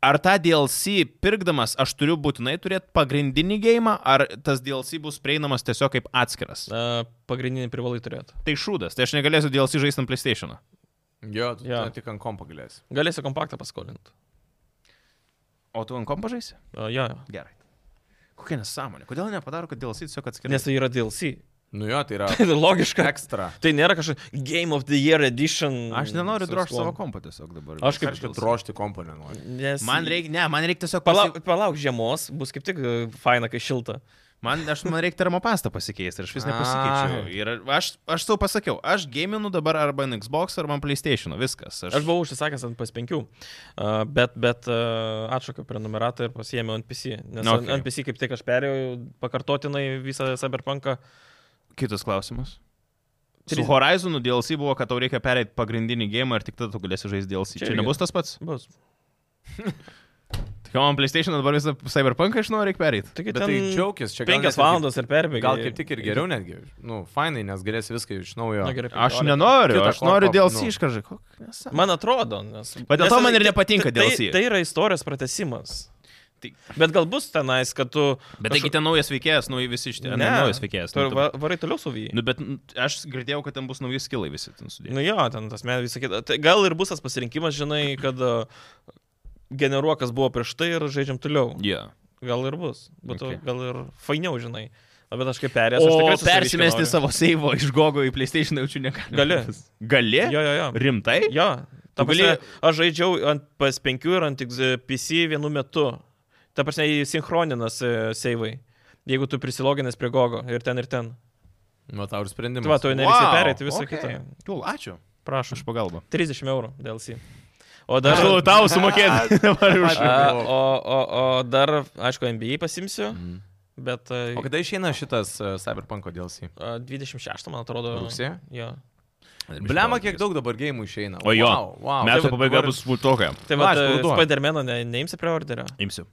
S2: ar tą DLC pirkdamas aš turiu būtinai turėti pagrindinį gėjimą, ar tas DLC bus prieinamas tiesiog kaip atskiras?
S1: Na, pagrindinį privalai turėti.
S2: Tai šūdas, tai aš negalėsiu DLC žaisti ant PlayStation.
S3: Nu, Jo, tu
S1: Jo.
S3: ten tik ant kompo galėsi.
S1: Galėsi kompaktą paskolinti.
S2: O tu ant kompo žaisi?
S1: Uh, jo, jo.
S2: Gerai. Kokia nesąmonė? Kodėl nepadaro, kad DLC tiesiog atskiras?
S1: Nes tai yra DLC.
S3: Nu jo, tai yra
S1: Tai logiška.
S3: ekstra.
S1: Tai nėra kažkokia Game of the Year edition.
S2: Aš nenoriu
S1: su
S2: drožti
S1: viskuo.
S2: savo kompo tiesiog dabar.
S1: Aš kaip-
S3: Kažkaip drošti kompo nenori.
S1: Nes...
S2: Man reikia, ne, man reikia tiesiog
S1: Palauk, palauk žiemos, bus kaip tik e, faina, kai šilta.
S2: Man, aš, man reikia termopastą pasikeisti ir aš vis nepasikeičiau.
S3: Ai.
S2: Ir aš, aš tau pasakiau, aš gaminu dabar arba ant Xbox, arba ant PlayStation, viskas. Aš,
S1: Aš buvau užsisakęs ant PS5, uh, bet, bet uh, atšaukiau prenumeratą ir pasiėmiau ant PC. Nes
S2: Na,
S1: okay.
S2: okei.
S1: ant PC kaip tik aš perėjau pakartotinai visą Cyberpunką.
S2: Kitas klausimas. Su
S1: Tris-
S2: Horizonu DLC buvo, kad tau reikia pereiti pagrindinį gėjimą ir tik tada tu galėsi žaisti DLC.
S1: Čia
S2: Čia, Čia
S1: irgi.
S2: nebus tas pats?
S1: Bus.
S2: Tik man PlayStation dabar visą Cyberpunk iš noriu reikia pereiti.
S1: Taigi
S3: Bet
S1: ten
S3: tai džiaugtis, čia gal
S1: 5
S3: net ir-
S1: valandas ir perbėgai.
S3: Gal kaip tik ir geriau netgi. Nu, fainai, nes galėsi viską iš naujo.
S1: Na, Nu, gerai,
S2: Aš
S1: 15.
S2: nenoriu,
S3: Kitą
S2: aš noriu
S3: korpą,
S2: DLC
S3: nu.
S2: iš kažko. Kokia nesąmonė.
S1: Man atrodo, nes.
S2: Va dėl
S1: nes
S2: to
S1: tai-
S2: man ir
S1: tai-
S2: nepatinka
S1: tai-
S2: DLC.
S1: Tai yra istorijos pratesimas.
S2: Tai-
S1: Bet gal bus tenais, kad tu...
S2: Bet taigi ten naujas veikėjas, nauji visi šitie. Ne, naujas veikėjas.
S1: Tu
S2: Nu, tu-
S1: va- varai toliau su E. vyju.
S2: nu, bet n- aš girdėjau, kad ten bus nauji skilai visi ten sudėti.
S1: Nu jo, ten tas metas visą kitą. Tai gal ir bus tas pasirinkimas, žinai, kad a, generuok, kas buvo prieš tai ir žaidžiam toliau.
S2: Yeah.
S1: Gal ir bus. Būtų
S2: Okay.
S1: okay. gal ir fainiau, žinai. Na, bet aš kaip perėjęs. aš
S2: O
S1: tikrai
S2: persimesti
S1: susiviškinau.
S2: savo seivo iš Gogo į PlayStation jaučiu negali.
S1: Gali.
S2: Gali?
S1: Jo, jo, jo.
S2: Rimtai?
S1: Jo. Ta
S2: Tu
S1: prasme,
S2: gali-
S1: aš žaidžiau ant PS5 ir ant X- PC vienu metu. Ta prasme, jį sinhroninas seivai. Jeigu tu prisiloginęs prie Gogo ir ten ir ten.
S3: Nu, tau ir sprendimas.
S1: Tu va, tu nereikia wow, perėti visą okay. kitą.
S2: Tūl, ačiū.
S1: Prašau.
S2: Už pagalbą.
S1: 30 eurų dėl C. O
S2: Aš
S1: dar...
S2: jau tau sumokėti. Dabar už.
S1: A, o, o, o dar, aišku, NBA pasimsiu,
S2: Mhm.
S1: bet a,
S3: O kada išeina šitas uh, Cyberpunk DLC?
S1: a, 26, man atrodo.
S3: Rugsėjo?
S1: Jo.
S3: Blema, kiek daug dabar gėjimų išeina.
S2: O jo,
S3: Wow, wow.
S2: Metų
S3: Tai
S2: pabaiga
S3: dabar-
S2: bus būtokia.
S1: Tai
S3: Va,
S1: va,
S3: aš parduodu.
S1: Spidermeno ne, neimsi prie orderio.
S2: Imsiu.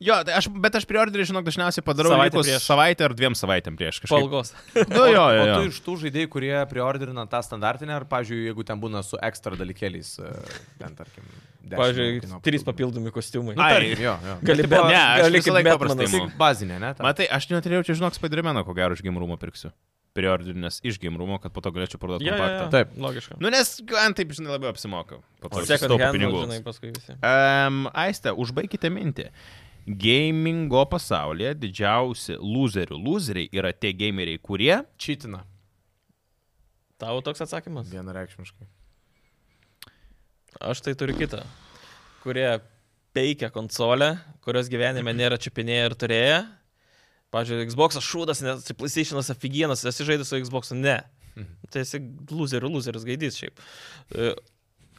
S2: Jo, tai aš, bet aš priorderį, žinok, dažniausiai padarau
S1: Savaitę
S2: likus
S1: prieš.
S2: savaitę ar dviem savaitėm prieš kažką.
S1: Palgos.
S2: Nu, jo, jo,
S3: O
S2: jo.
S3: tu iš tų žaidėjų, kurie priorderina tą standartinę, ar, pavyzdžiui, jeigu ten būna su ekstra dalykėliais, e, ten, tarkim, dešimt
S1: Pavyzdžiui,
S3: kino
S1: trys papildomi kostiumai.
S2: Ai, nu,
S3: Tarkim, jo, jo.
S1: Gali
S2: tipo,
S1: bet,
S2: ne, aš
S1: gali
S2: visą
S1: kaip
S2: laiką
S1: Betmanas.
S2: paprastai imu.
S3: Tik bazinė, ne? ten.
S2: Matai, aš neturėjau čia, žinok, Spidermeno, ko gero, iš gimrumo pirksiu. Priorderinės iš gimrumo, kad po to galėčiau parduoti
S1: Jo, jo, jo.
S2: kompaktą.
S3: Taip.
S1: Logiška.
S2: Nu, nes ant taip, žinai, labiau apsimoka. Po to
S1: Second
S2: sutaupo
S1: hand, nu,
S2: pinigų.
S1: žinai, paskui visi.
S2: Um, Aiste, užbaikite mintį. Gamingo pasaulyje didžiausi loserių loseriai yra tie gameriai, kurie
S3: Čitina.
S1: Tau toks atsakymas?
S3: Vienareikšmiškai.
S1: Aš tai turiu kitą, kurie peikia konsolę, kurios gyvenime nėra čiupinėję ir turėję. Pavyzdžiui, Xbox šūdas, nes tai PlayStation'as afigienas, esi žaidęs su Xbox'u, ne. Tai esi loserių, loseris gaidys šiaip. E,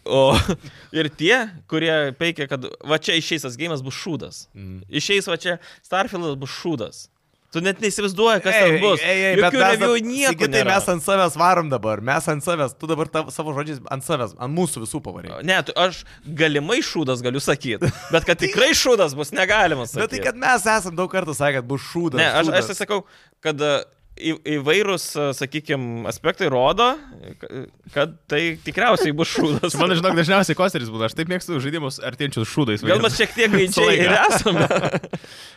S1: O ir tie, kurie peikia, kad va čia išeis tas gėjimas bus šūdas.
S2: Mm.
S1: Išeis va čia Starfieldas bus šūdas. Tu net neįsivaizduoji, kas ten bus. Jokių review nieko.
S3: Tai
S1: nėra.
S3: mes ant savęs varom dabar, mes ant savęs, tu dabar tav, savo žodžiais ant savęs, ant mūsų visų pavarėjai.
S1: Ne, tu, aš galimai šūdas galiu sakyti, bet kad tikrai šūdas bus negalima sakyti.
S3: Bet tai, kad mes esam daug kartų sakę, kad bus šūdas.
S1: Ne, aš, aš
S3: šūdas.
S1: tai sakau, kad a, į, įvairūs, sakykime, aspektai rodo, ka- kad tai tikriausiai bus šūdas.
S2: Man, žinok, dažniausiai kosteris būna. Aš taip mėgstu žaidimus artinčius šūdais.
S1: Gal mes
S2: vadinamus.
S1: šiek tiek greičiai ir esame.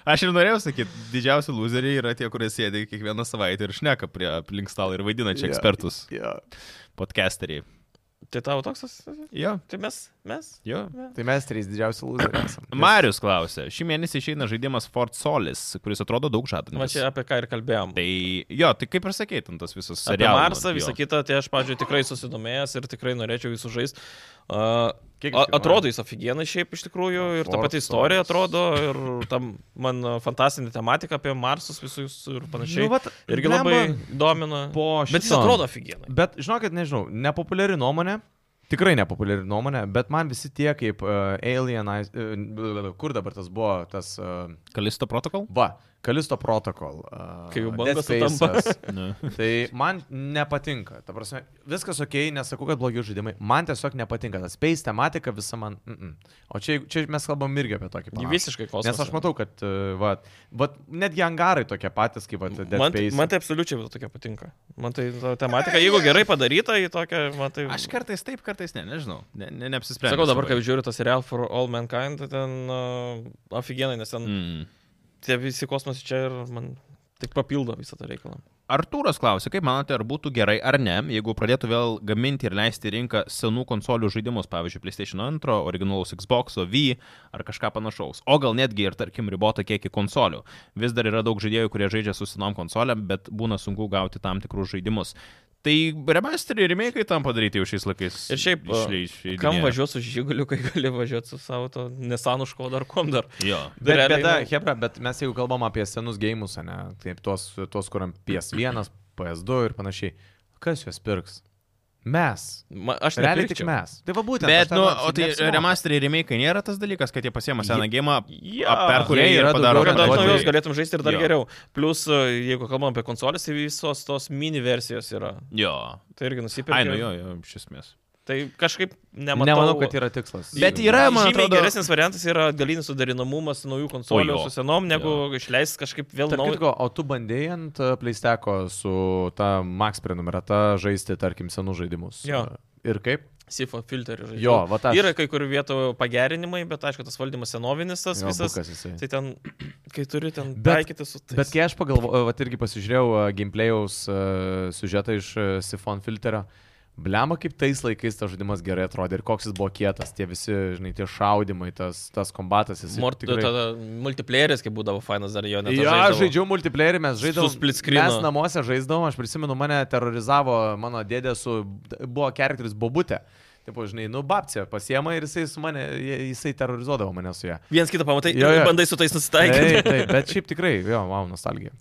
S2: Aš ir norėjau sakyti, didžiausi loseriai yra tie, kurie sėdi kiekvieną savaitę ir šneka prie aplink stalo ir vaidina čia
S3: Jo.
S2: ekspertus,
S3: Jo.
S2: podcasteriai.
S1: Tai tavo toks, as-
S2: Jo,
S1: tai mes, mes.
S2: jo.
S3: Tai mes trys didžiausi lūzeriai esame.
S2: Marius klausė, šį mėnesį išeina žaidimas Fort Solis, kuris atrodo daug
S1: Nu, Va
S2: žadantis.
S1: čia apie ką ir kalbėjom.
S2: Tai jo, tai kaip ir sakėt, ten tas visas
S1: Apie
S2: serialas.
S1: Marsą, visą kitą, tai aš, pavyzdžiui, tikrai susidomėjęs ir tikrai norėčiau jį sužaisti. Uh,
S3: Kiek jis
S1: a-
S3: kainuoja?
S1: atrodo jis aфиgenai šiaip iš tikrųjų ir ta
S3: Forza.
S1: pati istorija atrodo ir tam man uh, fantastinė tematika apie Marsus visus ir panašiai.
S3: Nu, vat,
S1: Irgi
S3: blemba,
S1: labai domina.
S3: po
S1: Bet jis
S3: šito-
S1: atrodo aфиgenai.
S3: Bet žinokit, nežinau, nepopuliari nuomonė. Tikrai nepopuliari nuomonė, bet man visi tie e, kaip uh, Alien, uh, kur dabar tas buvo, tas... Uh,
S2: Kalisto protokol?
S3: va, Kalisto protokol. Uh,
S1: Kai jau bangos sutampa.
S3: tai man nepatinka. Ta prasme, viskas ok, nesakau, kad blogi žaidimai. Man tiesiog nepatinka. Ta space tematika visa man. Mm -mm. O čia, čia mes kalbam irgi apie tokį
S1: Ji
S3: patį.
S1: visiškai kosmosas.
S3: Nes aš matau, kad uh, va, va, netgi angarai tokie patys kaip va, Dead
S1: Man,
S3: Space.
S1: man tai absoliučiai va tokia patinka. Man tai ta tematika, jeigu gerai padaryta, į tokią, man tai...
S2: Aš kartais taip, kartais ne, nežinau. Ne, ne, neapsisprendžiu.
S1: Sakau dabar, kai žiūriu tas Real for All Mankind, tai ten uh, aфиgenai, nes ten mm.
S2: Mm.
S1: tie visi kosmosai čia ir man tik papildo visą tą reikalą.
S2: Artūras klausė, kaip manote, ar būtų gerai ar ne, jeigu pradėtų vėl gaminti ir leisti į rinką senų konsolių žaidimus, pavyzdžiui, PlayStation 2, originalaus Xbox, V ar kažką panašaus. O gal netgi ir, tarkim, ribotą kiekį konsolių. Vis dar yra daug žaidėjų, kurie žaidžia su senom konsoliam, bet būna sunku gauti tam tikrus žaidimus. Tai remasteriai ir remake tam padaryti jau šiais laikais.
S1: Ir šiaip, a,
S2: išleidžia.
S1: Kam važiuosi su žiguliu, kai gali važiuoti su savo to nesanuško dar kom dar.
S2: Jo.
S3: Bet,
S1: Realiai,
S3: bėda,
S1: nu-
S3: Hebra, bet mes jeigu kalbam apie senus gėjimus, ne, taip tuos, tuos kur ant PS1, PS2 ir panašiai, kas juos pirks? Mes.
S1: Ma, aš
S3: Realiai tik
S1: nepirkčiau.
S3: mes. Tai va būtent.
S2: Bet,
S3: aš tą
S2: nu, o tai
S3: noriu sakyt, neapsimoka.
S2: remasteriai ir remake nėra tas dalykas, kad jie pasiema seną gėjimą,
S1: Jo.
S2: perkuria ir
S3: Jie yra
S2: padaro.
S1: Kad
S3: daugiau
S1: dar
S3: Arba
S2: naują.
S1: naujos
S3: tai-
S1: galėtum žaisti ir dar
S2: Jo.
S1: jo. geriau. Plus, a, jeigu kalbam apie konsolės, tai visos tos mini versijos yra.
S2: Jo.
S1: Tai irgi nusipirkau.
S2: Ai, nu jo, jo, iš esmės.
S1: Tai kažkaip nematau.
S3: Nemanau, kad yra tikslas.
S2: Bet yra, man
S1: Žymiai
S2: atrodo,
S1: geresnis variantas yra atgalinis suderinamumas naujų konsolių
S2: O jo.
S1: su senom, negu išleisti kažkaip vėl
S3: Tarp
S1: naują.
S3: kitko, o tu bandėjai ant e, PlaySteko su ta Max prenumerata žaisti, tarkim, senus žaidimus.
S1: Jo.
S3: E, Ir kaip?
S1: SIFO filterį žaidžiu.
S3: Jo, va tas.
S1: Yra kai kurių vietų pagerinimai, bet aišku, tas valdymas senovinis tas jo, visas.
S3: bukas jisai.
S1: Tai ten, kai turi ten
S3: Bet-
S1: taikyti su... tais-
S3: Bet kai aš pagalvojau, vat irgi pasižiūrėjau e, gameplayaus e, siužetą iš e, Siphon filterio, blema kaip tais laikais tas žaidimas gerai atrodė ir koks jis buvo kietas, tie visi, žinai, tie šaudimai, tas, tas kombatas, jis
S1: Mort, tikrai... tada multiplayeris, kai būdavo fainas dar jo net.
S3: Jo, aš žaidžiau multiplayerį, mes žaidžiau.
S1: Su split screenu.
S3: Mes namuose žaidžiau, aš prisimenu, mane terorizavo mano dėdė su... Buvo charakteris Bobutė. Taip, žinai, nu, babcija pasiema ir jisai su mane, jisai terrorizodavo mane su ją.
S1: Vienas kitą pamatai, jo,
S3: Jo, jo.
S1: jo. Tai bandai su tais nusitaikyti.
S3: Taip, taip, bet šiaip tikrai, jo, wow, nostalgija.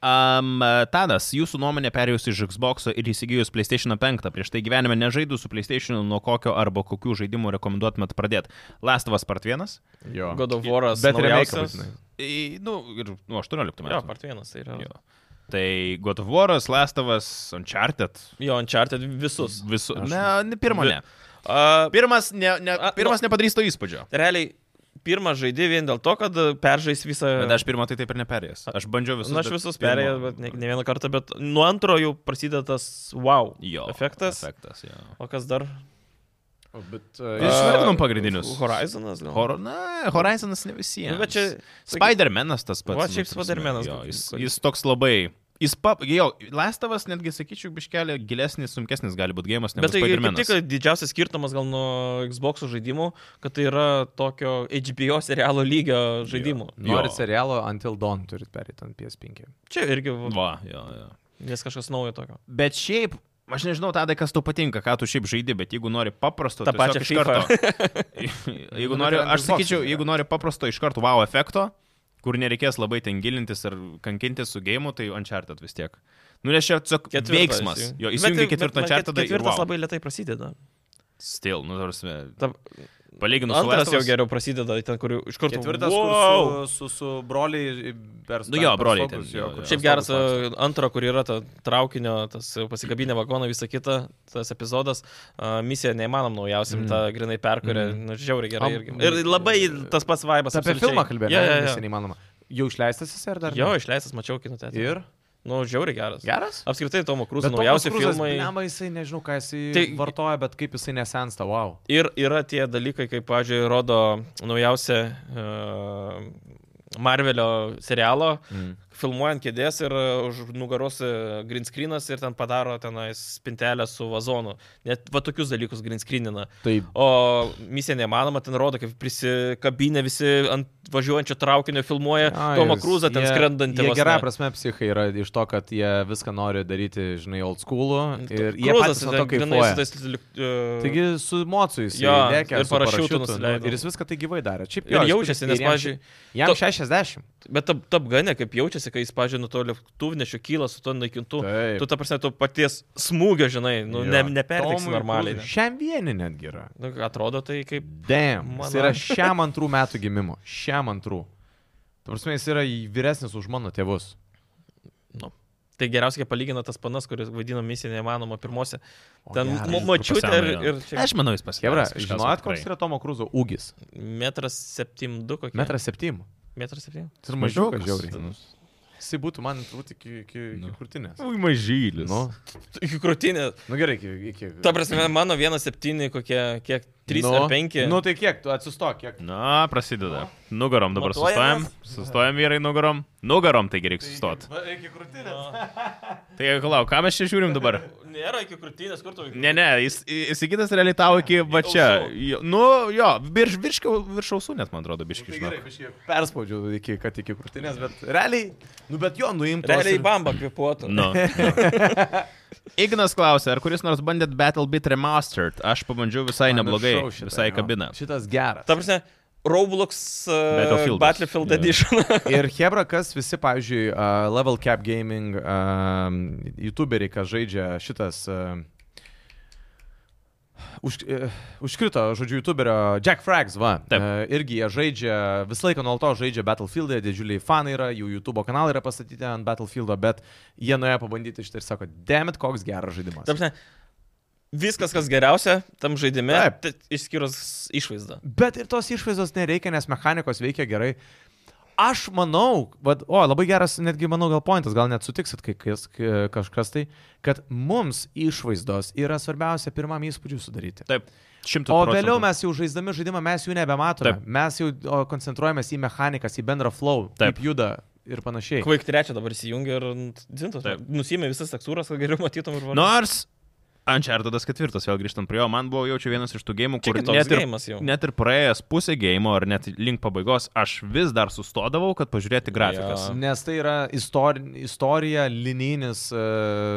S2: Um, Tadas, jūsų nuomonė perėjus iš Xbox ir įsigijus PlayStation 5, prieš tai gyvenime nežaidus su PlayStation, nuo kokio arba kokių žaidimų rekomenduotumėt pradėti? Last of Us Part 1?
S3: Jo.
S1: God of War'as.
S3: Bet remake,
S1: naujausias.
S3: būtinai.
S2: Į, nu, ir nuo 18
S1: Jo,
S2: metų.
S1: part vienas tai yra. Jo,
S2: Jo. Tai God of War'as, Last of Us, Uncharted.
S1: jo Uncharted visus.
S2: Visu, ne, ne, pirmo ne.
S1: Uh,
S2: Pirmas, ne, ne,
S1: A,
S3: nu-
S2: pirmas nepadarys to įspūdžio.
S1: realiai, pirmą žaidį vien dėl to, kad uh, peržais visą...
S2: Bet aš pirmą tai taip ir neperėjęs. Aš bandžiau visus.
S1: Na, nu, aš visus
S2: pirmo-
S1: perėjau, bet ne, ne vieną kartą, bet nuo antro jau prasideda tas wow
S2: Jo.
S1: efektas.
S2: Efektas, jo.
S1: O kas dar?
S3: O, Bet,
S2: Tai
S3: uh,
S2: Išvardinom pagrindinius.
S1: Horizonas gal.
S2: Hor na, Horizonas ne visiems.
S1: Nu, bet čia...
S2: Spider-Man'as tas pats.
S1: Va,
S2: nu,
S1: šiaip
S2: ta prasme,
S1: Spider-Man'as
S2: jo,
S1: gal-
S2: Jis,
S1: gal-
S2: jis toks labai. Jis, pa, jo, Lestavas netgi, sakyčiau, biškelė gilesnis, sunkesnis gali būti gėjimas, negu
S1: Bet tai kaip
S2: Spider-Man'as.
S1: tik didžiausias skirtumas gal nuo Xbox žaidimų, kad tai yra tokio HBO serialo lygio žaidimų.
S2: Jo.
S3: Norit serialo Until Dawn turit perėti ant PS5.
S1: Čia irgi va,
S2: Va, jo, jo.
S1: nes kažkas naujo tokio.
S2: Bet šiaip, aš nežinau, tada kas tau patinka, ką tu šiaip žaidi, bet jeigu nori paprasto,
S1: Ta
S2: tiesiog
S1: pačia
S2: iš karto. jeigu
S3: Nu,
S2: nori,
S3: bet yra
S2: aš
S3: Xbox'as
S2: sakyčiau,
S3: yra.
S2: jeigu nori paprasto iš karto wow efekto, kur nereikės labai ten gilintis ar kankintis su gėjimu, tai Uncharted vis tiek. Nu, nes čia tiesiog veiksmas.
S1: įsijung-
S2: Jo,
S1: Bet
S2: įsijungi
S1: tai-
S2: ketvirtą
S1: bet man ket-
S2: Uncharted ir
S1: Ketvirtas
S2: wow.
S1: labai lietai prasideda.
S2: Still, nu, tarsi.
S1: Ta-
S2: Palyginus su
S1: Antras
S2: Last of
S1: jau
S2: Us-
S1: geriau prasideda, ten kur jau iš karto.
S3: Ketvirtas,
S1: wow!
S3: wow. kur su, su, su broliai per
S2: Nu jo,
S3: per
S2: broliai
S3: stogus,
S2: ten, jo,
S3: kur
S2: jo.
S3: per
S1: Šiaip
S3: stogus
S1: geras
S3: laksto.
S1: e, antro, kur yra ta traukinio, tas e, pasikabinę vagoną, visa kita, tas epizodas, e, misija neįmanom naujausiam, mm. tą grinai perkuria, mm. nu, žiauriai gerai.
S3: Am-
S1: Irgi. Ir labai tas pats vaibas.
S3: Apie filmą kalbėjome,
S1: Jo,
S3: yeah, yeah,
S1: jo,
S3: yeah. neįmanoma. Jau išleistas jis ar dar?
S1: jo. jo
S3: ne?
S1: išleistas, mačiau kino teatrą.
S3: Ir?
S1: Nu, žiauriai geras.
S3: Geras?
S1: Apskritai, Tomo Krūzo naujausi filmai.
S3: Lema jisai, nežinau, ką jisai tai...
S1: Tai-
S3: vartoja, bet kaip jisai nesensta, wow.
S1: Ir yra tie dalykai, kaip, pavyzdžiui, rodo naujausią uh, Marvelio serialo,
S3: Mm.
S1: filmuojant kėdės ir e, už nugaros e, green screenas ir ten padaro tenais spintelę su vazonu. Net va tokius dalykus green screenina.
S3: Tai
S1: O misija neįmanoma, ten rodo, kaip prisikabinę visi ant važiuojančio traukinio filmuoja Tomą Krūzą ten skrendantį.
S3: Jie
S1: vos ne.
S3: gerą prasme psichai yra iš to, kad jie viską nori daryti, žinai, old schoolų. Ir jie
S1: Krūzas
S3: patys nuo to
S1: ten grynai
S3: kaifuoja.
S1: su tais... Uh,
S3: Taigi su mocu jis
S1: Jo,
S3: lėkė
S1: ir
S3: su
S1: parašiutu
S3: parašiutu, nu,
S1: nusileido.
S3: Ir jis viską tai gyvai darė. Šiaip
S1: Ir
S3: jo, jis
S1: jaučiasi,
S3: turi-
S1: nes,
S3: ir jam-
S1: pavyzdžiui,
S3: Jam
S1: to-
S3: 60.
S1: bet tap, tapganė, kaip jaučiasi, kai jis, pažiūrėjau, nuo to lėktuvnešio kyla su to naikintu.
S3: Taip.
S1: Tu, ta prasme, tu paties smūgio, žinai, nu,
S3: Jo.
S1: ne, neperteiksi
S3: Tomui
S1: normaliai.
S3: Kruzui
S1: ne.
S3: Šiam vieni netgi yra.
S1: Nu, atrodo tai kaip
S3: Damn. Jis
S1: Mano-
S3: yra šiam antrų metų gimimo. Šiam antrų. Tu prasme, jis yra į- vyresnis už mano tėvus.
S1: Tai geriausiai palygina tas panas, kuris vadino misiją neįmanoma pirmose.
S3: O
S1: Ten
S3: geras.
S1: ma- mačiute ir,
S2: paseno, jo.
S1: ir čia
S2: Aš manau, jis
S3: Kebra,
S2: pasiekė.
S3: žinot, koks yra Tomo Krūzo ūgis?
S1: metras 72 kokie.
S3: Metras septym.
S1: Metras 7.
S3: Tai mažiau, žiauriai. Jis būtų man turbūt iki, iki, iki
S2: Nu.
S3: krūtinės.
S2: Ui, mažylis.
S3: Nu,
S1: Iki krūtinės.
S3: nu gerai, iki... iki...
S1: Ta prasme, mano 1,7 kokie, kiek 3
S3: nu,
S1: ar 5.
S3: Nu tai kiek, tu atsistok, kiek.
S2: Na, prasideda. Nugarom dabar sustojam.
S1: Matuojamės.
S2: Sustojam vyrai nugarom. Nugarom taigi reikia sustoti.
S3: Va, iki krūtinės.
S2: Tai klauk, ką mes čia žiūrim dabar?
S1: Nėra iki krūtinės, kur tu iki
S2: Ne, ne, jis, įsigytas realiai tau iki va čia.
S1: ausų.
S2: Jo- Nu, jo, virš, virš, virš ausų net, man atrodo, biški,
S3: Tai
S2: žinai.
S3: gerai, biškį perspaudžiu, iki, kad iki krūtinės, bet realiai, nu bet jo, nuimtas.
S1: Realiai bamba kvepuotų.
S2: Nu. Ignas klausė, ar kuris nors bandėt BattleBit Remastered? Aš pabandžiau visai neblogai, visai kabina.
S3: Šitas geras.
S1: Ta prasme, Roblox uh,
S2: Battlefieldas.
S1: Battlefield
S2: Jo.
S1: Edition.
S3: Ir Hebra, kas visi, pavyzdžiui, uh, Level Cap Gaming, uh, YouTuberiai, kas žaidžia šitas... Uh, Už, uh, užkrito, žodžiu, YouTuberio Jack Frags, va.
S2: Taip.
S3: Uh, irgi jie žaidžia, visą laiką nuolatos žaidžia Battlefield'e, didžiuliai fanai yra, jų YouTube kanalai yra pastatyti ant Battlefieldo, bet jie nuėjo pabandyti šitą ir sako, demet, koks geras žaidimas.
S1: Ta prasme, viskas, kas geriausia tam žaidime,
S3: Taip.
S1: tai išskyrus išvaizdą.
S3: Bet ir tos išvaizdos nereikia, nes mechanikos veikia gerai. Aš manau, vad, o labai geras, netgi manau, gal pointas, gal net sutiksit, kai kas, kai kažkas tai, kad mums išvaizdos yra svarbiausia pirmam įspūdžiui sudaryti.
S2: Taip, šimtų
S3: O
S2: procentų.
S3: vėliau mes jau žaisdami žaidimą, mes jų nebematome.
S2: Taip.
S3: Taip. Mes jau o, koncentruojamės į mechanikas, į bendrą flow,
S2: Taip.
S3: Taip. kaip juda ir panašiai.
S1: Kvaik trečią dabar įsijungia ir dzintas.
S2: Taip.
S1: Nusėmė visas tekstūras, kad geriau matytum ir
S3: Nu,
S1: vardu.
S2: Nors Unchartedas ketvirtas, vėl grįžtant prie jo, man buvo jaučiu vienas iš tų gėjimų, kur
S1: Čia kitoks
S2: net ir,
S1: geimas jau.
S2: net ir praėjęs pusę gėjimo ar net link pabaigos, aš vis dar sustodavau, kad pažiūrėti grafikas.
S1: Jo.
S3: Nes tai yra istori istorija, linijinis e,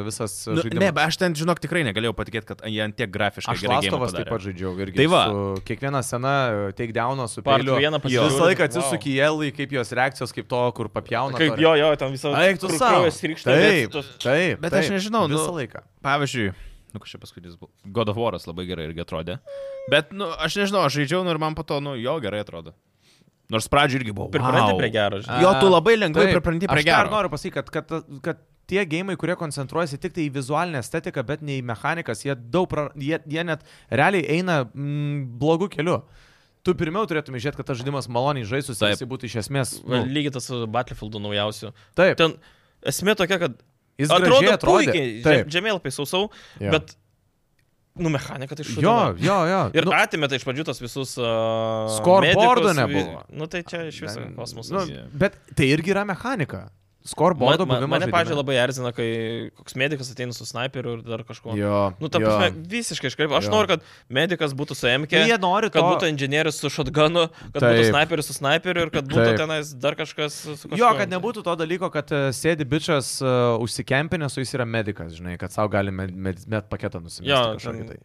S3: visas
S2: Nu,
S3: žaidimas.
S2: ne, bet aš ten, žinok, tikrai negalėjau patikėti, kad jie ant tiek grafiškai
S3: Aš
S2: gerai gėjimą
S3: lastovas taip
S2: padarė.
S3: pat žaidžiau irgi.
S2: Tai va.
S3: su Kiekviena sena takedowno su
S1: Part
S3: peiliu.
S1: vieną
S3: Jo.
S1: pasižiūriu.
S3: Visą laiką
S1: Wow.
S3: atsisukį jelai, kaip jos reakcijos, kaip to, kur papjauna.
S1: Kaip jo, jo, ten visą
S3: Eik tu savo.
S1: krikštą.
S3: Taip, taip.
S2: Bet aš nežinau, nu-
S3: visą laiką.
S2: Pavyzdžiui, nu kažkaip paskutinis buvo. God of War'as labai gerai irgi atrodė. Bet, nu, aš nežinau, aš žaidžiau nu, ir man po to, nu, jo gerai atrodo. Nors pradžio irgi buvo.
S1: Pripranti
S2: wow.
S1: prie gero, žinai.
S2: Jo, tu labai lengvai pripranti prie
S3: Aš dar
S2: gero.
S3: noriu pasakyti, kad, kad, ta- kad tie gėjimai, kurie koncentruojasi tik tai į vizualinę estetiką, bet ne į mechanikas, jie, daug pra, jie, jie net realiai eina mm, blogu keliu. Tu pirmiau turėtum žiūrėti, kad tas žaidimas maloniai žaistų,
S2: Taip.
S3: jisai būtų iš esmės.
S1: Va,
S3: Nu,
S1: Lygiai tas su Battlefield'u naujausiu.
S3: taip,
S1: Ten esmė tokia, kad
S3: jis
S1: atrodo
S3: gražiai atrodė.
S1: puikiai,
S3: Taip.
S1: žem- žemėlapiai sausau,
S3: Jo.
S1: bet, nu, mechanika tai
S3: Jo,
S1: šūdo.
S3: jo, jo.
S1: Ir nu, atėmė tai iš pradžių tos visus... Uh,
S3: Scoreboardo nebuvo.
S1: Nu tai čia iš viso
S3: Ne,
S1: kosmosas.
S2: Jo.
S3: bet tai irgi yra mechanika.
S1: Man,
S3: Scoreboardo
S1: man,
S3: buvimas.
S1: mane,
S3: žaidime.
S1: pažiūrėjau, labai erzina, kai koks medikas ateina su sniperiu ir dar kažkuo.
S3: Jo.
S1: Nu, ta
S3: jo.
S1: prasme, visiškai iškreipia. Aš
S3: Jo.
S1: noriu, kad medikas būtų su MK,
S3: Nu, jie nori
S1: kad
S3: to.
S1: būtų inžinierius su shotgunu, kad būtų
S3: Taip.
S1: sniperis su sniperiu ir kad būtų
S3: Taip.
S1: tenais dar kažkas su kažkuo.
S3: Jo, kad nebūtų to dalyko, kad e, sėdi bičias uh, užsikempinęs, o jis yra medikas, žinai, kad savo gali med, med, med paketą nusimesti.
S1: Jo,
S3: kažkokį
S1: ten-
S3: tai.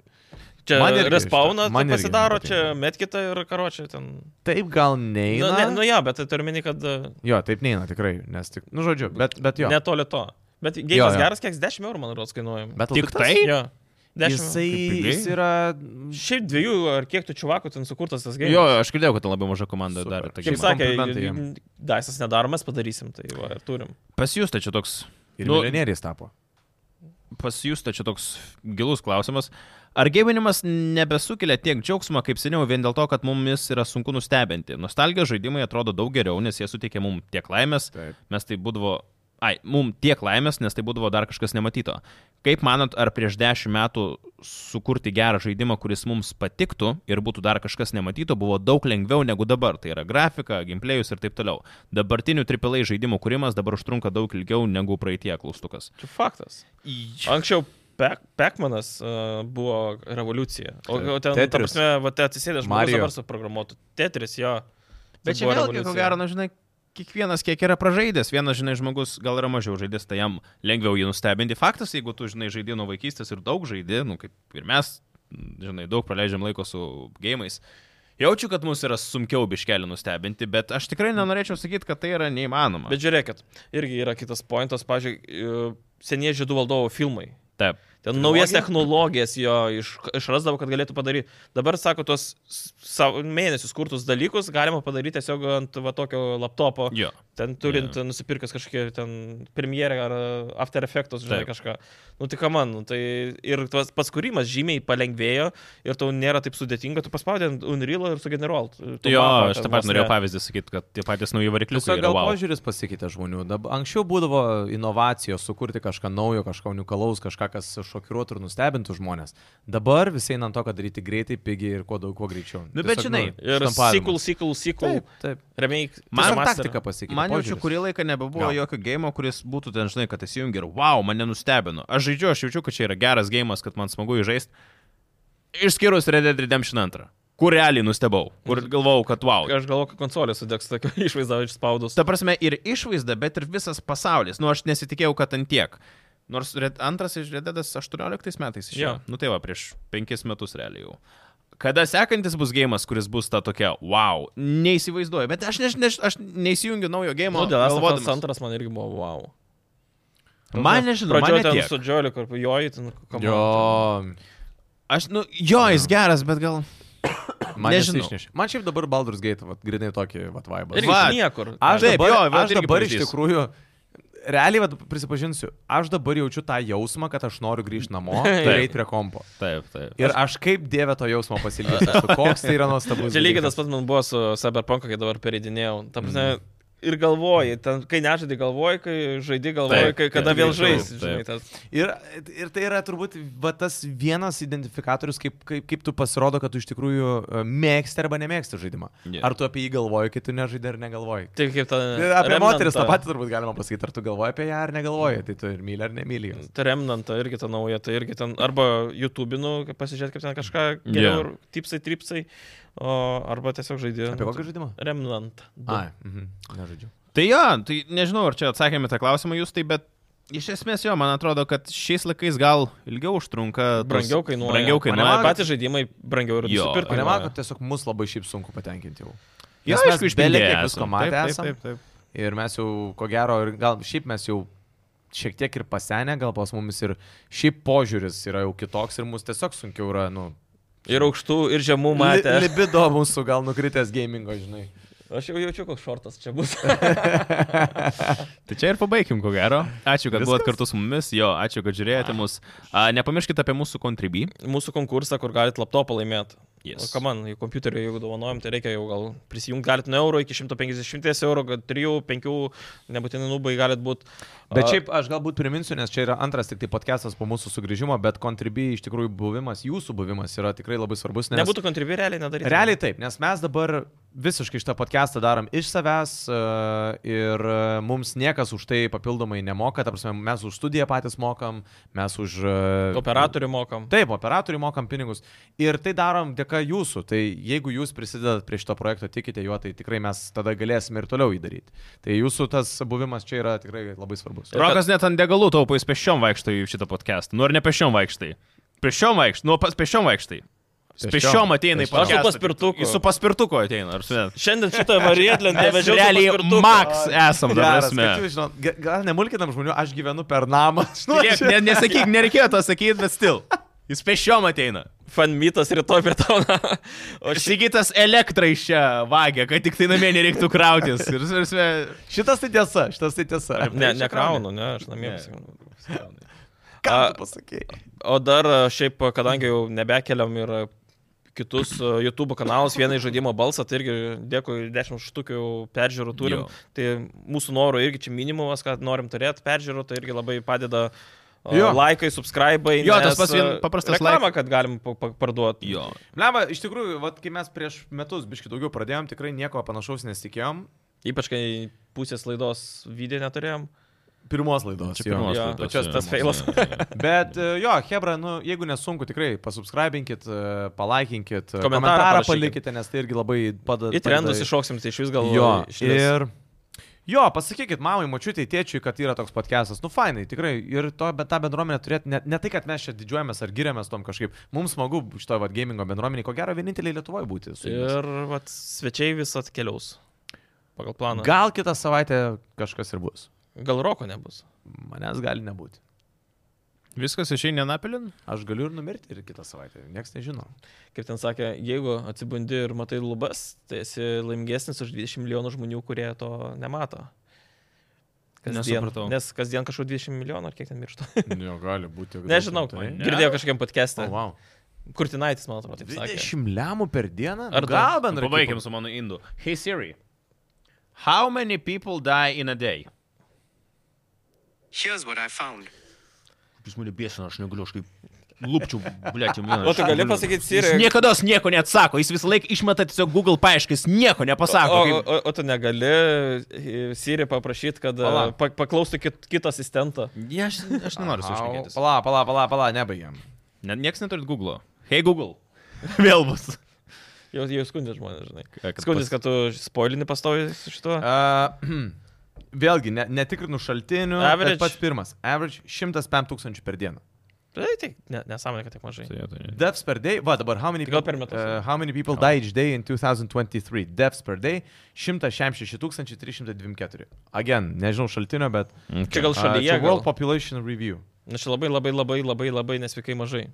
S1: Čia
S3: Man irgi
S1: respawną
S3: šitą- man
S1: tai
S3: irgi
S1: pasidaro,
S3: nepatinka.
S1: čia metkita ir karočią ten.
S3: Taip gal
S1: Nu,
S3: neina.
S1: ne, nu ja, bet tai turmini, kad uh,
S3: Jo, taip neina tikrai, nes tik, nu žodžiu, bet, bet jo.
S1: netoli to. Bet
S3: Jo,
S1: gėjimas
S3: jo.
S1: geras, kiek 10 eurų, man atrodo, kainuoja.
S3: Bet
S2: Tik
S3: Lukas-
S2: tai?
S1: Jo. 10 eurų.
S3: Jisai
S2: Kaip pigiai?
S3: jis yra...
S1: Šiaip dviejų ar kiek tų čuvakų ten sukurtas tas
S2: Jo,
S1: gėjimas.
S2: aš girdėjau, kad ten labai maža komanda
S3: Super.
S2: darė. tą
S1: Kaip
S2: gėjimą.
S1: sakė,
S3: komplimentai jam.
S1: daisas nedaromas, padarysim, tai va, ir turim.
S2: Pasijusta tai čia toks.
S3: Ir
S2: Nu,
S3: nu, milijonieriais tapo.
S2: pasijusta čia toks gilus klausimas. Ar gėminimas nebesukelia tiek džiaugsmo kaip seniau vien dėl to, kad mumis yra sunku nustebinti? Nostalgijos žaidimai atrodo daug geriau, nes jie suteikia mums tiek laimės,
S3: Taip.
S2: mes tai būdavo... Ai, mums tiek laimės, nes tai būdavo dar kažkas nematyto. Kaip manot, ar prieš dešimt metų sukurti gerą žaidimą, kuris mums patiktų ir būtų dar kažkas nematyto, buvo daug lengviau negu dabar. Tai yra grafika, gameplayus ir taip toliau. Dabartinių AAA žaidimų kūrimas dabar užtrunka daug ilgiau negu praeitie klaustukas.
S1: Čia faktas. Anksčiau Pac- Pac-Manas uh, buvo revoliucija. O, o ten, ta
S3: Tetris.
S1: prasme, va, te atsisėdė žmogus
S3: Mario.
S1: dabar suprogramuotų. Tetris, jo. Tai
S2: Bet čia
S1: buvo
S2: vėlgi, ko
S1: revoliucija.
S2: gero, na, žinai, kiekvienas kiek yra pražaidęs, vienas, žinai, žmogus gal yra mažiau žaidęs, tai jam lengviau jį nustebinti. Faktas, jeigu tu, žinai, žaidė nuo vaikystės ir daug žaidė, nu, kaip ir mes, žinai, daug praleidžiam laiko su gėjimais. Jaučiu, kad mums yra sunkiau biškelį nustebinti, bet aš tikrai nenorėčiau sakyti, kad tai yra neįmanoma.
S1: Bet žiūrėkit, irgi yra kitas pointas, pažiūrėk, senie e, žydų valdovų filmai.
S2: Taip.
S1: Ten Ten naujas
S3: Trilogija?
S1: technologijas jo iš, išrasdavo, kad galėtų padaryti. Dabar, sako, tuos s- savo mėnesius kurtus dalykus galima padaryti tiesiog ant va tokio laptopo.
S2: Jo.
S1: Ten turint yeah. nusipirkęs kažkokį ten premjerę ar uh, After Effects, žinai,
S2: Taip.
S1: Taip. kažką. Nu tik, man, nu, tai ir tas paskūrimas žymiai palengvėjo ir tau nėra taip sudėtinga, tu paspaudė ant Unreal ir sugeneruol. Tu
S2: Jo,
S1: mapą
S2: aš
S1: ten
S2: taip pat
S1: vos
S2: norėjau
S1: ne-
S2: pavyzdį sakyti, kad tie patys nauji varikliukai
S3: Tiesiog
S2: yra
S3: gal
S2: wow.
S3: požiūris pasikeitė žmonių. Dab, anksčiau būdavo inovacijos sukurti kažką naujo, kažką unikalaus, kažką, kas šokiruotų ir nustebintų žmonės. Dabar visi eina ant to, kad daryti greitai, pigiai ir kuo daugiau, kuo greičiau.
S2: Nu, bet
S3: Tiesiog,
S2: žinai,
S1: Ir
S3: štampavimas.
S1: sequel, sequel, sequel,
S3: Taip, taip.
S1: remake.
S3: Man
S1: remaster.
S3: taktika pasikeitė.
S2: Man jau čia
S3: požiūris.
S2: kurį laiką nebebuvo
S3: Jo.
S2: jokio gėjimo, kuris būtų ten, žinai, kad įsijungi ir wow, mane nustebino. Aš žaidžiu, aš jaučiu, kad čia yra geras gėjimas, kad man smagu įžaisti. Išskyrus Red Dead Redemption 2, kur realiai nustebau, kur galvojau, kad wow.
S1: Aš galvoju, kad konsolė sudegs tokio išvaizdą išspaudus.
S2: Ta prasme, ir išvaizda, bet ir visas pasaulis. Nu, aš nesitikėjau, kad ant tiek. Nors red, antras iš Rededas 18 metais išėjo.
S1: Jo.
S2: Nu tai va, prieš 5 metus realiai jau. Kada sekantis bus gėjimas, kuris bus ta tokia, wow, neįsivaizduoju, bet aš, ne, ne, aš neįsijungiu naujo gėjimo.
S1: Nu, dėl
S2: galvodamas.
S1: Astronaut antras man irgi buvo wow.
S2: Man nežinau, man
S1: Pradžioje
S2: ne
S1: ten
S2: tiek.
S1: su Džioliu, kur joji, ten kam.
S3: Jo,
S2: Aš, nu, jo, jis geras, bet gal...
S3: man
S2: Nežinau.
S3: nežinau. Man šiaip dabar Baldur's Gate, vat, grinai tokį vat, vaibą.
S1: Ir
S2: Va,
S1: niekur.
S3: Aš
S2: Taip,
S3: Taip, dabar,
S2: jo,
S3: jo,
S2: vat
S3: aš
S2: irgi
S3: dabar iš
S2: pavyzdys.
S3: tikrųjų, realiai, vat, prisipažinsiu, aš dabar jaučiu tą jausmą, kad aš noriu grįžti namo ir
S2: Taip.
S3: eiti prie kompo.
S2: Taip, taip.
S3: Ir aš kaip dievė to jausmo pasilgęs. Koks tai yra nuostabus.
S1: Čia lygiai
S3: dalykas.
S1: tas pats man buvo su Cyberpunk, kai dabar pereidinėjau. Ta prasme, Ir galvoji, ten, kai nežaidai galvoji, kai žaidai galvoji,
S2: Taip,
S1: kai kada
S2: taip,
S1: vėl
S2: taip,
S1: žais.
S2: taip.
S1: žinai, tas-
S3: Ir, ir tai yra turbūt va, tas vienas identifikatorius, kaip, kaip, kaip tu pasirodo, kad tu iš tikrųjų e, mėgsti arba nemėgsti žaidimą.
S2: Jo.
S3: Yeah. Ar tu apie jį galvoji, kai tu nežaidai ar negalvoji.
S1: Taip tai kaip ta...
S2: E,
S3: Ir Apie
S1: Remnantą-
S3: moteris tą patį turbūt galima pasakyti, ar tu galvoji apie ją ar negalvoji, tai tu ir myli ar nemyli. jos.
S1: Ta remnanta Tai irgi ta nauja, tai irgi ten arba YouTube'inu, kaip pasižiūrėti, kaip ten kažką
S2: Jo.
S1: geriau, yeah. tipsai, tripsai, o, arba tiesiog žaidėjai.
S3: Apie kokį žaidimą?
S1: Remnant. du.
S3: Ai, mhm. nežaidžiu.
S2: Tai jo, tai nežinau, ar čia atsakėme tą klausimą jūs, tai bet iš esmės jo, man atrodo, kad šiais laikais gal ilgiau užtrunka. tos-
S1: Brangiau kainuoja.
S2: Brangiau
S1: Mane
S2: kainuoja.
S1: Patys žaidimai brangiau ir
S2: Jo.
S1: nusipirka.
S3: Ar nemanai, kad tiesiog mus labai šiaip sunku patenkinti jau?
S2: Jo,
S3: Nes
S2: aišku,
S3: mes
S2: iš
S3: bele kiek
S2: Belgijos
S3: visko matę esam.
S2: Taip, taip, taip.
S3: Ir mes jau, ko gero, ir gal šiaip mes jau šiek tiek ir pasenę, gal pas mumis ir šiaip požiūris yra jau kitoks ir mums tiesiog sunkiau yra, nu,
S1: Ir aukštų, ir žemų matė.
S3: Li, libido mūsų gal nukritęs gamingo, žinai.
S1: Aš jau jaučiu, koks šortas čia bus.
S2: Tai čia ir pabaikim, ko gero. Ačiū, kad buvot kartu su mumis. Jo, ačiū, kad žiūrėjote mus. A, nepamirškite apie mūsų kontribį.
S1: Mūsų konkursą, kur galite laptopą laimėti.
S2: Yes.
S1: Ką man, jeigu kompiuterio, jeigu dovanojam, tai reikia jau gal prisijungti, galite nuo euro iki 150 eurų, kad 3-5 nebūtinai nubai galite būti.
S3: Bet šiaip aš galbūt priminsiu, nes čia yra antras tik tai podcastas po mūsų sugrįžimo, bet kontribijai iš tikrųjų buvimas, jūsų buvimas yra tikrai labai svarbus. Nes...
S1: Nebūtų kontribui realiai nedaryti.
S3: Realiai taip, nes mes dabar visiškai šitą podcastą darom iš savęs e, ir e, mums niekas už tai papildomai nemoka, ta prasme, mes už studiją patys mokam, mes už... e,
S1: Operatorių mokam.
S3: Taip, operatoriui mokam pinigus. Ir tai darom dėka jūsų. Tai jeigu jūs prisidedat prie šito projekto, tikite juo, tai tikrai mes tada galėsime ir toliau jį daryti. Tai jūsų tas buvimas čia yra tikrai labai svarbus.
S2: Rokas net ant degalų taupo, jis pešiom vaikštai į šitą podcastą. Nu ar ne pešiom vaikštai? Pešiom vaikštai, nu pas pešiom vaikštai.
S3: Pėsčiom.
S2: Pešiom ateina į
S3: Pėsčiom.
S2: podcastą.
S1: Aš su paspirtuku.
S2: Jis su paspirtuku ateina, ar su...
S1: Šiandien šitą varietlendę
S2: Mes
S1: vežiau. su
S2: realiai
S1: paspirtuku.
S2: Max esam, dar
S3: Geras,
S2: esame.
S3: kad Nu, jūs žinot, ge- Gal nemulkinam žmonių, aš gyvenu per namą. Žinot,
S2: Žiūrėk,
S3: čia-
S2: ne, nesakyk, nereikėjo to sakyti, bet stil. Jis pešiom ateina.
S1: Fanmitas rytoj prie tavo. O šį
S2: Šigitas elektrą iš čia vagia, kad tik tai namie nereiktų krautis. Ir, ir, ir,
S3: Šitas tai tiesa, šitas tai tiesa.
S1: Ne, nekraunu, ne, aš namie.
S2: Ne.
S1: apsikraunu.
S3: Ką
S1: A-
S3: tu pasakėjai?
S1: O dar e, šiaip, kadangi jau nebekeliam ir e, kitus e, YouTube kanalus, vieną žaidimo balsą, tai irgi dėkui 10 štukių jau peržiūrų turim.
S2: Jo.
S1: Jo. Tai mūsų norų irgi čia minimumas, kad norim turėti peržiūrų, tai irgi labai padeda
S3: Jo.
S1: jo. laikai, subscribai.
S2: Jo, tas
S1: nes,
S2: pats vien
S1: e,
S2: paprastas
S1: Reklamą, kad galim pa- pa- parduoti.
S2: jo.
S3: Lema, iš tikrųjų, vat, kai mes prieš metus biški daugiau pradėjom, tikrai nieko panašaus nesitikėjom.
S1: Ypač kai pusės laidos video neturėjom.
S3: Pirmos laidos.
S2: Čia
S3: jo.
S2: pirmos
S1: jo,
S2: laidos,
S1: pačios
S2: jo.
S1: tas feilas.
S2: Jo, jo, jo.
S3: Bet e, jo, Hebra, nu, jeigu nesunku, tikrai pasubscribinkit, e, palaikinkit, e,
S1: Komentarą
S3: komentarą
S1: parašykit.
S3: palikite, nes tai irgi labai padeda.
S1: Į trendus
S3: padeda-
S1: iššoksim, tai iš vis gal.
S3: Jo,
S1: išlis.
S3: ir. Jo, pasakykit mamai, mačiutė, tėčiui, kad yra toks podcastas. Nu, fainai, tikrai. Ir to, bet tą bendruomenę turėti, ne, ne tai, kad mes čia didžiuojamės ar giriamės tom kažkaip. Mums smagu šitoje vad gamingo bendruomenėje, ko gero, vieninteliai Lietuvoje būti. su jumis.
S1: Ir vat, svečiai vis atkeliaus. Pagal planą. Gal,
S3: Gal kitą savaitę kažkas ir bus.
S1: gal roko nebus.
S3: Manęs gali nebūti.
S2: Viskas išeina Napilin?
S3: Aš galiu ir numirti ir kitą savaitę. Niekas nežino.
S1: Kaip ten sakė, jeigu atsibundi ir matai lubas, tai esi laimingesnis už 20 milijonų žmonių, kurie to nemato.
S2: Nesupratau.
S1: Nes kasdien kažkur 20 milijonų ar kiek ten miršta.
S3: Jo, gali būti.
S1: Nežinau,
S3: Tai.
S2: ne?
S1: girdėjau kažkokiam
S3: O,
S1: podcast'e. Oh, wow.
S3: wow.
S1: Kurtinaitis, man atrodo, taip sakė.
S3: 20 lemų per dieną? Nu,
S1: Ar
S3: gal
S1: dar-
S3: bendrai?
S2: Pabaigiam su mano indu. Hey Siri. How many people die in a day?
S4: Here's what I found.
S2: Jis mane biesina, aš negaliu, aš kaip lūpčiau, blėt, jau mėnesį.
S1: O tu gali pasakyti, Siri,
S2: Jis niekada nieko neatsako, jis visą laiką išmeta tiesiog Google paieškas, nieko nepasako.
S1: o, o,
S2: Kaip...
S1: o, o tu negali e, Siri paprašyti, kad e,
S2: Pala.
S1: pa, paklaustų kit, kitą asistentą.
S2: Ne, aš, aš nenoriu su juo šnekėtis.
S3: Pala, pala, pala, pala, nebaigiam.
S2: Ne, niekas neturit Google. Hey Google. Vėl bus.
S1: Jau, jau skundė žmonės, žinai.
S2: E, Kad pas- E.
S1: Skundės, kad tu spoilini pastovi su šituo.
S3: Uh, vėlgi, ne, netikrinu šaltinių.
S1: Average.
S3: bet Pats pirmas. Average 105 tūkstančių per dieną.
S1: Tai tai ne, nesąmonė, kad tiek mažai.
S3: Deaths per day, va dabar, how many,
S1: Tai Gal per
S3: peop-
S1: metus,
S3: uh,
S1: jo.
S3: how many people died each day in 2023? Deaths per day 166 324. Again, nežinau šaltinio, bet...
S1: Čia gal šalyje.
S3: čia
S1: Uh,
S3: World
S1: gal.
S3: Population Review.
S1: Na, Nu, čia labai, labai, labai, labai, labai nesveikai mažai.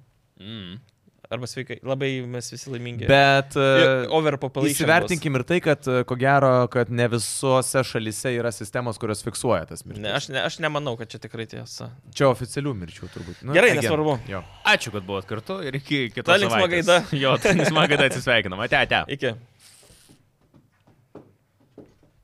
S1: Arba sveikai, labai mes visi laimingi.
S3: Bet... Uh,
S1: Overpopulation.
S3: Įsivertinkim ir tai, kad e, ko gero, kad ne visose šalise yra sistemos, kurios fiksuoja tas mirtis.
S1: Ne, aš, ne, aš nemanau, kad čia tikrai tiesa.
S3: Čia oficialių mirčių turbūt. Nu,
S1: Gerai,
S3: again.
S1: nesvarbu.
S3: Jo.
S2: Ačiū, kad buvot kartu ir iki kitos.
S1: Ta linksma
S2: savaitės.
S1: gaida.
S2: Jo, ta linksma gaida atsisveikinam. Ate, ate.
S1: Iki.